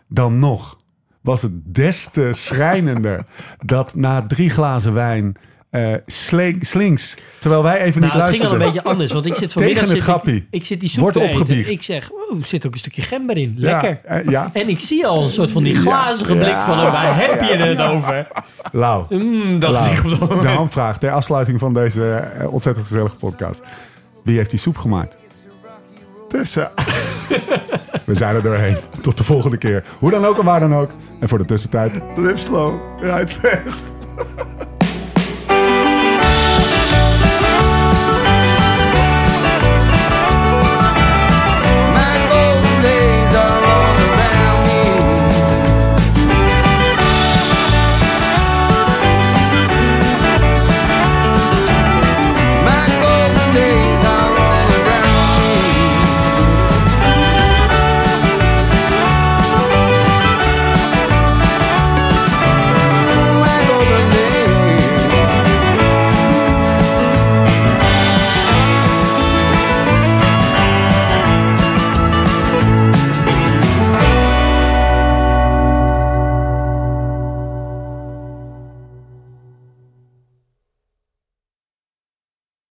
B: Dan nog was het des te schrijnender dat na drie glazen wijn eh slink- slinks, terwijl wij even niet
E: Nou, het ging al
B: luisterden.
E: een beetje anders, want ik zit vanmiddag...
B: Tegen het
E: zit ik-
B: grappie.
E: Ik, zit die soep
B: Wordt
E: te eten.
B: opgebiecht.
E: Ik zeg, oh, er zit ook een stukje gember in. Lekker.
B: Ja, eh, ja.
E: En ik zie al een soort van die glazige blik van hem. Waar heb je het over?
B: Lau.
E: Mm, dat
B: Lau,
E: is niet op
B: de hamvraag ter afsluiting van deze eh, ontzettend gezellige podcast. Wie heeft die soep gemaakt?
D: Tessa.
B: We zijn er doorheen. Tot de volgende keer. Hoe dan ook en waar dan ook. En voor de tussentijd,
D: Live slow. Rijd fast.